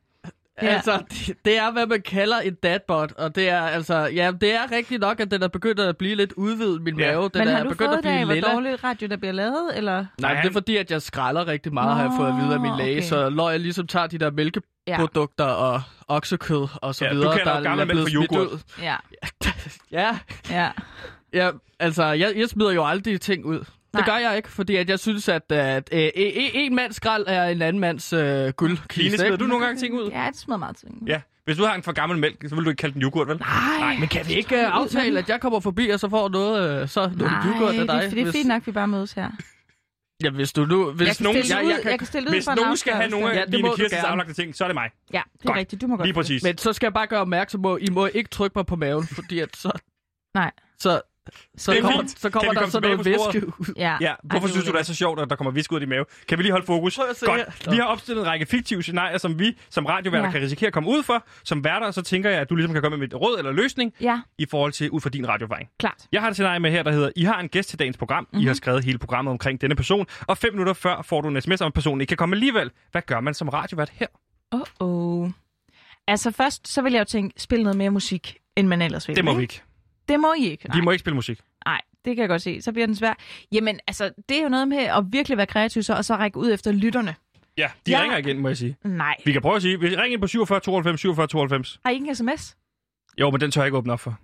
[SPEAKER 3] Ja.
[SPEAKER 2] Altså, det, det er, hvad man kalder en dadbot, og det er altså, ja, det er rigtigt nok, at den er begyndt at blive lidt udvidet, min
[SPEAKER 1] Ja.
[SPEAKER 2] mave. Den
[SPEAKER 3] Men
[SPEAKER 2] er
[SPEAKER 3] har du
[SPEAKER 2] begyndt
[SPEAKER 3] fået
[SPEAKER 2] at
[SPEAKER 3] det
[SPEAKER 2] blive
[SPEAKER 3] af, hvor
[SPEAKER 2] lilla.
[SPEAKER 3] dårligt radio, der bliver lavet? Eller?
[SPEAKER 2] Nej, men det er fordi, at jeg skralder rigtig meget, har jeg fået at vide af min
[SPEAKER 3] Nå,
[SPEAKER 2] læge.
[SPEAKER 3] okay.
[SPEAKER 2] Så når jeg ligesom tager de der mælkeprodukter og oksekød og så
[SPEAKER 1] Ja, du
[SPEAKER 2] videre,
[SPEAKER 1] kalder jo
[SPEAKER 2] der
[SPEAKER 1] gammel
[SPEAKER 2] er blevet
[SPEAKER 1] mælk for
[SPEAKER 2] smidt
[SPEAKER 1] yoghurt.
[SPEAKER 2] ud.
[SPEAKER 3] Ja,
[SPEAKER 2] Ja,
[SPEAKER 3] ja.
[SPEAKER 2] ja altså, jeg, jeg smider jo aldrig ting ud.
[SPEAKER 3] Nej.
[SPEAKER 2] Det gør jeg ikke, fordi at jeg synes, at, at øh, en, en mands skrald er en anden mands øh,
[SPEAKER 1] Line,
[SPEAKER 2] guldkiste.
[SPEAKER 1] smider
[SPEAKER 2] ikke?
[SPEAKER 1] du nogle gange ting ud?
[SPEAKER 3] Ja, det smider meget ting.
[SPEAKER 1] Ja. Hvis du har en for gammel mælk, så vil du ikke kalde den yoghurt, vel?
[SPEAKER 3] Nej,
[SPEAKER 2] Men kan vi ikke øh, aftale, at jeg kommer forbi, og så får noget, øh, så noget yoghurt af dig?
[SPEAKER 3] det, det er fint nok, vi bare mødes her.
[SPEAKER 2] Ja, hvis du nu... Hvis
[SPEAKER 3] Jeg kan
[SPEAKER 1] nogen-
[SPEAKER 3] stille
[SPEAKER 1] jeg-
[SPEAKER 3] ud,
[SPEAKER 1] jeg kan-
[SPEAKER 3] jeg kan stille ud
[SPEAKER 1] Hvis
[SPEAKER 3] for en
[SPEAKER 1] nogen skal have
[SPEAKER 3] afgørelse.
[SPEAKER 1] nogle af
[SPEAKER 2] Ja,
[SPEAKER 1] ja,
[SPEAKER 2] det
[SPEAKER 1] Line
[SPEAKER 2] må du
[SPEAKER 1] Kirstens
[SPEAKER 2] gerne.
[SPEAKER 1] aflagte ting, så er det mig.
[SPEAKER 3] Ja, det er
[SPEAKER 1] Godt.
[SPEAKER 3] rigtigt. Du må godt.
[SPEAKER 1] Lige præcis.
[SPEAKER 2] Men så skal jeg bare gøre opmærksom på, I må ikke trykke mig på maven, fordi at så...
[SPEAKER 3] Nej.
[SPEAKER 2] Så, så
[SPEAKER 1] Det er
[SPEAKER 2] kommer,
[SPEAKER 1] fint.
[SPEAKER 2] så
[SPEAKER 1] Kan
[SPEAKER 2] kommer
[SPEAKER 1] vi
[SPEAKER 2] der
[SPEAKER 1] komme
[SPEAKER 2] sådan noget
[SPEAKER 1] tilbage på
[SPEAKER 2] væske ud.
[SPEAKER 3] Ja.
[SPEAKER 1] Ja, hvorfor
[SPEAKER 3] Ej,
[SPEAKER 1] synes du, det er så sjovt, at der kommer visk ud i mave? Kan vi lige holde fokus?
[SPEAKER 2] Prøv at se her.
[SPEAKER 1] Vi har opstillet en række fiktive scenarier, som vi som radioværter ja.
[SPEAKER 3] Ja.
[SPEAKER 1] kan risikere at komme ud for. Som værter, så tænker jeg, at du ligesom kan komme med et råd eller løsning
[SPEAKER 3] Ja,
[SPEAKER 1] i forhold til ud fra din radiovejring.
[SPEAKER 3] klart.
[SPEAKER 1] Jeg har et scenarie med her, der hedder, I har en gæst til dagens program. Mm-hmm. I
[SPEAKER 3] Mhm.
[SPEAKER 1] har skrevet hele programmet omkring denne person. Og fem minutter før får du en sms om, at personen ikke kan komme alligevel. Hvad gør man som radiovært her?
[SPEAKER 3] Åh, oh, oh. Altså først, så vil jeg jo tænke, spil noget mere musik, end man ellers vil.
[SPEAKER 1] Det må
[SPEAKER 3] ikke?
[SPEAKER 1] vi ikke.
[SPEAKER 3] Det må I ikke.
[SPEAKER 1] Vi
[SPEAKER 3] Nej.
[SPEAKER 1] må ikke spille musik.
[SPEAKER 3] Nej, det kan jeg godt se. Så bliver den svær. Jamen, altså, det er jo noget med at virkelig være kreativ så, og så række ud efter lytterne.
[SPEAKER 1] Ja, de ja.
[SPEAKER 3] Ja.
[SPEAKER 1] ringer igen, må jeg sige.
[SPEAKER 3] Nej.
[SPEAKER 1] Vi kan prøve at sige, vi ringer ind på 47 92 47 92.
[SPEAKER 3] Har I ikke en sms?
[SPEAKER 1] Jo, men den tør jeg ikke åbne op for.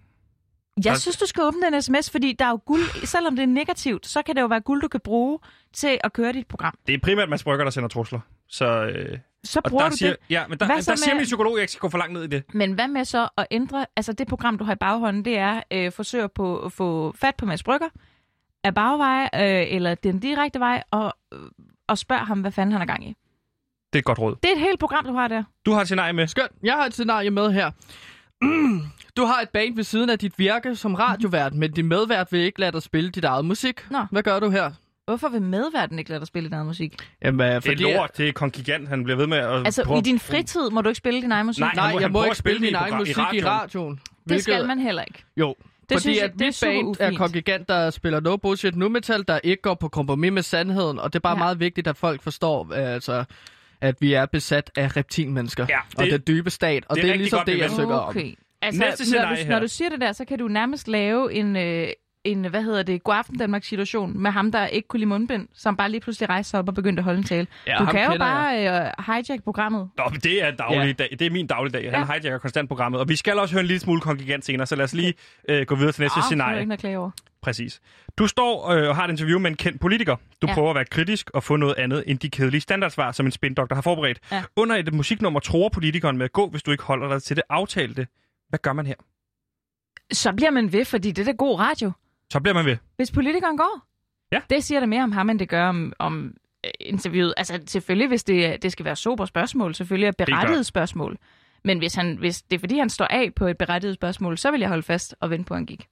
[SPEAKER 3] Jeg
[SPEAKER 1] Altså-
[SPEAKER 3] synes, du skal åbne den sms, fordi der er jo guld. Selvom det er negativt, så kan det jo være guld, du kan bruge til at køre dit program.
[SPEAKER 1] Det er primært Mads Brygger, der sender trusler. Så, øh,
[SPEAKER 3] Så
[SPEAKER 1] og
[SPEAKER 3] bruger
[SPEAKER 1] der
[SPEAKER 3] du
[SPEAKER 1] siger,
[SPEAKER 3] det.
[SPEAKER 1] Ja, men der, der
[SPEAKER 3] Hvad så
[SPEAKER 1] siger
[SPEAKER 3] med-
[SPEAKER 1] min psykolog, at jeg ikke skal gå for langt ned i det.
[SPEAKER 3] Men hvad med så at ændre, altså det program, du har i baghånden, det er øh, forsøg på at få fat på Mads Brygger af bagveje, øh, eller den direkte vej, og, øh, og spørg ham, hvad fanden han har gang i.
[SPEAKER 1] Det er et godt råd.
[SPEAKER 3] Det er et helt program, du har der.
[SPEAKER 1] Du har et scenarie med.
[SPEAKER 2] Skønt. Jeg har et scenarie med her. Du har et band ved siden af dit virke som radiovært, men din medvært vil ikke lade dig spille dit eget musik.
[SPEAKER 3] Nå.
[SPEAKER 2] Hvad gør du her?
[SPEAKER 3] Hvorfor vil medverden ikke lade dig spille din egen musik?
[SPEAKER 2] Jamen,
[SPEAKER 1] Det er lort, det er Kong Gigant, han bliver ved med at...
[SPEAKER 3] Altså,
[SPEAKER 1] prøve-
[SPEAKER 3] i din fritid må du ikke spille din egen musik.
[SPEAKER 1] Nej,
[SPEAKER 2] Nej,
[SPEAKER 1] Han må-
[SPEAKER 2] jeg
[SPEAKER 1] han
[SPEAKER 2] må
[SPEAKER 1] prøver
[SPEAKER 2] ikke
[SPEAKER 1] at spille
[SPEAKER 2] spille min
[SPEAKER 1] det i
[SPEAKER 2] egen
[SPEAKER 1] program- i
[SPEAKER 2] musik i
[SPEAKER 1] radioen.
[SPEAKER 2] radioen.
[SPEAKER 3] det skal man heller ikke.
[SPEAKER 2] Jo.
[SPEAKER 3] Det
[SPEAKER 2] Fordi
[SPEAKER 3] synes jeg-
[SPEAKER 2] at
[SPEAKER 3] det er
[SPEAKER 2] mit
[SPEAKER 3] super
[SPEAKER 2] band er
[SPEAKER 3] ufint.
[SPEAKER 2] kongigant, der spiller no bullshit nu metal, der ikke går på kompromis med sandheden, og det er bare ja.
[SPEAKER 3] Ja.
[SPEAKER 2] meget vigtigt, at folk forstår, øh, altså, at vi er besat af reptilmennesker
[SPEAKER 1] Ja,
[SPEAKER 2] og
[SPEAKER 1] det-
[SPEAKER 2] den dybe stat, og
[SPEAKER 1] det
[SPEAKER 2] det
[SPEAKER 1] er
[SPEAKER 2] er,
[SPEAKER 1] rigtig
[SPEAKER 2] ligesom
[SPEAKER 1] godt
[SPEAKER 2] det, jeg
[SPEAKER 1] bemærket.
[SPEAKER 2] søger om.
[SPEAKER 3] Okay. Altså,
[SPEAKER 1] Næste
[SPEAKER 3] når,
[SPEAKER 1] scenarie
[SPEAKER 3] du,
[SPEAKER 1] her.
[SPEAKER 3] når du siger det der, så kan du nærmest lave en, øh, en, hvad hedder det, godaften Danmark situation med ham, der ikke kunne lide mundbind, som bare lige pludselig rejste sig op og begyndte at holde en tale.
[SPEAKER 2] Ja,
[SPEAKER 3] du
[SPEAKER 2] ham
[SPEAKER 3] kan jo
[SPEAKER 2] kender
[SPEAKER 3] bare øh, hijack programmet.
[SPEAKER 1] Nå, men det er, daglig
[SPEAKER 2] Ja.
[SPEAKER 1] ja. dag. det er min dagligdag. Han
[SPEAKER 3] Ja.
[SPEAKER 1] hijacker konstant programmet. Og vi skal også høre en lille smule kongigant senere, så lad os lige øh, gå videre til næste
[SPEAKER 3] Åh, det er
[SPEAKER 1] scenarie.
[SPEAKER 3] ikke noget at klage over.
[SPEAKER 1] Præcis. Du står øh, og har et interview med en kendt politiker. Du
[SPEAKER 3] Ja.
[SPEAKER 1] ja. prøver at være kritisk og få noget andet end de kedelige standardsvar, som en spindoktor har forberedt.
[SPEAKER 3] Ja.
[SPEAKER 1] Ja. Under et musiknummer tror politikeren med at gå, hvis du ikke holder dig til det aftalte. Hvad gør man her?
[SPEAKER 3] Så bliver man ved, fordi det er da god radio.
[SPEAKER 1] Så bliver man ved.
[SPEAKER 3] Hvis politikeren går.
[SPEAKER 1] Ja.
[SPEAKER 3] Det siger det mere om ham, end det gør om, om øh, interviewet. Altså selvfølgelig, hvis det, er- det skal være sobre spørgsmål, selvfølgelig er
[SPEAKER 1] er klart.
[SPEAKER 3] berettiget spørgsmål. Men hvis, han, hvis det er fordi, han står af på et berettiget spørgsmål, så vil jeg holde fast og vente på, at han gik.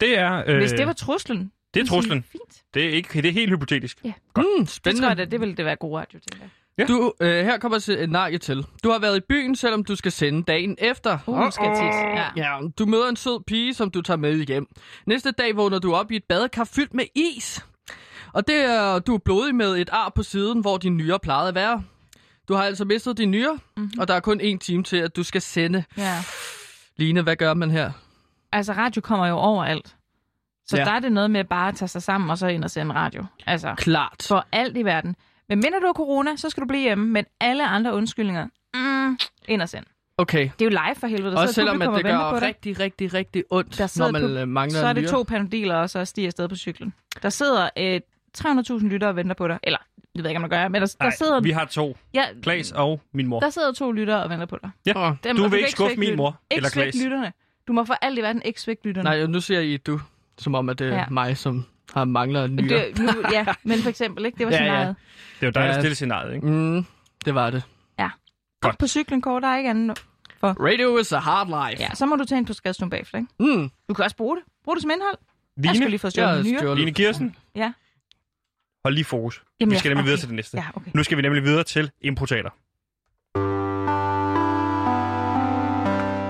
[SPEAKER 1] Det er, øh,
[SPEAKER 3] Hvis det var truslen.
[SPEAKER 1] det er
[SPEAKER 3] så vil jeg sige,
[SPEAKER 1] truslen.
[SPEAKER 3] Fint.
[SPEAKER 1] Det er, ikke, det er helt hypotetisk.
[SPEAKER 2] Mm,
[SPEAKER 3] Det
[SPEAKER 2] spændende.
[SPEAKER 3] tror jeg da, det ville det være god radio, tænker jeg.
[SPEAKER 2] Du, øh, her kommer scenarie til. Du har været i byen, selvom du skal sende dagen efter.
[SPEAKER 3] Uh, nu skal jeg tit. Ja.
[SPEAKER 2] Ja, du møder en sød pige, som du tager med hjem. Næste dag vågner du op i et badekar fyldt med is. Og det er, du er blodig med et ar på siden, hvor din nyre plejede at være. Du har altså mistet din nyre,
[SPEAKER 3] Mhm.
[SPEAKER 2] mm-hmm. og der er kun en time til, at du skal sende.
[SPEAKER 3] ja.
[SPEAKER 2] Line, hvad gør man her?
[SPEAKER 3] Altså, radio kommer jo overalt. Så
[SPEAKER 2] Ja.
[SPEAKER 3] ja. der er det noget med bare at tage sig sammen og så ind og sende radio. Altså,
[SPEAKER 2] Klart.
[SPEAKER 3] for alt i verden. Men mindre du har corona, så skal du blive hjemme. Men alle andre undskyldninger, mm, ind og send.
[SPEAKER 2] Okay.
[SPEAKER 3] Det er jo live for helvede. Der
[SPEAKER 2] Også
[SPEAKER 3] sidder
[SPEAKER 2] selvom at
[SPEAKER 3] publikum
[SPEAKER 2] det
[SPEAKER 3] og venter på
[SPEAKER 2] gør
[SPEAKER 3] dig.
[SPEAKER 2] rigtig, rigtig, rigtig ondt,
[SPEAKER 3] Der
[SPEAKER 2] når
[SPEAKER 3] sidder
[SPEAKER 2] man
[SPEAKER 3] pub-
[SPEAKER 2] øh, mangler
[SPEAKER 3] Så er
[SPEAKER 2] en
[SPEAKER 3] det
[SPEAKER 2] nyre.
[SPEAKER 3] to panodiler, og så stiger afsted på cyklen. Der sidder øh, 300.000 lyttere og venter på dig. Eller, det ved jeg ikke, om der gør, men der, der,
[SPEAKER 1] Nej,
[SPEAKER 3] sidder,
[SPEAKER 1] vi har to.
[SPEAKER 3] ja,
[SPEAKER 1] Klaas og min mor.
[SPEAKER 3] der sidder to lyttere og venter på dig.
[SPEAKER 1] Ja.
[SPEAKER 3] Dem,
[SPEAKER 1] Du
[SPEAKER 3] og
[SPEAKER 1] vil
[SPEAKER 3] kan
[SPEAKER 1] ikke skuffe
[SPEAKER 3] svigte
[SPEAKER 1] min
[SPEAKER 3] lytterne.
[SPEAKER 1] mor eller
[SPEAKER 3] Ikke
[SPEAKER 1] Klaas.
[SPEAKER 3] svække lytterne. Du må for alt i verden ikke svække lytterne.
[SPEAKER 2] Nej, nu siger I du, som om, at det er
[SPEAKER 3] Ja.
[SPEAKER 2] ja. mig, som har mangler en
[SPEAKER 3] Men
[SPEAKER 2] nyre.
[SPEAKER 3] Det, nu, ja, men for eksempel, ikke? Det var
[SPEAKER 2] Ja, ja.
[SPEAKER 3] scenariet. Ja,
[SPEAKER 1] Det er jo dejligt
[SPEAKER 2] Ja.
[SPEAKER 1] ja. stille scenariet, ikke?
[SPEAKER 2] Mm, det var det.
[SPEAKER 3] Godt. på cyklen, Kåre, der er ikke andet.
[SPEAKER 2] Radio is a hard life.
[SPEAKER 3] Ja, så må du tage en på skadestuen bagefter, ikke?
[SPEAKER 2] Mm,
[SPEAKER 3] Du kan også bruge det. Brug det som indhold. Jeg skal
[SPEAKER 1] Line,
[SPEAKER 3] lige få
[SPEAKER 2] jeg
[SPEAKER 3] stjålet
[SPEAKER 2] er
[SPEAKER 3] en nyere.
[SPEAKER 2] stjålet.
[SPEAKER 1] Line Kirsten.
[SPEAKER 3] Ja.
[SPEAKER 1] Hold lige fokus.
[SPEAKER 3] Jamen
[SPEAKER 1] vi
[SPEAKER 3] ja,
[SPEAKER 1] skal nemlig videre
[SPEAKER 3] okay.
[SPEAKER 1] til det næste.
[SPEAKER 3] Ja, okay.
[SPEAKER 1] Nu skal vi nemlig videre til importater.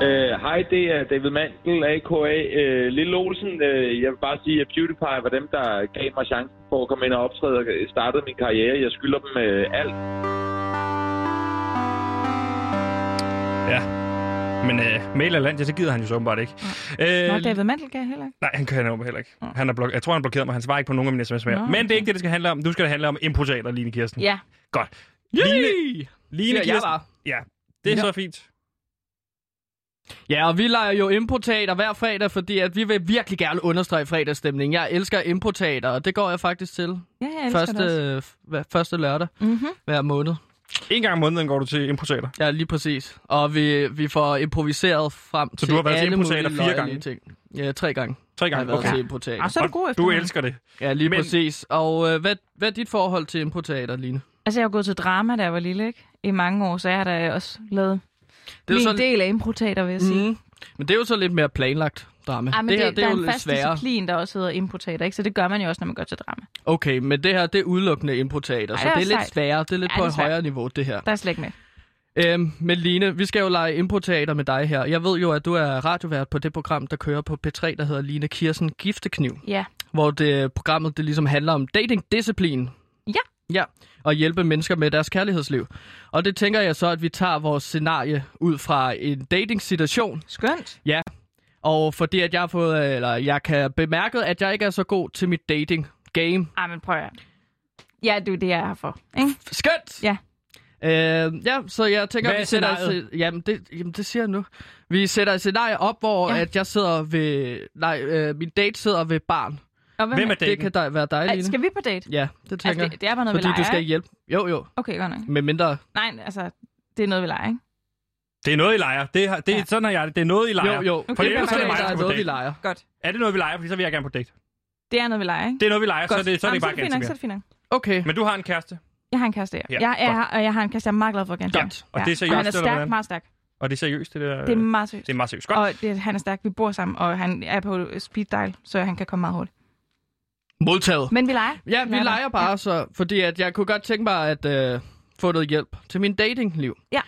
[SPEAKER 6] Øh, Hej, det er David Mandel, a.k.a. Øh, Lille Olsen. Øh, jeg vil bare sige, at PewDiePie var dem, der gav mig chancen for at komme ind og optræde og startede min karriere. Jeg skylder dem øh, alt.
[SPEAKER 1] Ja. Men øh, mail eller land, ja, det gider han jo så åbenbart ikke.
[SPEAKER 3] Nå,
[SPEAKER 2] Øhm.
[SPEAKER 1] Øh,
[SPEAKER 3] David Mandel kan jeg heller ikke.
[SPEAKER 1] Nej, han kan han heller ikke. Han er blok- jeg tror, han blokerede mig. Han svarer ikke på nogen af mine sms'er.
[SPEAKER 3] Nå,
[SPEAKER 1] mere. Men det er ikke det, det skal handle om. Nu skal det handle om importater, Line Kirsten.
[SPEAKER 3] Ja,
[SPEAKER 1] Godt.
[SPEAKER 2] Line,
[SPEAKER 1] Line
[SPEAKER 2] Ja, jeg
[SPEAKER 1] Kirsten.
[SPEAKER 2] var.
[SPEAKER 1] Ja, det er
[SPEAKER 2] Ja.
[SPEAKER 1] så fint.
[SPEAKER 2] Ja, og vi leger jo importater hver fredag, fordi at vi vil virkelig gerne understrege fredagsstemningen. Jeg elsker importater, og det går jeg faktisk til
[SPEAKER 3] ja jeg elsker
[SPEAKER 2] første,
[SPEAKER 3] det også.
[SPEAKER 2] hva- første lørdag
[SPEAKER 3] Mm-hmm.
[SPEAKER 2] hver måned.
[SPEAKER 1] En gang om måneden går du til importater.
[SPEAKER 2] Ja, lige præcis. Og vi, vi får improviseret frem
[SPEAKER 1] Så
[SPEAKER 2] til
[SPEAKER 1] du har været til
[SPEAKER 2] alle
[SPEAKER 1] importater
[SPEAKER 2] mulige
[SPEAKER 1] fire
[SPEAKER 2] løjerlige
[SPEAKER 1] gange?
[SPEAKER 2] Ting. Ja, tre gange
[SPEAKER 1] Tre
[SPEAKER 2] har jeg
[SPEAKER 1] gange.
[SPEAKER 2] været
[SPEAKER 1] Okay.
[SPEAKER 2] til
[SPEAKER 3] Ja,
[SPEAKER 2] importater.
[SPEAKER 3] så er du
[SPEAKER 1] Og
[SPEAKER 3] god efter.
[SPEAKER 1] Du
[SPEAKER 3] mig.
[SPEAKER 1] elsker det.
[SPEAKER 2] Ja, lige
[SPEAKER 1] Men-
[SPEAKER 2] præcis. Og øh, hvad, hvad er dit forhold til importater, Line?
[SPEAKER 3] Altså, jeg har gået til drama, da jeg var lille, ikke? I mange år, så jeg har da også lavet
[SPEAKER 2] Det er jo
[SPEAKER 3] min
[SPEAKER 2] sådan-
[SPEAKER 3] del af improtater, vil jeg sige.
[SPEAKER 2] Mm. Men det er jo så lidt mere planlagt drama.
[SPEAKER 3] Ej, Ah, men
[SPEAKER 2] Mm. det her, det
[SPEAKER 3] der
[SPEAKER 2] er
[SPEAKER 3] er
[SPEAKER 2] jo
[SPEAKER 3] en
[SPEAKER 2] lidt
[SPEAKER 3] fast
[SPEAKER 2] sværere.
[SPEAKER 3] disciplin, der også hedder improtater, ikke? Så det gør man jo også, når man går til drama.
[SPEAKER 2] Okay, men det her, det er udelukkende importater,
[SPEAKER 3] Ej,
[SPEAKER 2] så
[SPEAKER 3] det
[SPEAKER 2] det
[SPEAKER 3] er
[SPEAKER 2] er lidt
[SPEAKER 3] sejt.
[SPEAKER 2] sværere. Det er lidt
[SPEAKER 3] Ja,
[SPEAKER 2] på
[SPEAKER 3] det er
[SPEAKER 2] et
[SPEAKER 3] sejt.
[SPEAKER 2] højere niveau, det her.
[SPEAKER 3] Der er slet ikke med.
[SPEAKER 2] Øhm, men Line, vi skal jo lege importater med dig her. Jeg ved jo, at du er radiovært på det program, der kører på P3, der hedder Line Kirsen Giftekniv.
[SPEAKER 3] Ja.
[SPEAKER 2] Hvor det, programmet det ligesom handler om datingdisciplin.
[SPEAKER 3] Ja.
[SPEAKER 2] Ja, og hjælpe mennesker med deres kærlighedsliv. Og det tænker jeg så, at vi tager vores scenarie ud fra en dating-situation.
[SPEAKER 3] Skønt.
[SPEAKER 2] Og fordi at jeg, har fået, øh, eller jeg kan bemærke, at jeg ikke er så god til mit dating-game.
[SPEAKER 3] Ej, men prøv at høre. Ja, det er jo det, jeg er her for, ikke?
[SPEAKER 2] Skønt!
[SPEAKER 3] Ja.
[SPEAKER 2] Øh, ja, så jeg tænker,
[SPEAKER 4] Hvad er
[SPEAKER 2] vi sætter
[SPEAKER 4] scenariet?
[SPEAKER 2] et, jamen, det, jamen, det siger jeg nu. Vi sætter et scenarie op, hvor
[SPEAKER 3] Ja.
[SPEAKER 2] ja. at jeg sidder ved... Nej, øh, min date sidder ved barn.
[SPEAKER 3] Og hvem,
[SPEAKER 1] Hvem er
[SPEAKER 3] er
[SPEAKER 2] Det kan
[SPEAKER 1] daten?
[SPEAKER 2] da være dig,
[SPEAKER 3] Ej,
[SPEAKER 2] Line.
[SPEAKER 3] Skal vi på date?
[SPEAKER 2] Ja, det tænker
[SPEAKER 3] Altså,
[SPEAKER 2] jeg.
[SPEAKER 3] det, det er bare noget,
[SPEAKER 2] Fordi
[SPEAKER 3] vi leger,
[SPEAKER 2] du skal
[SPEAKER 3] ikke?
[SPEAKER 2] hjælpe. Jo, jo.
[SPEAKER 3] Okay, godt nok.
[SPEAKER 2] Med mindre...
[SPEAKER 3] Nej, altså, det er noget, vi leger, ikke?
[SPEAKER 1] Det er noget, I leger. Det er, det er,
[SPEAKER 3] Ja.
[SPEAKER 1] Sådan har jeg det. Det er noget, I leger.
[SPEAKER 2] Jo, jo.
[SPEAKER 1] For
[SPEAKER 3] det
[SPEAKER 1] ellers
[SPEAKER 3] kan
[SPEAKER 1] er det
[SPEAKER 3] være,
[SPEAKER 1] mig, der
[SPEAKER 2] der er
[SPEAKER 1] skal på
[SPEAKER 2] noget, vi
[SPEAKER 1] date.
[SPEAKER 2] lejer.
[SPEAKER 3] Godt.
[SPEAKER 1] Er det noget, vi leger? Fordi så vil jeg gerne på date.
[SPEAKER 3] Det er noget, vi leger, ikke?
[SPEAKER 1] Det er noget, vi leger, så er det, så er det bare
[SPEAKER 3] Jamen, fint
[SPEAKER 1] ganske
[SPEAKER 3] nok, så er
[SPEAKER 1] mere.
[SPEAKER 3] det fint nok.
[SPEAKER 2] Okay.
[SPEAKER 1] Men du har en kæreste,
[SPEAKER 3] Jeg har en kæreste, ja.
[SPEAKER 1] Ja,
[SPEAKER 3] Jeg, jeg,
[SPEAKER 1] godt.
[SPEAKER 3] har, og jeg har en kæreste, jeg er meget glad for igen.
[SPEAKER 2] Godt.
[SPEAKER 1] Og det er seriøst,
[SPEAKER 3] Og han er
[SPEAKER 1] eller
[SPEAKER 3] stærk,
[SPEAKER 1] hvordan?
[SPEAKER 3] meget stærk.
[SPEAKER 1] og det er seriøst, det der...
[SPEAKER 3] Det er meget seriøst.
[SPEAKER 1] det er meget seriøst.
[SPEAKER 3] Og
[SPEAKER 1] Godt.
[SPEAKER 3] det, han er stærk, vi bor sammen, og han er på speed dial, så han kan komme meget hurtigt.
[SPEAKER 2] Modtaget.
[SPEAKER 3] Men vi leger.
[SPEAKER 2] Ja, vi
[SPEAKER 3] Leger
[SPEAKER 2] leger bare så, fordi at jeg kunne godt tænke mig at øh, få noget hjælp til min datingliv.
[SPEAKER 3] Ja.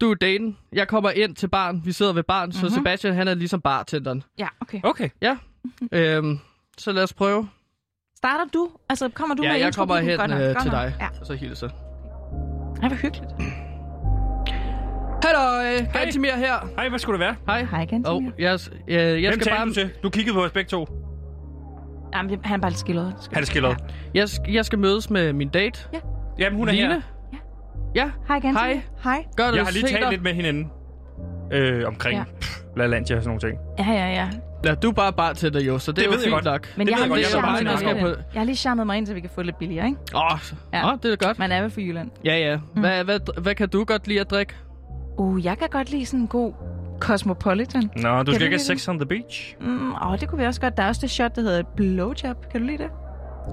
[SPEAKER 2] Du er daten, jeg kommer ind til barn, vi sidder ved barn, så
[SPEAKER 3] Mhm.
[SPEAKER 2] Sebastian han er ligesom bartenderen.
[SPEAKER 3] Ja, okay.
[SPEAKER 1] Okay.
[SPEAKER 3] Mhm.
[SPEAKER 2] Øhm, så lad os prøve.
[SPEAKER 3] Starter du? Altså, kommer du
[SPEAKER 2] ja,
[SPEAKER 3] med
[SPEAKER 2] jeg
[SPEAKER 3] intro?
[SPEAKER 2] kommer
[SPEAKER 3] Godt
[SPEAKER 2] hen
[SPEAKER 3] nok,
[SPEAKER 2] øh,
[SPEAKER 3] godt
[SPEAKER 2] til
[SPEAKER 3] nok.
[SPEAKER 2] dig,
[SPEAKER 3] Ja,
[SPEAKER 2] og så hilser.
[SPEAKER 3] Ej, hvor hyggeligt.
[SPEAKER 2] Hallo, Gantimir her.
[SPEAKER 1] Hej, hvad skulle det være?
[SPEAKER 2] Hej.
[SPEAKER 3] Hej, igen.
[SPEAKER 2] Og jeg, øh, jeg
[SPEAKER 1] Hvem
[SPEAKER 2] skal
[SPEAKER 1] talte
[SPEAKER 2] bare...
[SPEAKER 1] du til? Du kiggede på os begge to.
[SPEAKER 3] Jamen, jeg- han er bare lidt skildret.
[SPEAKER 1] Han er skildret.
[SPEAKER 2] Jeg, sk- jeg skal mødes med min date.
[SPEAKER 1] Jamen, hun er
[SPEAKER 2] Line?
[SPEAKER 1] her.
[SPEAKER 3] Ja.
[SPEAKER 2] Ja,
[SPEAKER 3] Hej, Gansi.
[SPEAKER 2] Hej.
[SPEAKER 3] Hej.
[SPEAKER 2] gør det.
[SPEAKER 1] Jeg har lige talt lidt med hinanden øh, omkring
[SPEAKER 3] Ja.
[SPEAKER 1] ja. LaLandia og sådan nogle ting.
[SPEAKER 3] Ja, ja, ja.
[SPEAKER 2] Ja, du er bare bare til dig, jo, så det,
[SPEAKER 1] Det
[SPEAKER 2] er jo
[SPEAKER 1] ved jeg
[SPEAKER 2] fint
[SPEAKER 1] godt.
[SPEAKER 2] nok.
[SPEAKER 3] Men
[SPEAKER 1] Det
[SPEAKER 3] jeg
[SPEAKER 1] ved
[SPEAKER 3] har,
[SPEAKER 1] jeg godt,
[SPEAKER 3] lige
[SPEAKER 1] jeg er bare
[SPEAKER 3] charmet mig
[SPEAKER 1] snakker
[SPEAKER 3] ind.
[SPEAKER 2] på-
[SPEAKER 3] jeg har lige charmet mig ind, så vi kan få lidt billigere, ikke?
[SPEAKER 2] Åh, så-
[SPEAKER 3] Ja.
[SPEAKER 2] åh, det er da godt.
[SPEAKER 3] Man er vel fra Jylland.
[SPEAKER 2] Ja, ja. Hvad, hvad, hvad kan du godt lide at drikke?
[SPEAKER 3] Uh, jeg kan godt lide sådan en god Cosmopolitan.
[SPEAKER 2] Mm.
[SPEAKER 1] Nå, du skal
[SPEAKER 3] Kan du
[SPEAKER 1] ikke have
[SPEAKER 3] lide
[SPEAKER 1] sex on the beach?
[SPEAKER 3] Mm, åh, det kunne vi også godt. Der er også det shot, der hedder blowjob. Kan du lide det?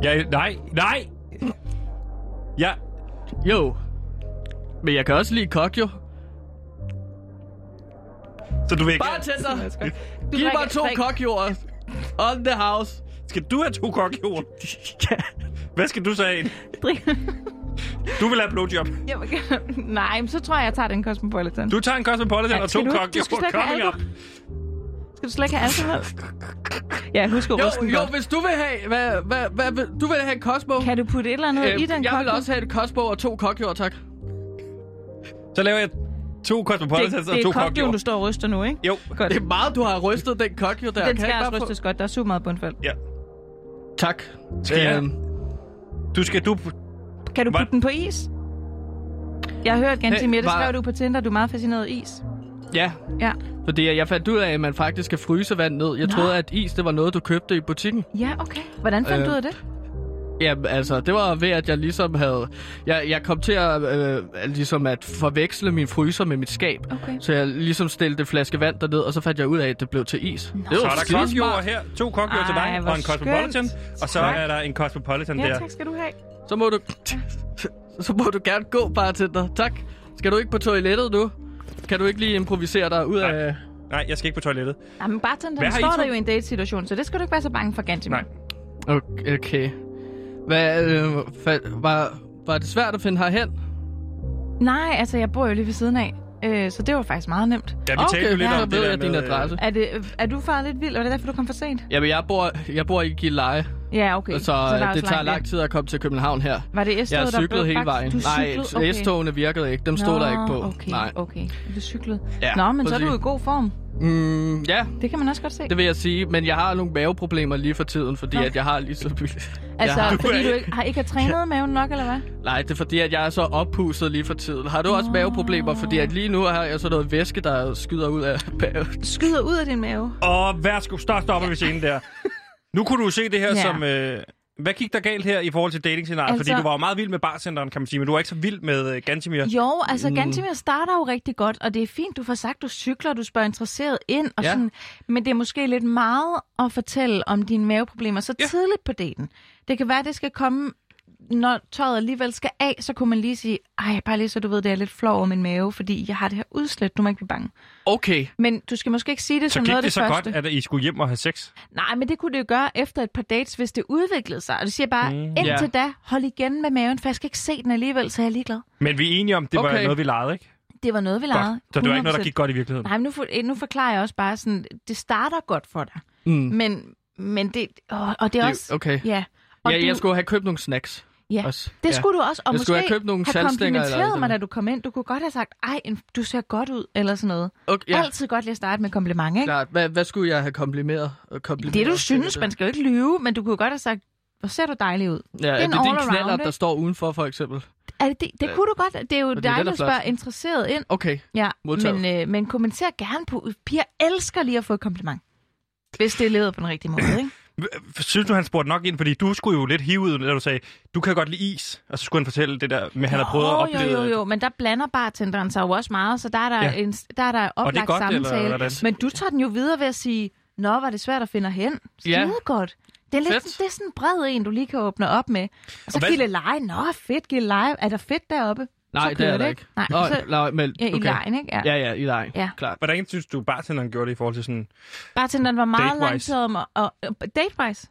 [SPEAKER 1] Ja, nej, nej! Ja,
[SPEAKER 2] Jo. Men jeg kan også lide kok, jo.
[SPEAKER 1] så du vil ikke...
[SPEAKER 2] Bare tæt dig.
[SPEAKER 3] Du
[SPEAKER 2] Giv mig
[SPEAKER 3] drikker-
[SPEAKER 2] to
[SPEAKER 3] drik-
[SPEAKER 2] kokjord. On the house.
[SPEAKER 1] Skal du have to kokjord? Hvad skal du så have?
[SPEAKER 3] drik-
[SPEAKER 1] Du vil have blowjob.
[SPEAKER 3] Jeg vil gerne- Nej, men så tror jeg, jeg tager den Cosmopolitan.
[SPEAKER 1] Du tager en Cosmopolitan
[SPEAKER 3] Ja,
[SPEAKER 1] og to
[SPEAKER 3] skal du-
[SPEAKER 1] kokjord.
[SPEAKER 3] du skal slet ikke have
[SPEAKER 1] Coming up.
[SPEAKER 3] Skal du slet ikke have alkohol? ja, husk at
[SPEAKER 2] Jo,
[SPEAKER 3] ryste den
[SPEAKER 2] jo,
[SPEAKER 3] godt.
[SPEAKER 2] hvis du vil have... Hvad, hvad, hvad, vil- du vil have en Cosmo?
[SPEAKER 3] Kan du putte et eller andet i den
[SPEAKER 2] Øhm, jeg vil
[SPEAKER 3] cocktail?
[SPEAKER 2] også have et Cosmo og to kokjord, tak.
[SPEAKER 1] Så laver jeg to
[SPEAKER 3] det,
[SPEAKER 1] Cosmopolitans og
[SPEAKER 3] det
[SPEAKER 1] to
[SPEAKER 3] er kokjorden,
[SPEAKER 1] kokjord.
[SPEAKER 3] du står og ryster nu, ikke?
[SPEAKER 1] Jo,
[SPEAKER 3] Godt.
[SPEAKER 2] Det er meget, du har rystet den kok, jo, der.
[SPEAKER 3] Den
[SPEAKER 2] Kan
[SPEAKER 3] skal
[SPEAKER 2] jeg
[SPEAKER 3] også
[SPEAKER 2] bare få-
[SPEAKER 3] rystes godt. Der er super meget bundfald.
[SPEAKER 1] ja.
[SPEAKER 2] Tak.
[SPEAKER 1] Skal jeg?
[SPEAKER 2] Øhm,
[SPEAKER 1] Du skal, du,
[SPEAKER 3] Kan du
[SPEAKER 1] Hvad?
[SPEAKER 3] putte den på is? Jeg har hørt, Gansi
[SPEAKER 2] Hey,
[SPEAKER 3] Mette
[SPEAKER 2] var-
[SPEAKER 3] skrev du på Tinder, du er meget fascineret af is.
[SPEAKER 2] Ja,
[SPEAKER 3] Ja.
[SPEAKER 2] fordi jeg fandt ud af, at man faktisk skal fryse vand ned. Jeg
[SPEAKER 3] Nå.
[SPEAKER 2] troede, at is, det var noget, du købte i butikken.
[SPEAKER 3] Ja, okay. Hvordan fandt
[SPEAKER 2] Øh,
[SPEAKER 3] du ud af det?
[SPEAKER 2] Jamen, altså, det var ved, at jeg ligesom havde... Jeg, jeg kom til at, øh, ligesom at forveksle min fryser med mit skab.
[SPEAKER 3] Okay.
[SPEAKER 2] Så jeg ligesom stillede en flaske vand derned, og så fandt jeg ud af, at det blev til is. Nå. Det
[SPEAKER 1] så
[SPEAKER 2] var
[SPEAKER 1] er der
[SPEAKER 2] skidesmart.
[SPEAKER 1] kokjord her. To kokjord til
[SPEAKER 3] Ej,
[SPEAKER 1] dig
[SPEAKER 3] hvor
[SPEAKER 1] og en Cosmopolitan.
[SPEAKER 3] skønt.
[SPEAKER 1] Og så
[SPEAKER 3] Tak.
[SPEAKER 1] er der en Cosmopolitan
[SPEAKER 3] Ja,
[SPEAKER 1] der.
[SPEAKER 3] tak skal du have.
[SPEAKER 2] Så må du... Så må du gerne gå, bartender. Tak. Skal du ikke på toilettet nu? Kan du ikke lige improvisere dig ud
[SPEAKER 1] Nej.
[SPEAKER 2] af...
[SPEAKER 1] Nej, jeg skal ikke på toilettet.
[SPEAKER 3] Jamen, bare sådan,
[SPEAKER 1] Hvad
[SPEAKER 3] den
[SPEAKER 1] har I
[SPEAKER 3] står
[SPEAKER 1] to-
[SPEAKER 3] der jo i en date-situation, så det skal du ikke være så bange for, Gansi.
[SPEAKER 1] Nej.
[SPEAKER 2] Okay. okay. Hvad, øh, fa- var, var det svært at finde herhen?
[SPEAKER 3] Nej, altså, jeg bor jo lige ved siden af, øh, så det var faktisk meget nemt.
[SPEAKER 1] Ja, vi
[SPEAKER 2] Okay,
[SPEAKER 1] talte jo lidt
[SPEAKER 2] ja,
[SPEAKER 1] om
[SPEAKER 2] så
[SPEAKER 1] det
[SPEAKER 2] ved
[SPEAKER 1] der
[SPEAKER 2] jeg din
[SPEAKER 1] med, øh,
[SPEAKER 2] adresse.
[SPEAKER 3] Er, det, er du far lidt vild, og det er derfor, du kom for sent?
[SPEAKER 2] Jamen, jeg bor, jeg bor i Gilleleje,
[SPEAKER 3] Ja, okay.
[SPEAKER 2] så,
[SPEAKER 3] der er
[SPEAKER 2] så
[SPEAKER 3] også
[SPEAKER 2] det tager
[SPEAKER 3] vej.
[SPEAKER 2] lang tid at komme til København her.
[SPEAKER 3] Var det S-toget,
[SPEAKER 2] Jeg
[SPEAKER 3] der
[SPEAKER 2] har
[SPEAKER 3] blev
[SPEAKER 2] cyklet hele
[SPEAKER 3] bagt?
[SPEAKER 2] vejen.
[SPEAKER 3] Du cyklede?
[SPEAKER 2] Nej, S-togene virkede ikke. Dem stod der ikke på.
[SPEAKER 3] Okay,
[SPEAKER 2] Nej.
[SPEAKER 3] okay. Du cyklede.
[SPEAKER 2] Ja,
[SPEAKER 3] Nå, men så er
[SPEAKER 2] præcis.
[SPEAKER 3] du i god form.
[SPEAKER 2] Mm, ja,
[SPEAKER 3] Det kan man også godt se.
[SPEAKER 2] det vil jeg sige. Men jeg har nogle maveproblemer lige for tiden, fordi
[SPEAKER 3] Nå.
[SPEAKER 2] at jeg har lige så...
[SPEAKER 3] altså,
[SPEAKER 2] jeg har-
[SPEAKER 3] fordi du ikke har, ikke har trænet maven nok, eller hvad?
[SPEAKER 2] Nej, det er fordi, at jeg er så oppustet lige for tiden. Har du også maveproblemer? Fordi at lige nu har jeg sådan noget væske, der skyder ud af maven.
[SPEAKER 3] Skyder ud af din mave.
[SPEAKER 1] Og værsgo, stop, stopper vi scenen der. Nu kunne du se det her
[SPEAKER 3] Ja.
[SPEAKER 1] ja. som... Øh, hvad gik der galt her i forhold til datingscenariet? Altså...
[SPEAKER 3] Altså-
[SPEAKER 1] Fordi du var jo meget vild med barcenteren, kan man sige, men du var ikke så vild med øh, Gantimir.
[SPEAKER 3] Jo, altså Gantimir starter jo rigtig godt, og det er fint, du får sagt, du cykler, du spørger interesseret ind, og ja.
[SPEAKER 2] Ja.
[SPEAKER 3] sådan, men det er måske lidt meget at fortælle om dine maveproblemer så ja. tidligt på daten. Det kan være, at det skal komme, når tøjet alligevel skal af, så kunne man lige sige, ej, bare lige så du ved, det er lidt flov over min mave, fordi jeg har det her udslæt, du må ikke blive bange.
[SPEAKER 2] Okay.
[SPEAKER 3] Men du skal måske ikke sige det
[SPEAKER 1] Så
[SPEAKER 3] som
[SPEAKER 1] gik
[SPEAKER 3] noget af
[SPEAKER 1] det,
[SPEAKER 3] det
[SPEAKER 1] så
[SPEAKER 3] første.
[SPEAKER 1] godt, at øh, I skulle hjem og have sex?
[SPEAKER 3] Nej, men det kunne det jo gøre efter et par dates, hvis det udviklede sig. Og det siger bare, mm. indtil da, hold igen med maven, for jeg skal ikke se den alligevel, så jeg er ligeglad.
[SPEAKER 1] Men vi er enige om, det okay. var
[SPEAKER 2] Okay.
[SPEAKER 1] noget, vi legede, ikke?
[SPEAKER 3] Det var noget, vi legede.
[SPEAKER 1] Godt. Så det var ikke noget,
[SPEAKER 3] 100%.
[SPEAKER 1] der gik godt i virkeligheden.
[SPEAKER 3] Nej, men nu, for, eh, nu forklarer jeg også bare sådan, det starter godt for dig. Mm. Men, men det... Og, og det
[SPEAKER 2] Det-
[SPEAKER 3] er også...
[SPEAKER 2] okay.
[SPEAKER 3] Ja. Og
[SPEAKER 2] Ja,
[SPEAKER 3] du,
[SPEAKER 2] jeg skulle have købt nogle snacks.
[SPEAKER 3] ja,
[SPEAKER 2] også-
[SPEAKER 3] det
[SPEAKER 2] ja.
[SPEAKER 3] skulle du også. Og
[SPEAKER 2] Jeg
[SPEAKER 3] måske
[SPEAKER 2] skulle have købt nogle
[SPEAKER 3] have
[SPEAKER 2] saltstænger eller
[SPEAKER 3] komplimenteret
[SPEAKER 2] sådan
[SPEAKER 3] mig, da
[SPEAKER 2] noget.
[SPEAKER 3] du kom ind. Du kunne godt have sagt, ej, en- du ser godt ud, eller sådan noget.
[SPEAKER 2] Okay,
[SPEAKER 3] Ja.
[SPEAKER 2] ja,
[SPEAKER 3] Altid godt lige at starte med komplimenter, ikke?
[SPEAKER 2] klart. Hvad, hvad skulle jeg have komplimeret? øh, komplimeret
[SPEAKER 3] Det, du
[SPEAKER 2] til
[SPEAKER 3] synes,
[SPEAKER 2] det?
[SPEAKER 3] man skal jo ikke lyve, men du kunne godt have sagt, hvor ser du dejlig ud.
[SPEAKER 2] Ja,
[SPEAKER 3] det er
[SPEAKER 2] er
[SPEAKER 3] en
[SPEAKER 2] det din
[SPEAKER 3] all-around,
[SPEAKER 2] knaller,
[SPEAKER 3] ikke?
[SPEAKER 2] der står udenfor, for eksempel?
[SPEAKER 3] Er det, det, det kunne du godt. Det er jo
[SPEAKER 2] det er det,
[SPEAKER 3] dejligt
[SPEAKER 2] der
[SPEAKER 3] at
[SPEAKER 2] er
[SPEAKER 3] spørge
[SPEAKER 2] flot.
[SPEAKER 3] interesseret ind.
[SPEAKER 2] Okay.
[SPEAKER 3] Ja,
[SPEAKER 2] Modtaget.
[SPEAKER 3] men, øh, men kommenter gerne på. Piger elsker lige at få et kompliment. Hvis det er levet på den rigtige måde, ikke?
[SPEAKER 1] Synes du, han spurgte nok ind? Fordi du skulle jo lidt hive ud, da du sagde, du kan godt lide is. Og så skulle han fortælle det der med, at han har prøvet at
[SPEAKER 3] Åh,
[SPEAKER 1] opleve. øh,
[SPEAKER 3] Jo, jo, jo, men der blander bartenderen sig jo også meget, så der er der,
[SPEAKER 1] Ja.
[SPEAKER 3] ja. en, der, er der oplagt
[SPEAKER 1] Og det er godt, eller
[SPEAKER 3] samtale.
[SPEAKER 1] hvordan?
[SPEAKER 3] men du tager den jo videre ved at sige, Nå, var det svært at finde hen. Skide
[SPEAKER 2] Ja.
[SPEAKER 3] godt. Det er, lidt,
[SPEAKER 2] Fedt.
[SPEAKER 3] det er sådan en bred en, du lige kan åbne op med. Og så
[SPEAKER 1] hvad-
[SPEAKER 3] gilde leje. Nå, fedt, gilde leje. Er der fedt deroppe?
[SPEAKER 2] Nej,
[SPEAKER 3] så
[SPEAKER 2] det
[SPEAKER 3] kører
[SPEAKER 2] er der
[SPEAKER 3] det,
[SPEAKER 2] ikke.
[SPEAKER 3] Nej,
[SPEAKER 2] Nå,
[SPEAKER 3] så,
[SPEAKER 2] nej, men,
[SPEAKER 3] ja, i
[SPEAKER 2] okay.
[SPEAKER 3] lejen, ikke? Ja.
[SPEAKER 2] Ja, ja, i lejen.
[SPEAKER 3] Ja.
[SPEAKER 2] Klart.
[SPEAKER 1] Hvordan synes du, bartenderen gjorde det i forhold til sådan...
[SPEAKER 3] Bartenderen var meget
[SPEAKER 1] Date-wise.
[SPEAKER 3] langt om at... Og, og, datewise?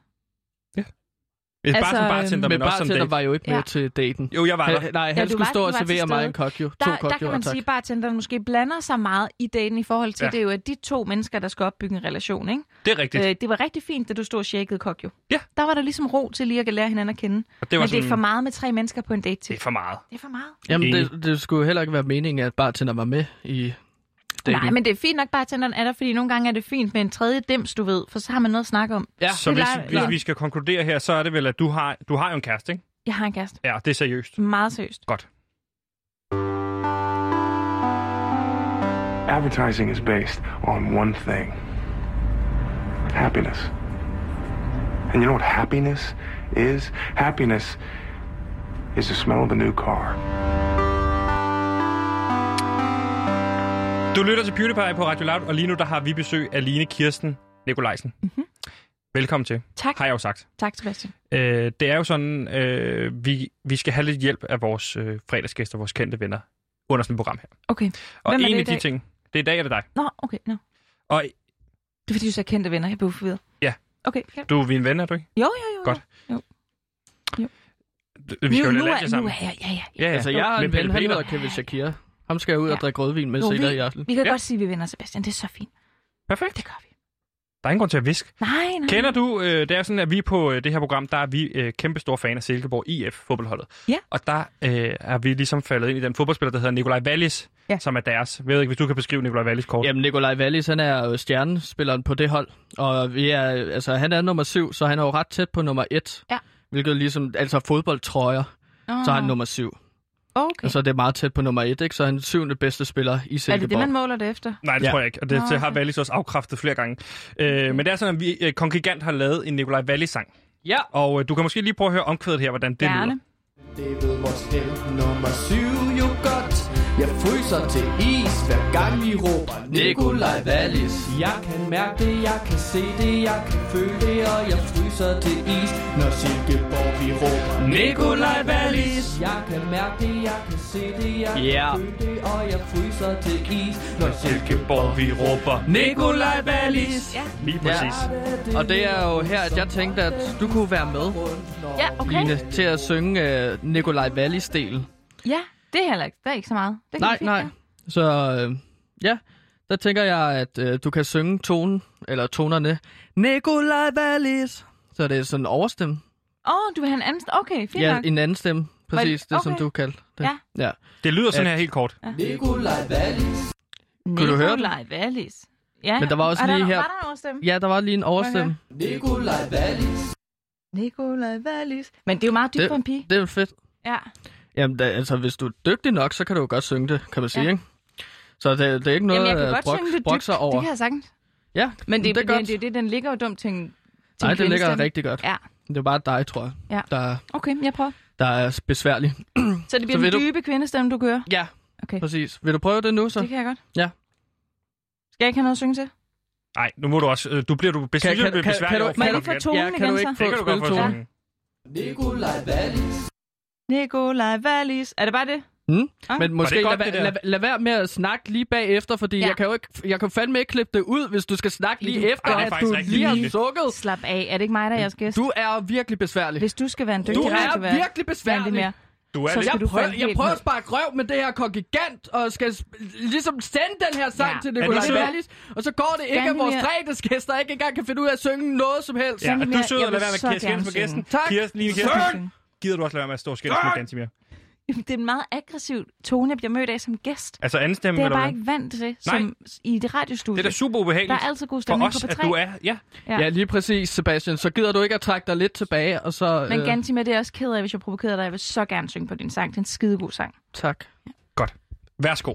[SPEAKER 1] Altså,
[SPEAKER 3] Altså,
[SPEAKER 1] bare som
[SPEAKER 3] øhm,
[SPEAKER 1] bartender, men,
[SPEAKER 2] Men
[SPEAKER 1] også som
[SPEAKER 2] bartender
[SPEAKER 1] date.
[SPEAKER 2] var jo ikke med
[SPEAKER 3] Ja.
[SPEAKER 2] til daten.
[SPEAKER 1] Jo, jeg var der.
[SPEAKER 2] Han, nej,
[SPEAKER 3] Ja,
[SPEAKER 2] han
[SPEAKER 3] du
[SPEAKER 2] skulle
[SPEAKER 3] var-
[SPEAKER 2] stå
[SPEAKER 3] du
[SPEAKER 2] og
[SPEAKER 3] var til
[SPEAKER 2] servere mig
[SPEAKER 3] stede.
[SPEAKER 2] en kokjo. To
[SPEAKER 3] der, der kan
[SPEAKER 2] kokjoer,
[SPEAKER 3] man
[SPEAKER 2] tak.
[SPEAKER 3] sige, at bartenderen måske blander sig meget i dagen i forhold til, ja.
[SPEAKER 1] Ja.
[SPEAKER 3] det er jo at de to mennesker, der skal opbygge en relation, ikke?
[SPEAKER 1] Det er rigtigt.
[SPEAKER 3] Øh, det var rigtig fint, da du stod og shakede kok, jo.
[SPEAKER 1] Ja.
[SPEAKER 3] Der var der ligesom ro til lige at lære hinanden at kende. Det
[SPEAKER 1] Og det var
[SPEAKER 3] Men
[SPEAKER 1] sådan,
[SPEAKER 3] det er for meget med tre mennesker på en date til.
[SPEAKER 1] Det er for meget.
[SPEAKER 3] Det er for meget.
[SPEAKER 2] Jamen,
[SPEAKER 1] Enig.
[SPEAKER 2] det, det skulle heller ikke være meningen, at bartender var med i dating.
[SPEAKER 3] Nej, men det er fint nok, bartenderen er der, fordi nogle gange er det fint med en tredje dims, du ved, for så har man noget at snakke om.
[SPEAKER 2] Ja,
[SPEAKER 1] Så
[SPEAKER 3] det
[SPEAKER 1] hvis,
[SPEAKER 3] leger-
[SPEAKER 1] hvis vi skal konkludere her, så er det vel, at du har, du har jo en kæreste, ikke?
[SPEAKER 3] Jeg har en kæreste.
[SPEAKER 1] Ja, det er seriøst.
[SPEAKER 3] Meget seriøst.
[SPEAKER 1] Godt.
[SPEAKER 7] Advertising is based on one thing happiness. And you know what happiness is? Happiness is the smell of a new car.
[SPEAKER 1] Du lytter til PewDiePie på Radio Loud, og lige nu der har vi besøg af Line Kirsten Nikolajsen.
[SPEAKER 3] Mhm.
[SPEAKER 1] Mm-hmm. Velkommen til,
[SPEAKER 3] Tak.
[SPEAKER 1] har jeg jo sagt.
[SPEAKER 3] Tak, Sebastian.
[SPEAKER 1] Øh, det er jo sådan, øh, vi, vi skal have lidt hjælp af vores øh, fredagsgæster, vores kendte venner, under sådan et program her.
[SPEAKER 3] Okay.
[SPEAKER 1] Og
[SPEAKER 3] Hvem er
[SPEAKER 1] en
[SPEAKER 3] det i
[SPEAKER 1] af de
[SPEAKER 3] dag?
[SPEAKER 1] ting, det er i dag, er det dig.
[SPEAKER 3] Nå, okay. Nå.
[SPEAKER 1] Og
[SPEAKER 3] Det er fordi, du så kendte venner. Jeg blev forvirret.
[SPEAKER 1] Ja.
[SPEAKER 3] Okay. Ja.
[SPEAKER 1] du er min ven, er du ikke?
[SPEAKER 3] Jo, jo, jo.
[SPEAKER 1] Godt.
[SPEAKER 3] Jo. Jo.
[SPEAKER 1] Du- Vi skal jo
[SPEAKER 3] nu, nu,
[SPEAKER 1] lidt
[SPEAKER 3] er,
[SPEAKER 1] langt
[SPEAKER 3] nu
[SPEAKER 1] sammen.
[SPEAKER 3] er jeg, ja, ja.
[SPEAKER 1] Ja, ja.
[SPEAKER 2] Altså, jeg har
[SPEAKER 1] Med
[SPEAKER 2] en
[SPEAKER 1] Pelle
[SPEAKER 2] ven, han
[SPEAKER 1] Peter.
[SPEAKER 2] hedder Kevin Shakira. Ham skal jeg ud
[SPEAKER 3] Ja.
[SPEAKER 2] og drikke rødvin med
[SPEAKER 3] Jo,
[SPEAKER 2] senere
[SPEAKER 3] vi-
[SPEAKER 2] i aften.
[SPEAKER 3] Vi kan
[SPEAKER 1] Ja.
[SPEAKER 3] godt sige, at vi vinder, Sebastian. Det er så fint.
[SPEAKER 1] Perfekt.
[SPEAKER 3] Det gør vi.
[SPEAKER 1] Der er ingen grund til at viske.
[SPEAKER 3] Nej, nej.
[SPEAKER 1] Kender du, øh, det er sådan, at vi på øh, det her program, der er vi øh, kæmpe store fan af Silkeborg IF, fodboldholdet.
[SPEAKER 3] Ja.
[SPEAKER 1] Og der øh, er vi ligesom faldet ind i den fodboldspiller, der hedder Nikolaj Wallis,
[SPEAKER 3] Ja.
[SPEAKER 1] som er deres. Jeg ved ikke, hvis du kan beskrive Nikolaj Wallis kort.
[SPEAKER 2] Jamen, Nikolaj Wallis, han er jo stjernespilleren på det hold. Og vi er, altså, han er nummer syv, så han er jo ret tæt på nummer et.
[SPEAKER 3] Ja.
[SPEAKER 2] Hvilket ligesom, altså fodboldtrøjer,
[SPEAKER 3] Nå.
[SPEAKER 2] så er han nummer syv.
[SPEAKER 3] Okay.
[SPEAKER 2] Og så er det meget tæt på nummer et, ikke? Så er han syvende bedste spiller i
[SPEAKER 3] er det
[SPEAKER 2] Silkeborg.
[SPEAKER 3] det, man måler det efter?
[SPEAKER 1] Nej, det
[SPEAKER 2] Ja.
[SPEAKER 1] tror jeg ikke. Og det,
[SPEAKER 3] Nå,
[SPEAKER 1] det har
[SPEAKER 3] okay.
[SPEAKER 1] Wallis også afkræftet flere gange. Øh, men det er sådan, at vi, øh, Kong Gigant har lavet en Nikolaj Wallis-sang.
[SPEAKER 2] Ja.
[SPEAKER 1] Og øh, du kan måske lige prøve at høre omkvædet her, hvordan det
[SPEAKER 3] Gerne.
[SPEAKER 1] lyder.
[SPEAKER 8] Det ved vores el nummer syv jo godt Jeg fryser til is, hver gang vi råber Nikolaj Wallis Jeg kan mærke det, jeg kan se det, jeg kan føle det Og jeg fryser til is, når Silkeborg vi råber
[SPEAKER 2] Nikolaj Wallis!
[SPEAKER 8] Jeg kan mærke det, jeg kan se det, jeg kan
[SPEAKER 2] Ja.
[SPEAKER 8] føle det Og jeg fryser til is, når Silkeborg
[SPEAKER 1] Silkeborg, vi råber.
[SPEAKER 2] Nikolaj Wallis!
[SPEAKER 1] Lige præcis.
[SPEAKER 2] Og det er jo her, at jeg tænkte, at du kunne være med,
[SPEAKER 3] Ja, okay.
[SPEAKER 2] Line, til at synge øh, Nikolaj Wallis-delen.
[SPEAKER 3] Ja, det er heller ikke. Der er ikke så meget. Det kan
[SPEAKER 2] Nej,
[SPEAKER 3] vi fint
[SPEAKER 2] nej.
[SPEAKER 3] gøre.
[SPEAKER 2] Så øh, ja, der tænker jeg, at øh, du kan synge tonen, eller tonerne, Nikolaj Wallis. Så det er sådan en overstemme.
[SPEAKER 3] Åh, oh, du vil have en anden... st- Okay, fint
[SPEAKER 2] Ja,
[SPEAKER 3] nok.
[SPEAKER 2] en anden stemme. Præcis, det som
[SPEAKER 3] okay.
[SPEAKER 2] du kaldte det.
[SPEAKER 3] Ja.
[SPEAKER 2] ja.
[SPEAKER 1] Det lyder sådan her helt kort.
[SPEAKER 8] Nikolaj Wallis
[SPEAKER 2] Kunne du høre den?
[SPEAKER 3] Nikolaj Wallis. Ja,
[SPEAKER 2] Men der var også
[SPEAKER 3] er
[SPEAKER 2] lige
[SPEAKER 3] der,
[SPEAKER 2] her-
[SPEAKER 3] Var der en overstemme?
[SPEAKER 2] ja, der var lige en overstemme.
[SPEAKER 8] Nikolaj Wallis
[SPEAKER 3] Nikolaj Wallis. Men det er jo meget dybt
[SPEAKER 2] Det-
[SPEAKER 3] for en pige.
[SPEAKER 2] Det er fedt.
[SPEAKER 3] Ja.
[SPEAKER 2] Jamen, da, altså, hvis du er dygtig nok, så kan du jo godt synge det, kan man sige,
[SPEAKER 3] Ja.
[SPEAKER 2] ikke? Så det, det er ikke
[SPEAKER 3] Jamen,
[SPEAKER 2] noget,
[SPEAKER 3] jeg kan
[SPEAKER 2] øh,
[SPEAKER 3] godt
[SPEAKER 2] brok,
[SPEAKER 3] synge det
[SPEAKER 2] brok
[SPEAKER 3] dybt.
[SPEAKER 2] sig over.
[SPEAKER 3] Det kan jeg sagtens.
[SPEAKER 2] Ja,
[SPEAKER 3] Men det,
[SPEAKER 2] det er godt.
[SPEAKER 3] det, det, det, den ligger jo dumt til en til
[SPEAKER 2] Nej,
[SPEAKER 3] en
[SPEAKER 2] det ligger
[SPEAKER 3] kvindestemme.
[SPEAKER 2] rigtig godt.
[SPEAKER 3] Ja,
[SPEAKER 2] Det er bare dig, tror jeg,
[SPEAKER 3] Ja.
[SPEAKER 2] der,
[SPEAKER 3] okay, jeg prøver.
[SPEAKER 2] der er besværlig.
[SPEAKER 3] Så det bliver
[SPEAKER 2] Så
[SPEAKER 3] så
[SPEAKER 2] vil
[SPEAKER 3] den
[SPEAKER 2] du-
[SPEAKER 3] dybe kvindestemme, du kører?
[SPEAKER 2] Ja,
[SPEAKER 3] Okay.
[SPEAKER 2] præcis. Vil du prøve det nu, så?
[SPEAKER 3] Det kan jeg godt.
[SPEAKER 2] Ja.
[SPEAKER 3] Skal jeg ikke have noget at synge til?
[SPEAKER 1] Nej, nu må du også... Øh, du bliver du
[SPEAKER 2] Kan- kan-
[SPEAKER 1] besværlig
[SPEAKER 2] kan- kan du-
[SPEAKER 1] over for
[SPEAKER 3] Må jeg
[SPEAKER 1] Kong
[SPEAKER 3] lige få
[SPEAKER 1] Gigant.
[SPEAKER 3] tonen
[SPEAKER 2] Ja, kan
[SPEAKER 3] igen
[SPEAKER 2] du
[SPEAKER 3] så?
[SPEAKER 2] ikke få
[SPEAKER 1] Det kan du godt få.
[SPEAKER 2] spiltonen?
[SPEAKER 1] sådan.
[SPEAKER 8] Nikolaj Wallis
[SPEAKER 3] Nikolaj Wallis. Er det bare det?
[SPEAKER 2] Mm.
[SPEAKER 3] Ah.
[SPEAKER 2] Men måske
[SPEAKER 1] godt,
[SPEAKER 2] lad,
[SPEAKER 1] det
[SPEAKER 2] være-
[SPEAKER 1] der?
[SPEAKER 2] lad, lad være med at snakke lige bagefter, fordi
[SPEAKER 3] Ja.
[SPEAKER 2] ja. jeg, kan jo ikke, jeg kan fandme ikke klippe det ud, hvis du skal snakke lige
[SPEAKER 3] Ej,
[SPEAKER 2] efter,
[SPEAKER 1] det er
[SPEAKER 2] at
[SPEAKER 1] faktisk
[SPEAKER 2] du
[SPEAKER 1] rigtig
[SPEAKER 2] lige har
[SPEAKER 1] pinligt.
[SPEAKER 2] sukket.
[SPEAKER 3] Slap af. Er det ikke mig, der er jeres gæst?
[SPEAKER 2] Du er virkelig besværlig.
[SPEAKER 3] Hvis du skal være en dygtig
[SPEAKER 2] Du er
[SPEAKER 3] radiovært,
[SPEAKER 2] virkelig
[SPEAKER 3] skal vi
[SPEAKER 2] besværlig.
[SPEAKER 3] mere.
[SPEAKER 1] Du er
[SPEAKER 3] Så
[SPEAKER 1] lidt...
[SPEAKER 3] skal
[SPEAKER 2] Jeg
[SPEAKER 3] du få
[SPEAKER 2] prøver,
[SPEAKER 3] en
[SPEAKER 2] jeg
[SPEAKER 3] helt
[SPEAKER 2] prøver
[SPEAKER 3] ned.
[SPEAKER 2] at sparke røv med det her kongigant, og skal s- ligesom sende den her sang
[SPEAKER 3] Ja.
[SPEAKER 2] ja. til
[SPEAKER 1] du
[SPEAKER 2] Nicolai
[SPEAKER 1] sød?
[SPEAKER 2] Wallis, og så går det ikke, at
[SPEAKER 3] Gerne
[SPEAKER 2] vores
[SPEAKER 3] mere.
[SPEAKER 2] fredagsgæster ikke engang kan finde ud af at synge noget som helst.
[SPEAKER 1] Ja,
[SPEAKER 3] Send
[SPEAKER 1] og
[SPEAKER 3] hende
[SPEAKER 1] du er
[SPEAKER 3] mere.
[SPEAKER 1] sød
[SPEAKER 3] Jeg
[SPEAKER 1] at lade
[SPEAKER 3] vil
[SPEAKER 1] være med
[SPEAKER 3] så
[SPEAKER 1] at skændes
[SPEAKER 3] gerne
[SPEAKER 1] med gæsten.
[SPEAKER 3] synge.
[SPEAKER 2] Tak.
[SPEAKER 1] Kirsten, Line
[SPEAKER 3] Så gerne
[SPEAKER 1] Kirsten.
[SPEAKER 3] synge.
[SPEAKER 1] Gider du også lade være med at stå og skændes med Gantimir?
[SPEAKER 3] Det er en meget aggressiv tone, jeg bliver mødt af som gæst.
[SPEAKER 1] Altså anden stemme,
[SPEAKER 3] Det er jeg
[SPEAKER 1] eller
[SPEAKER 3] bare
[SPEAKER 1] hvad?
[SPEAKER 3] ikke vant til som i det
[SPEAKER 1] Det
[SPEAKER 3] radiostudie.
[SPEAKER 1] er da super
[SPEAKER 3] der
[SPEAKER 1] ubehageligt
[SPEAKER 3] er altid god
[SPEAKER 1] for
[SPEAKER 3] stemning
[SPEAKER 1] os,
[SPEAKER 3] på
[SPEAKER 1] at
[SPEAKER 3] P3.
[SPEAKER 1] du er... Ja,
[SPEAKER 3] Ja.
[SPEAKER 2] Ja, lige præcis, Sebastian. Så gider du ikke at trække dig lidt tilbage, og så...
[SPEAKER 3] Men
[SPEAKER 2] øh,
[SPEAKER 3] Ganti, med det er jeg også ked af, hvis jeg provokerer dig. Jeg vil så gerne synge på din sang. Det er en skidegod sang.
[SPEAKER 2] Tak.
[SPEAKER 1] godt. Værsgo.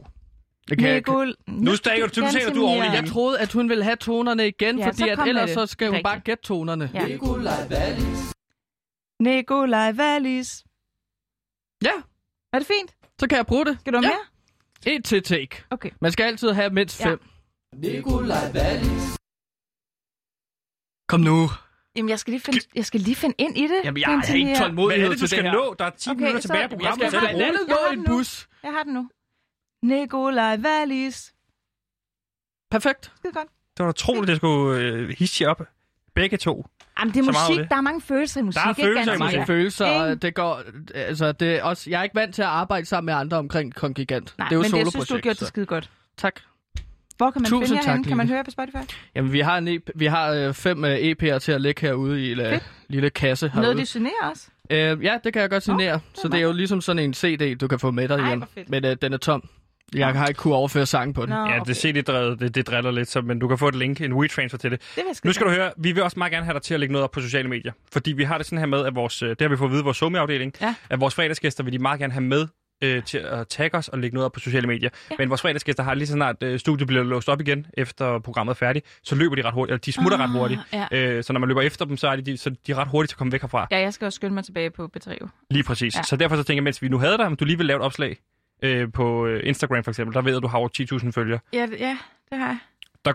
[SPEAKER 2] Det kan jeg ikke.
[SPEAKER 3] Nikol.
[SPEAKER 1] Nu stager du til, du taler du
[SPEAKER 3] Gantimir.
[SPEAKER 1] ordentligt
[SPEAKER 2] Jeg
[SPEAKER 1] hjemme.
[SPEAKER 2] troede, at hun ville have tonerne igen,
[SPEAKER 3] Ja,
[SPEAKER 2] ja,
[SPEAKER 3] så
[SPEAKER 2] fordi at
[SPEAKER 3] kom med
[SPEAKER 2] ellers
[SPEAKER 3] det.
[SPEAKER 2] så skal hun
[SPEAKER 3] Rigtigt.
[SPEAKER 2] bare gætte tonerne.
[SPEAKER 3] Ja.
[SPEAKER 8] Nikolaj Wallis
[SPEAKER 3] Nikolaj Wallis.
[SPEAKER 2] ja,
[SPEAKER 3] Er det fint?
[SPEAKER 2] så kan jeg bruge det.
[SPEAKER 3] Skal du have
[SPEAKER 2] ja.
[SPEAKER 3] mere?
[SPEAKER 2] Et til take.
[SPEAKER 3] Okay.
[SPEAKER 2] Man skal altid have mindst
[SPEAKER 3] Ja.
[SPEAKER 2] fem.
[SPEAKER 8] Nikolaj Wallis
[SPEAKER 2] Kom nu.
[SPEAKER 3] Jamen, jeg skal lige finde, jeg skal lige finde ind i det.
[SPEAKER 2] Jamen, jeg har
[SPEAKER 3] Gantimir.
[SPEAKER 2] ikke
[SPEAKER 1] Hvad er
[SPEAKER 2] tålmodighed
[SPEAKER 1] det, du
[SPEAKER 2] til det
[SPEAKER 1] skal
[SPEAKER 2] her.
[SPEAKER 1] nå? Der er 10
[SPEAKER 3] Okay,
[SPEAKER 1] minutter
[SPEAKER 3] så-
[SPEAKER 1] tilbage af
[SPEAKER 2] Jeg
[SPEAKER 1] programmet.
[SPEAKER 2] skal
[SPEAKER 1] Tag det
[SPEAKER 2] blandt
[SPEAKER 1] roligt.
[SPEAKER 2] andet
[SPEAKER 3] Jeg
[SPEAKER 2] nå
[SPEAKER 3] har
[SPEAKER 2] en
[SPEAKER 3] den nu.
[SPEAKER 2] bus.
[SPEAKER 3] Jeg har den nu. Nikolaj Wallis.
[SPEAKER 2] Perfekt.
[SPEAKER 3] Skide godt.
[SPEAKER 1] Det var da troligt, jeg skulle øh, hisse jer op. Begge to.
[SPEAKER 3] Jamen, det er
[SPEAKER 1] Så meget
[SPEAKER 3] musik.
[SPEAKER 1] af det.
[SPEAKER 3] Der er mange følelser i musik.
[SPEAKER 1] er
[SPEAKER 3] ikke,
[SPEAKER 1] følelser i
[SPEAKER 3] Gantimir?
[SPEAKER 1] musik.
[SPEAKER 2] Mange
[SPEAKER 1] Ja.
[SPEAKER 2] følelser,
[SPEAKER 3] Ingen.
[SPEAKER 2] og det går, altså det er også, jeg er ikke vant til at arbejde sammen med andre omkring Kong Gigant.
[SPEAKER 3] Nej,
[SPEAKER 2] det er jo
[SPEAKER 3] men
[SPEAKER 2] et
[SPEAKER 3] jeg synes, du har gjort
[SPEAKER 2] soloprojekt. så-
[SPEAKER 3] det skide godt.
[SPEAKER 2] Tak.
[SPEAKER 3] Hvor kan man
[SPEAKER 2] Tusind
[SPEAKER 3] finde jer
[SPEAKER 2] tak,
[SPEAKER 3] henne? Kan man
[SPEAKER 2] Line.
[SPEAKER 3] høre på Spotify?
[SPEAKER 2] Jamen, vi har, en EP, vi har øh, fem øh, EP'er til at lægge herude i en øh,
[SPEAKER 3] Fedt.
[SPEAKER 2] lille kasse herude.
[SPEAKER 3] Noget, de generer os.
[SPEAKER 2] Øh, ja, det kan jeg godt signere. Oh,
[SPEAKER 3] det er
[SPEAKER 2] så det er jo ligesom sådan en CD, du kan få med dig
[SPEAKER 3] Ej,
[SPEAKER 2] hjem.
[SPEAKER 3] hvor fedt.
[SPEAKER 2] Men øh, den er tom. Jeg har ikke kunne overføre sangen på den.
[SPEAKER 3] Nå,
[SPEAKER 1] Ja, det CD-drevet, det, det driller lidt, så, men du kan få et link, en WeTransfer til det.
[SPEAKER 3] Det vil jeg
[SPEAKER 1] Nu skal du høre, vi vil også meget gerne have dig til at lægge noget op på sociale medier. Fordi vi har det sådan her med, at vores, øh, det har vi fået at vide i vores somi-afdeling,
[SPEAKER 3] Ja.
[SPEAKER 1] at vores fredagsgæster vil de meget gerne have med øh, til at tagge os og lægge noget op på sociale medier.
[SPEAKER 3] Ja.
[SPEAKER 1] Men vores fredagsgæster har lige så snart øh, studiet bliver låst op igen, efter programmet er færdigt, så løber de ret hurtigt, eller de smutter ret
[SPEAKER 3] Ah,
[SPEAKER 1] hurtigt.
[SPEAKER 3] ja.
[SPEAKER 1] Øh, så når man løber efter dem, så er de- de, så de er ret hurtigt til at komme væk herfra.
[SPEAKER 3] Ja, jeg skal også skynde mig tilbage på B3.
[SPEAKER 1] Lige præcis. Ja.
[SPEAKER 3] Ja.
[SPEAKER 1] Så derfor så tænker jeg, mens vi nu havde dig, om du lige vil lave et opslag øh, på øh, Instagram for eksempel, der ved jeg, at du har over 10.000 følgere.
[SPEAKER 3] Ja, det- ja, det har jeg.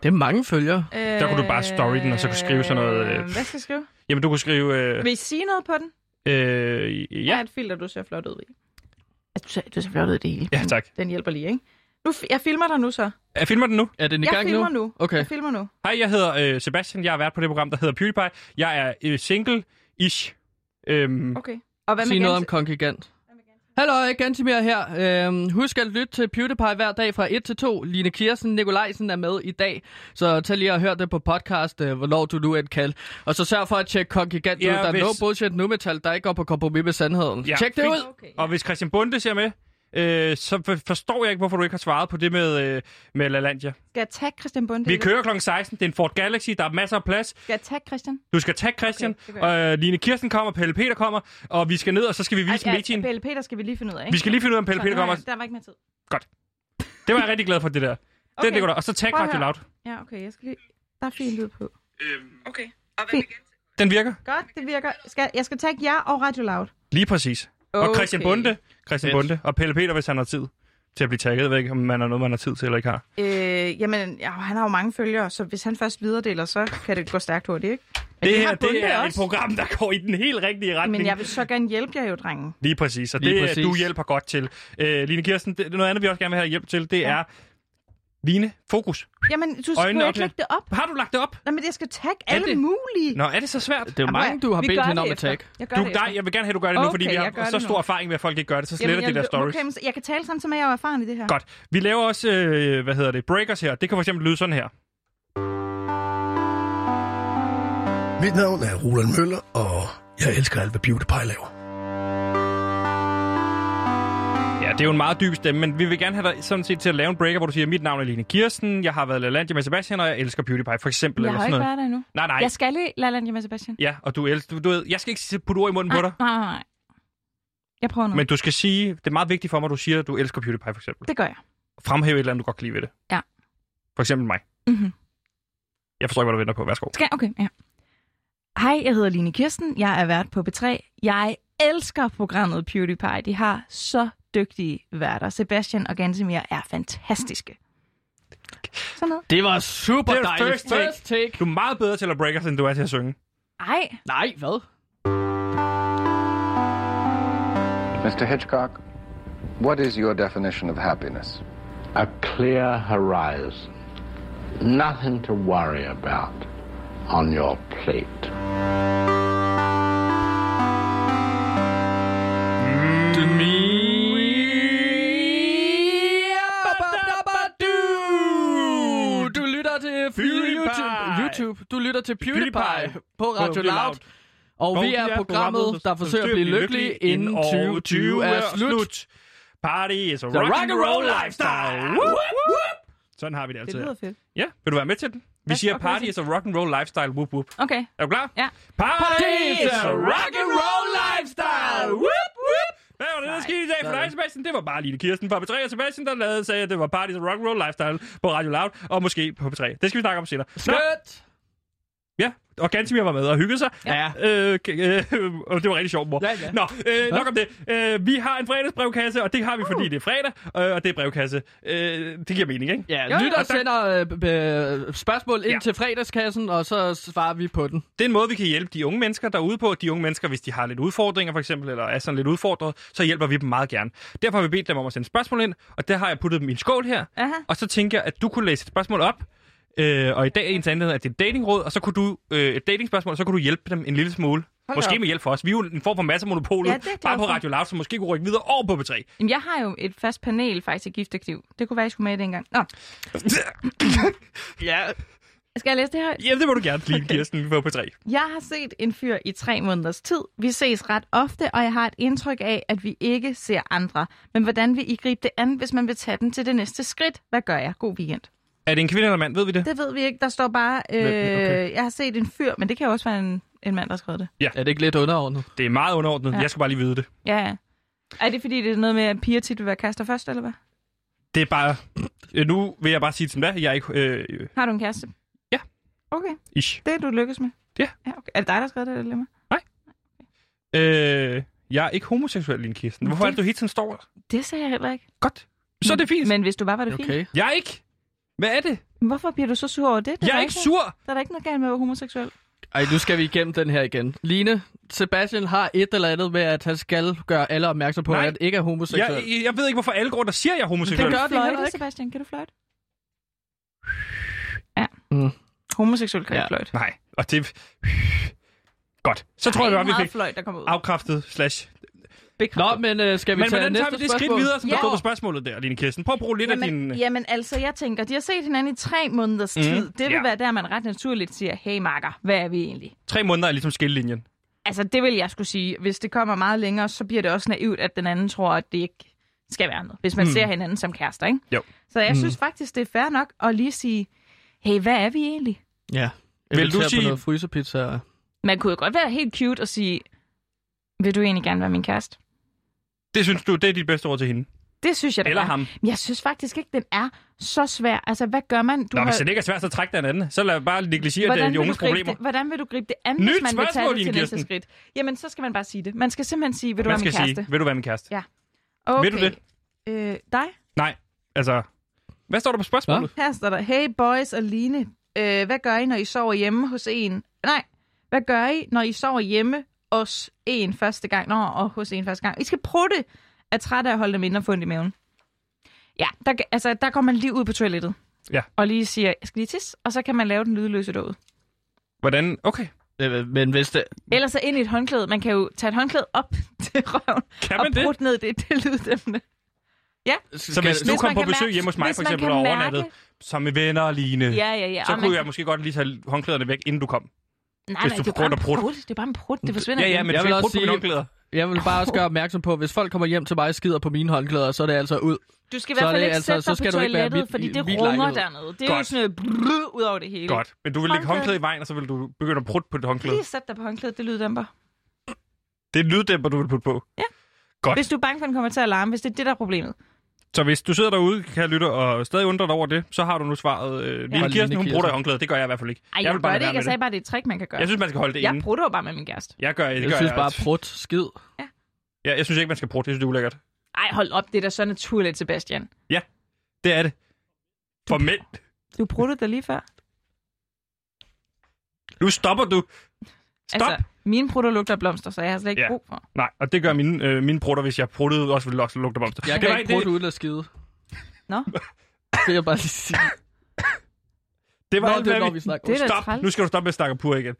[SPEAKER 2] Det er mange følgere.
[SPEAKER 3] Øh,
[SPEAKER 1] Der kunne du bare story den, og så kunne skrive sådan noget, øh,
[SPEAKER 3] Hvad skal jeg skrive?
[SPEAKER 1] Jamen, du kunne skrive... Øh,
[SPEAKER 3] Vil I sige noget på den?
[SPEAKER 1] øh,
[SPEAKER 3] Ja.
[SPEAKER 1] ja.
[SPEAKER 3] Er et filter, du ser flot ud i? Du ser, du ser flot ud i det hele.
[SPEAKER 1] ja, tak.
[SPEAKER 3] Den hjælper lige, ikke? Nu, fi- jeg filmer dig nu så.
[SPEAKER 1] Jeg filmer den nu.
[SPEAKER 2] Er den i
[SPEAKER 3] Jeg
[SPEAKER 2] gang nu?
[SPEAKER 3] filmer nu.
[SPEAKER 2] Okay.
[SPEAKER 3] Jeg filmer nu.
[SPEAKER 1] Hej, jeg hedder øh, Sebastian. Jeg har været på det program, der hedder PewDiePie. Jeg er øh, single-ish. Øhm,
[SPEAKER 3] Okay. Og hvad
[SPEAKER 2] Sig
[SPEAKER 3] med
[SPEAKER 2] noget om
[SPEAKER 3] Gens-
[SPEAKER 2] Kongigant. Hallo, Gantimir her. Øhm, husk at lytte til PewDiePie hver dag fra 1 til 2. Line Kirsten Nikolajsen er med i dag, så tag lige og hør det på podcast, øh, hvornår du nu end kan. Og så sørg for at tjekke Kongigant
[SPEAKER 1] Ja,
[SPEAKER 2] ud. Der er
[SPEAKER 1] hvis-
[SPEAKER 2] no bullshit nu metal, der ikke går på kompromis med sandheden.
[SPEAKER 1] Ja,
[SPEAKER 2] Tjek det
[SPEAKER 1] fint.
[SPEAKER 2] ud!
[SPEAKER 1] Og hvis Christian Bunde ser med, øh, så for, forstår jeg ikke, hvorfor du ikke har svaret på det med, øh, med LaLandia.
[SPEAKER 3] Skal jeg tage Christian Bunde?
[SPEAKER 1] Vi kører kl. 16. Det er en Ford Galaxy. Der er masser af plads.
[SPEAKER 3] Skal jeg tage Christian?
[SPEAKER 1] Du skal tage Christian.
[SPEAKER 3] Okay,
[SPEAKER 1] Okay,
[SPEAKER 3] det gør
[SPEAKER 1] og, øh, Line Kirsten kommer, Pelle Peter kommer. Og vi skal ned, og så skal vi vise Ej, medien.
[SPEAKER 3] Pelle Peter skal vi lige finde ud af, ikke?
[SPEAKER 1] Vi skal lige finde ud af, om Pelle
[SPEAKER 3] Så,
[SPEAKER 1] Peter
[SPEAKER 3] nu har
[SPEAKER 1] kommer.
[SPEAKER 3] jeg- Der var ikke mere tid.
[SPEAKER 1] Det var jeg rigtig glad for, det der. Okay. Den, det går der. Og så tag
[SPEAKER 3] Prøv at
[SPEAKER 1] Radio
[SPEAKER 3] høre.
[SPEAKER 1] Loud.
[SPEAKER 3] Ja, okay. Jeg skal lige... Der er fint lyd på. Okay.
[SPEAKER 1] Den virker.
[SPEAKER 3] Godt, det virker. Skal, jeg skal tage jer og Radio Loud.
[SPEAKER 1] Lige præcis. Okay. Og Christian Bunde, Christian
[SPEAKER 2] Fedt.
[SPEAKER 1] Bunde og Pelle Peter, hvis han har tid til at blive tagget. Jeg ved ikke, om man har noget, man har tid til eller ikke har.
[SPEAKER 3] Øh, jamen, ja, han har jo mange følgere, så hvis han først videredeler, så kan det gå stærkt hurtigt, ikke? Men
[SPEAKER 1] Det, det her,
[SPEAKER 3] har Bunde
[SPEAKER 1] det er
[SPEAKER 3] også.
[SPEAKER 1] et program, der går i den helt rigtige retning.
[SPEAKER 3] Men jeg vil så gerne hjælpe jer jo, drengen.
[SPEAKER 1] Lige præcis, og
[SPEAKER 2] Lige
[SPEAKER 1] det præcis.
[SPEAKER 2] præcis.
[SPEAKER 1] du hjælper godt til. Øh, Line Kirsten, det, noget andet, vi også gerne vil have hjælp til, det ja. er... Line, fokus.
[SPEAKER 3] Jamen, du
[SPEAKER 1] Øjnene
[SPEAKER 3] skulle
[SPEAKER 1] op,
[SPEAKER 3] ikke lægge det op.
[SPEAKER 1] Har du lagt det op?
[SPEAKER 3] Nej, men jeg skal tagge alle
[SPEAKER 2] det-
[SPEAKER 3] mulige.
[SPEAKER 1] Nå, er det så svært?
[SPEAKER 2] Det er jo mange, du har bedt hende om at tagge.
[SPEAKER 3] Jeg gør
[SPEAKER 1] Du,
[SPEAKER 3] det
[SPEAKER 1] dig, jeg vil gerne have, at du gør det nu, fordi
[SPEAKER 3] Okay,
[SPEAKER 1] vi
[SPEAKER 3] jeg gør
[SPEAKER 1] har så
[SPEAKER 3] det nu.
[SPEAKER 1] stor erfaring med, at folk ikke gør det, så sletter de der stories.
[SPEAKER 3] Okay, men så- jeg kan tale sådan, som jeg er jo erfaren i det her.
[SPEAKER 1] Godt. Vi laver også, øh, hvad hedder det, breakers her. Det kan for eksempel lyde sådan her.
[SPEAKER 9] Mit navn er Roland Møller, og jeg elsker alt, hvad PewDiePie laver.
[SPEAKER 1] Ja, det er jo en meget dyb stemme, men vi vil gerne have dig sådan set til at lave en breaker, hvor du siger, mit navn er Line Kirsten, jeg har været LaLandia med Sebastian, og jeg elsker PewDiePie, for eksempel.
[SPEAKER 3] Jeg
[SPEAKER 1] eller
[SPEAKER 3] har
[SPEAKER 1] sådan
[SPEAKER 3] ikke
[SPEAKER 1] noget.
[SPEAKER 3] været der endnu.
[SPEAKER 1] Nej, nej.
[SPEAKER 3] Jeg skal i LaLandia med Sebastian.
[SPEAKER 1] Ja, og du elsker, du, du ved, jeg skal ikke sige- putte ord i munden på
[SPEAKER 3] Nej,
[SPEAKER 1] dig,
[SPEAKER 3] nej, nej, nej. Jeg prøver noget.
[SPEAKER 1] men du skal sige, det er meget vigtigt for mig, at du siger, at du elsker PewDiePie, for eksempel.
[SPEAKER 3] Det gør jeg.
[SPEAKER 1] Fremhæve et eller andet, du godt kan lide ved det.
[SPEAKER 3] Ja.
[SPEAKER 1] For eksempel mig.
[SPEAKER 3] Mhm.
[SPEAKER 1] Jeg forstår ikke, hvad du venter på. Værsgo.
[SPEAKER 3] Skal jeg? Okay, ja. Hej, jeg hedder Line Kirsten. Jeg er vært på B3. Jeg elsker programmet PewDiePie. De har så dygtige værter. Sebastian og Gansimir er fantastiske. Sådan noget.
[SPEAKER 2] Det var super
[SPEAKER 1] Det er
[SPEAKER 2] dejligt.
[SPEAKER 1] first take.
[SPEAKER 2] First take.
[SPEAKER 1] Du er meget bedre til at breakers, end du er til at synge.
[SPEAKER 3] Ej,
[SPEAKER 2] Nej, hvad?
[SPEAKER 5] Mr. Hitchcock, what is your definition of happiness?
[SPEAKER 10] a clear horizon, nothing to worry about on your plate.
[SPEAKER 2] Ba-ba-ba-du. Du lytter til
[SPEAKER 1] PewDiePie.
[SPEAKER 2] YouTube. YouTube. Du lytter til PewDiePie
[SPEAKER 1] PewDiePie
[SPEAKER 2] på Radio Loud. Og vi er programmet, der forsøger at blive lykkelige, inden 2020 er slut.
[SPEAKER 1] Party is a rock,
[SPEAKER 2] The
[SPEAKER 1] and roll lifestyle. Woo, whoop. Sådan har vi det
[SPEAKER 3] det
[SPEAKER 1] altid.
[SPEAKER 3] lyder
[SPEAKER 1] her.
[SPEAKER 3] fedt.
[SPEAKER 1] Ja, vil du være med til den? Vi siger
[SPEAKER 3] okay,
[SPEAKER 1] party
[SPEAKER 3] sig.
[SPEAKER 1] is a rock and roll lifestyle. Whoop, whoop.
[SPEAKER 3] Okay.
[SPEAKER 1] Er du klar?
[SPEAKER 3] Ja.
[SPEAKER 1] Party is a rock and roll lifestyle. Whoop, whoop. Hvad var det, der skete i dag for dig, Sebastian? Det var bare Line Kirsten fra P3 og Sebastian, der lavede, sagde, at det var Party is a rock and roll lifestyle på Radio Loud og måske på P3. Det skal vi snakke om senere. Nå,
[SPEAKER 2] Skønt.
[SPEAKER 1] ja, og Gantimir var med og hyggede sig.
[SPEAKER 2] Ja.
[SPEAKER 1] Øh, k- øh, og det var rigtig sjovt, mor.
[SPEAKER 2] Ja, ja.
[SPEAKER 1] Nå, øh, nok om det. Øh, vi har en fredagsbrevkasse, og det har vi, fordi
[SPEAKER 2] Uh.
[SPEAKER 1] det er fredag, øh, og det er brevkasse. Øh, det giver mening, ikke?
[SPEAKER 2] Ja,
[SPEAKER 1] Jo, jo.
[SPEAKER 2] lytter
[SPEAKER 1] Og der-
[SPEAKER 2] sender øh, b- b- spørgsmål ind
[SPEAKER 1] Ja.
[SPEAKER 2] til fredagskassen, og så svarer vi på den.
[SPEAKER 1] Det er en måde, vi kan hjælpe de unge mennesker derude på. De unge mennesker, hvis de har lidt udfordringer for eksempel, eller er sådan lidt udfordret, så hjælper vi dem meget gerne. Derfor har vi bedt dem om at sende spørgsmål ind, og der har jeg puttet dem i en skål her.
[SPEAKER 3] Aha.
[SPEAKER 1] Og så tænker jeg, at du kunne læse et spørgsmål op, øh, og i dag er ens anledning, at det er et datingråd, og så kunne du, øh, et datingspørgsmål, og så kunne du hjælpe dem en lille smule.
[SPEAKER 3] da
[SPEAKER 1] måske
[SPEAKER 3] op.
[SPEAKER 1] med hjælp for os. Vi er jo en form for masse monopolet,
[SPEAKER 3] Ja, det er jeg
[SPEAKER 1] bare
[SPEAKER 3] glad
[SPEAKER 1] på
[SPEAKER 3] for.
[SPEAKER 1] Radio Loud, så måske kunne rykke videre over på B3.
[SPEAKER 3] Jamen, jeg har jo et fast panel faktisk i Giftaktiv. Det kunne være, I skulle med dengang. Nå,
[SPEAKER 2] Ja.
[SPEAKER 3] Skal jeg læse det her?
[SPEAKER 1] Ja, det må du gerne blive, okay. Kirsten, på på 3.
[SPEAKER 3] Jeg har set en fyr i tre måneders tid. Vi ses ret ofte, og jeg har et indtryk af, at vi ikke ser andre. Men hvordan vil I gribe det an, hvis man vil tage den til det næste skridt? Hvad gør jeg? God weekend.
[SPEAKER 1] Er det en kvinde eller mand? Ved vi det?
[SPEAKER 3] Det ved vi ikke. Der står bare, øh, okay. jeg har set en fyr, men det kan jo også være en, en mand, der har skrevet det.
[SPEAKER 1] Ja.
[SPEAKER 2] Er det ikke lidt underordnet?
[SPEAKER 1] Det er meget underordnet.
[SPEAKER 3] Ja.
[SPEAKER 1] Ja. Jeg skal bare lige vide det.
[SPEAKER 3] Ja, ja. Er det fordi, det er noget med, at piger tit vil være kærester først, eller hvad?
[SPEAKER 1] Det er bare... Øh, Nu vil jeg bare sige til dig, jeg er ikke... Øh, øh,
[SPEAKER 3] Har du en kæreste?
[SPEAKER 1] Ja.
[SPEAKER 3] Okay,
[SPEAKER 1] ish.
[SPEAKER 3] det er du lykkes med?
[SPEAKER 1] Ja.
[SPEAKER 3] ja okay. Er det dig, der har skrevet det, eller mig?
[SPEAKER 1] Øh, jeg er ikke homoseksuel, Line Kirsten. Hvorfor er det, du hele tiden står der?
[SPEAKER 3] Det sagde jeg heller ikke.
[SPEAKER 1] Godt. Så er det fint.
[SPEAKER 3] Men hvis du bare var det okay. fint.
[SPEAKER 2] Okay.
[SPEAKER 1] Jeg er ikke. Hvad er det?
[SPEAKER 3] Hvorfor bliver du så sur over det? det
[SPEAKER 1] Jeg er ikke sur.
[SPEAKER 3] Der er da ikke noget galt med at være homoseksuel.
[SPEAKER 2] Ej, nu skal vi igennem den her igen. Line, Sebastian har et eller andet med, at han skal gøre alle opmærksom på,
[SPEAKER 1] Nej.
[SPEAKER 2] at han ikke er
[SPEAKER 1] Jeg,
[SPEAKER 2] homoseksuel.
[SPEAKER 1] jeg, jeg ved ikke, hvorfor alle går rundt og siger, at jeg er
[SPEAKER 2] Det
[SPEAKER 1] homoseksuel.
[SPEAKER 2] gør
[SPEAKER 3] Kan
[SPEAKER 2] det
[SPEAKER 3] du
[SPEAKER 2] heller
[SPEAKER 3] fløjte,
[SPEAKER 2] ikke.
[SPEAKER 3] Sebastian? Kan du fløjte? Ja. Mm. Homoseksuel kan ja.
[SPEAKER 2] Ja.
[SPEAKER 3] ikke fløjte.
[SPEAKER 1] Nej, og det... Godt. Så tror jeg
[SPEAKER 3] Ej,
[SPEAKER 1] godt, vi
[SPEAKER 3] meget
[SPEAKER 1] fik
[SPEAKER 3] fløjt, der kommer ud.
[SPEAKER 1] afkræftet slash...
[SPEAKER 2] Nå, men øh, skal vi
[SPEAKER 1] Men
[SPEAKER 2] tage
[SPEAKER 1] hvordan
[SPEAKER 2] næste
[SPEAKER 1] tager vi det
[SPEAKER 2] spørgsmål?
[SPEAKER 1] skridt videre, som
[SPEAKER 3] Ja.
[SPEAKER 1] der går på spørgsmålet der, Line Kirsten? Prøv at bruge lidt af Mhm.
[SPEAKER 3] Jamen,
[SPEAKER 1] din... øh,
[SPEAKER 3] jamen altså, jeg tænker, de har set hinanden i tre måneders mm. tid. Det vil
[SPEAKER 1] Ja.
[SPEAKER 3] være der, man ret naturligt siger, hey makker, hvad er vi egentlig?
[SPEAKER 1] Tre måneder er ligesom skillelinjen.
[SPEAKER 3] Altså, det vil jeg skulle sige. Hvis det kommer meget længere, så bliver det også naivt, at den anden tror, at det ikke skal være noget. Hvis man mm. ser hinanden som kærester, ikke?
[SPEAKER 1] Mhm. Jo. Mhm.
[SPEAKER 3] Så jeg mm. synes faktisk, det er fair nok at lige sige, hey, hvad er vi egentlig?
[SPEAKER 2] Ja.
[SPEAKER 1] Vil
[SPEAKER 2] Vil
[SPEAKER 1] du
[SPEAKER 2] du
[SPEAKER 1] sige-
[SPEAKER 2] på noget frysepizza?
[SPEAKER 3] Man kunne jo godt være helt cute og sige, vil du egentlig gerne være min kæreste?
[SPEAKER 1] Det synes du, det er dit bedste ord til hende?
[SPEAKER 3] Det synes jeg, den
[SPEAKER 1] Eller
[SPEAKER 3] er.
[SPEAKER 1] ham?
[SPEAKER 3] Men Jeg synes faktisk ikke, den er så svær. Altså, hvad gør man? Du
[SPEAKER 1] Nå, hvis det ikke er svært, så træk den anden. Så lad bare negligere det er
[SPEAKER 3] hvordan,
[SPEAKER 1] de
[SPEAKER 3] vil du
[SPEAKER 1] unges
[SPEAKER 3] gribe
[SPEAKER 1] problemer.
[SPEAKER 3] det, hvordan vil du gribe det an,
[SPEAKER 1] Nyt
[SPEAKER 3] hvis man vil tage
[SPEAKER 1] spørgsmål,
[SPEAKER 3] det til
[SPEAKER 1] Line
[SPEAKER 3] næste
[SPEAKER 1] Kirsten.
[SPEAKER 3] skridt? Jamen, så skal man bare sige det. Man skal simpelthen sige, vil du være
[SPEAKER 1] Man
[SPEAKER 3] min
[SPEAKER 1] skal
[SPEAKER 3] kæreste?
[SPEAKER 1] sige, vil du være min kæreste?
[SPEAKER 3] Ja. Okay.
[SPEAKER 1] Vil du det?
[SPEAKER 3] Øh, dig?
[SPEAKER 1] Nej, altså... Hvad står der på spørgsmålet?
[SPEAKER 3] Her står der, hey boys og Line, øh, hvad gør I, når I sover hjemme hos en? Nej, hvad gør I, når I sover hjemme hos en første gang? Nå, og hos en første gang. I skal prutte er træt af at holde dem inde og få ondt i maven. Ja, der, kan- altså, der går man lige ud på toilettet.
[SPEAKER 1] Ja.
[SPEAKER 3] Og lige siger, jeg skal lige tisse, og så kan man lave den lydløse dåd.
[SPEAKER 1] Hvordan? Okay.
[SPEAKER 2] Øh, Men hvis det...
[SPEAKER 3] Ellers så ind i et håndklæde. Man kan jo tage et håndklæde op til røven
[SPEAKER 1] Kan
[SPEAKER 3] og
[SPEAKER 1] man det?
[SPEAKER 3] prutte ned det, det lyddæmmende.
[SPEAKER 1] Så hvis du
[SPEAKER 2] Skal-
[SPEAKER 3] Hvis
[SPEAKER 1] kom
[SPEAKER 3] man
[SPEAKER 1] på
[SPEAKER 3] kan
[SPEAKER 1] besøg
[SPEAKER 3] mærke-
[SPEAKER 1] hjemme hos mig,
[SPEAKER 3] hvis
[SPEAKER 1] for
[SPEAKER 3] man
[SPEAKER 1] eksempel,
[SPEAKER 3] kan
[SPEAKER 1] og
[SPEAKER 3] mærke-
[SPEAKER 1] overnattet, som med venner og ligne,
[SPEAKER 3] Ja, ja, ja.
[SPEAKER 1] så
[SPEAKER 3] Og
[SPEAKER 1] kunne
[SPEAKER 3] man-
[SPEAKER 1] jeg måske godt lige tage håndklæderne væk, inden du kom.
[SPEAKER 3] Nej,
[SPEAKER 1] hvis
[SPEAKER 3] nej,
[SPEAKER 1] du
[SPEAKER 3] det er bare
[SPEAKER 1] prutter
[SPEAKER 3] en
[SPEAKER 1] prut.
[SPEAKER 3] prut. Det er bare en prut. Det forsvinder
[SPEAKER 1] Ja, ja,
[SPEAKER 3] igen.
[SPEAKER 1] men
[SPEAKER 2] Jeg
[SPEAKER 1] jeg vil
[SPEAKER 2] vil
[SPEAKER 1] ikke
[SPEAKER 2] også
[SPEAKER 1] brugt på mine
[SPEAKER 2] sige-
[SPEAKER 1] håndklæder.
[SPEAKER 2] Jeg vil bare også gøre opmærksom på, hvis folk kommer hjem til mig og skider på mine håndklæder, så er det altså ud.
[SPEAKER 3] Du skal i
[SPEAKER 2] Så er
[SPEAKER 3] hvert fald
[SPEAKER 2] det
[SPEAKER 3] ikke
[SPEAKER 2] altså-
[SPEAKER 3] sætte
[SPEAKER 2] så
[SPEAKER 3] dig på
[SPEAKER 2] skal du ikke være
[SPEAKER 3] toilettet,
[SPEAKER 2] mit-
[SPEAKER 3] fordi
[SPEAKER 2] i-
[SPEAKER 3] det
[SPEAKER 2] mit
[SPEAKER 3] runger
[SPEAKER 2] lejlighed.
[SPEAKER 3] dernede. Det er jo
[SPEAKER 1] Godt.
[SPEAKER 3] sådan noget brrr ud over det hele.
[SPEAKER 1] Godt, men du vil lægge
[SPEAKER 3] Håndklæde.
[SPEAKER 1] håndklæde i vejen, og så vil du begynde at prutte på et håndklæde.
[SPEAKER 3] Lige sæt dig på håndklædet, det lyddæmper.
[SPEAKER 1] Det er en lyddæmper, du vil putte på. Godt.
[SPEAKER 3] Hvis du er bange for, at den kommer til at alarme, hvis det er det, der er problemet.
[SPEAKER 1] Så hvis du sidder derude, kan jeg lytte, og stadig undrer dig over det, så har du nu svaret. Øh, Lille
[SPEAKER 2] Line
[SPEAKER 1] Kirsten, hun
[SPEAKER 2] Kirsten.
[SPEAKER 1] bruger dig i håndklædet. Det gør jeg i hvert fald ikke.
[SPEAKER 3] Ej, jeg,
[SPEAKER 1] vil
[SPEAKER 3] gør
[SPEAKER 1] lade være
[SPEAKER 3] det ikke. Jeg
[SPEAKER 1] med
[SPEAKER 3] sagde bare, det er et trick, man kan gøre.
[SPEAKER 1] Jeg synes, man skal holde det
[SPEAKER 3] jeg
[SPEAKER 1] inde.
[SPEAKER 3] prutter jo bare med min kæreste.
[SPEAKER 1] Jeg gør det.
[SPEAKER 2] Jeg
[SPEAKER 1] gør
[SPEAKER 2] synes
[SPEAKER 1] jeg.
[SPEAKER 2] bare, prut, skid.
[SPEAKER 1] Ja, jeg synes ikke, man skal bruge det. Jeg synes, det er ulækkert.
[SPEAKER 3] Ej, hold op. Det er da så naturligt, Sebastian.
[SPEAKER 1] Det er det. For mænd.
[SPEAKER 3] Du pruttede dig lige før.
[SPEAKER 1] Nu stopper du. Stop.
[SPEAKER 3] Altså, mine prutter lugter af blomster, så jeg har slet ikke
[SPEAKER 1] Ja.
[SPEAKER 3] brug for.
[SPEAKER 1] Nej, og det gør mine, øh, mine prutter, hvis jeg pruttede, også ville også lugte blomster.
[SPEAKER 2] Jeg
[SPEAKER 1] det
[SPEAKER 2] kan ikke
[SPEAKER 1] det,
[SPEAKER 2] prutte uden at skide.
[SPEAKER 3] Nå.
[SPEAKER 2] Det vil jeg bare lige sige.
[SPEAKER 1] det var
[SPEAKER 2] Nå,
[SPEAKER 1] alt,
[SPEAKER 2] det
[SPEAKER 1] hvad
[SPEAKER 2] er, når
[SPEAKER 1] vi...
[SPEAKER 2] vi snakker.
[SPEAKER 3] Det er da
[SPEAKER 1] Stop.
[SPEAKER 3] træls.
[SPEAKER 1] Nu skal du stoppe med at snakke om pur igen.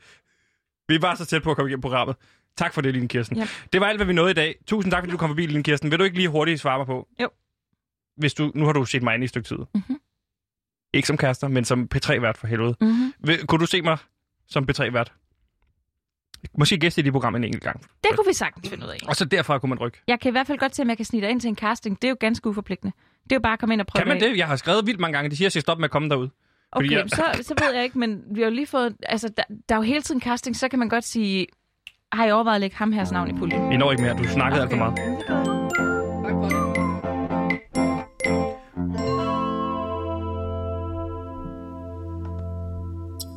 [SPEAKER 1] Vi var så tæt på at komme igennem programmet. Tak for det, Line Kirsten.
[SPEAKER 3] Ja.
[SPEAKER 1] Det var alt, hvad vi nåede i dag. Tusind tak, fordi du kom forbi, Line Kirsten. Vil du ikke lige hurtigt svare mig på?
[SPEAKER 3] Jo. Mhm.
[SPEAKER 1] Hvis du, nu har du set mig ind i et stykke tid. Mm-hmm. Ikke som kærester, men som P3-vært for helvede.
[SPEAKER 3] Mm-hmm.
[SPEAKER 1] Vil, kunne du se mig som P3-vært? Måske gæste i det program en enkelt gang.
[SPEAKER 3] Det kunne vi sagtens finde ud af.
[SPEAKER 1] Og så derfra kunne man rykke.
[SPEAKER 3] Jeg kan i hvert fald godt se, om jeg kan snige dig ind til en casting. Det er jo ganske uforpligtende. Det er jo bare at komme ind og prøve
[SPEAKER 1] Kan man
[SPEAKER 3] af.
[SPEAKER 1] det? Jeg har skrevet vildt mange gange. De siger, at jeg skal stoppe med at komme derud. Fordi
[SPEAKER 3] Okay,
[SPEAKER 1] jeg-
[SPEAKER 3] så, så ved jeg ikke, men vi har jo lige fået... Altså, der, der er jo hele tiden casting, så kan man godt sige... Har I overvejet at lægge ham her navn i puljen?
[SPEAKER 1] Vi når ikke mere. Du snakkede okay. alt for meget.
[SPEAKER 3] Okay.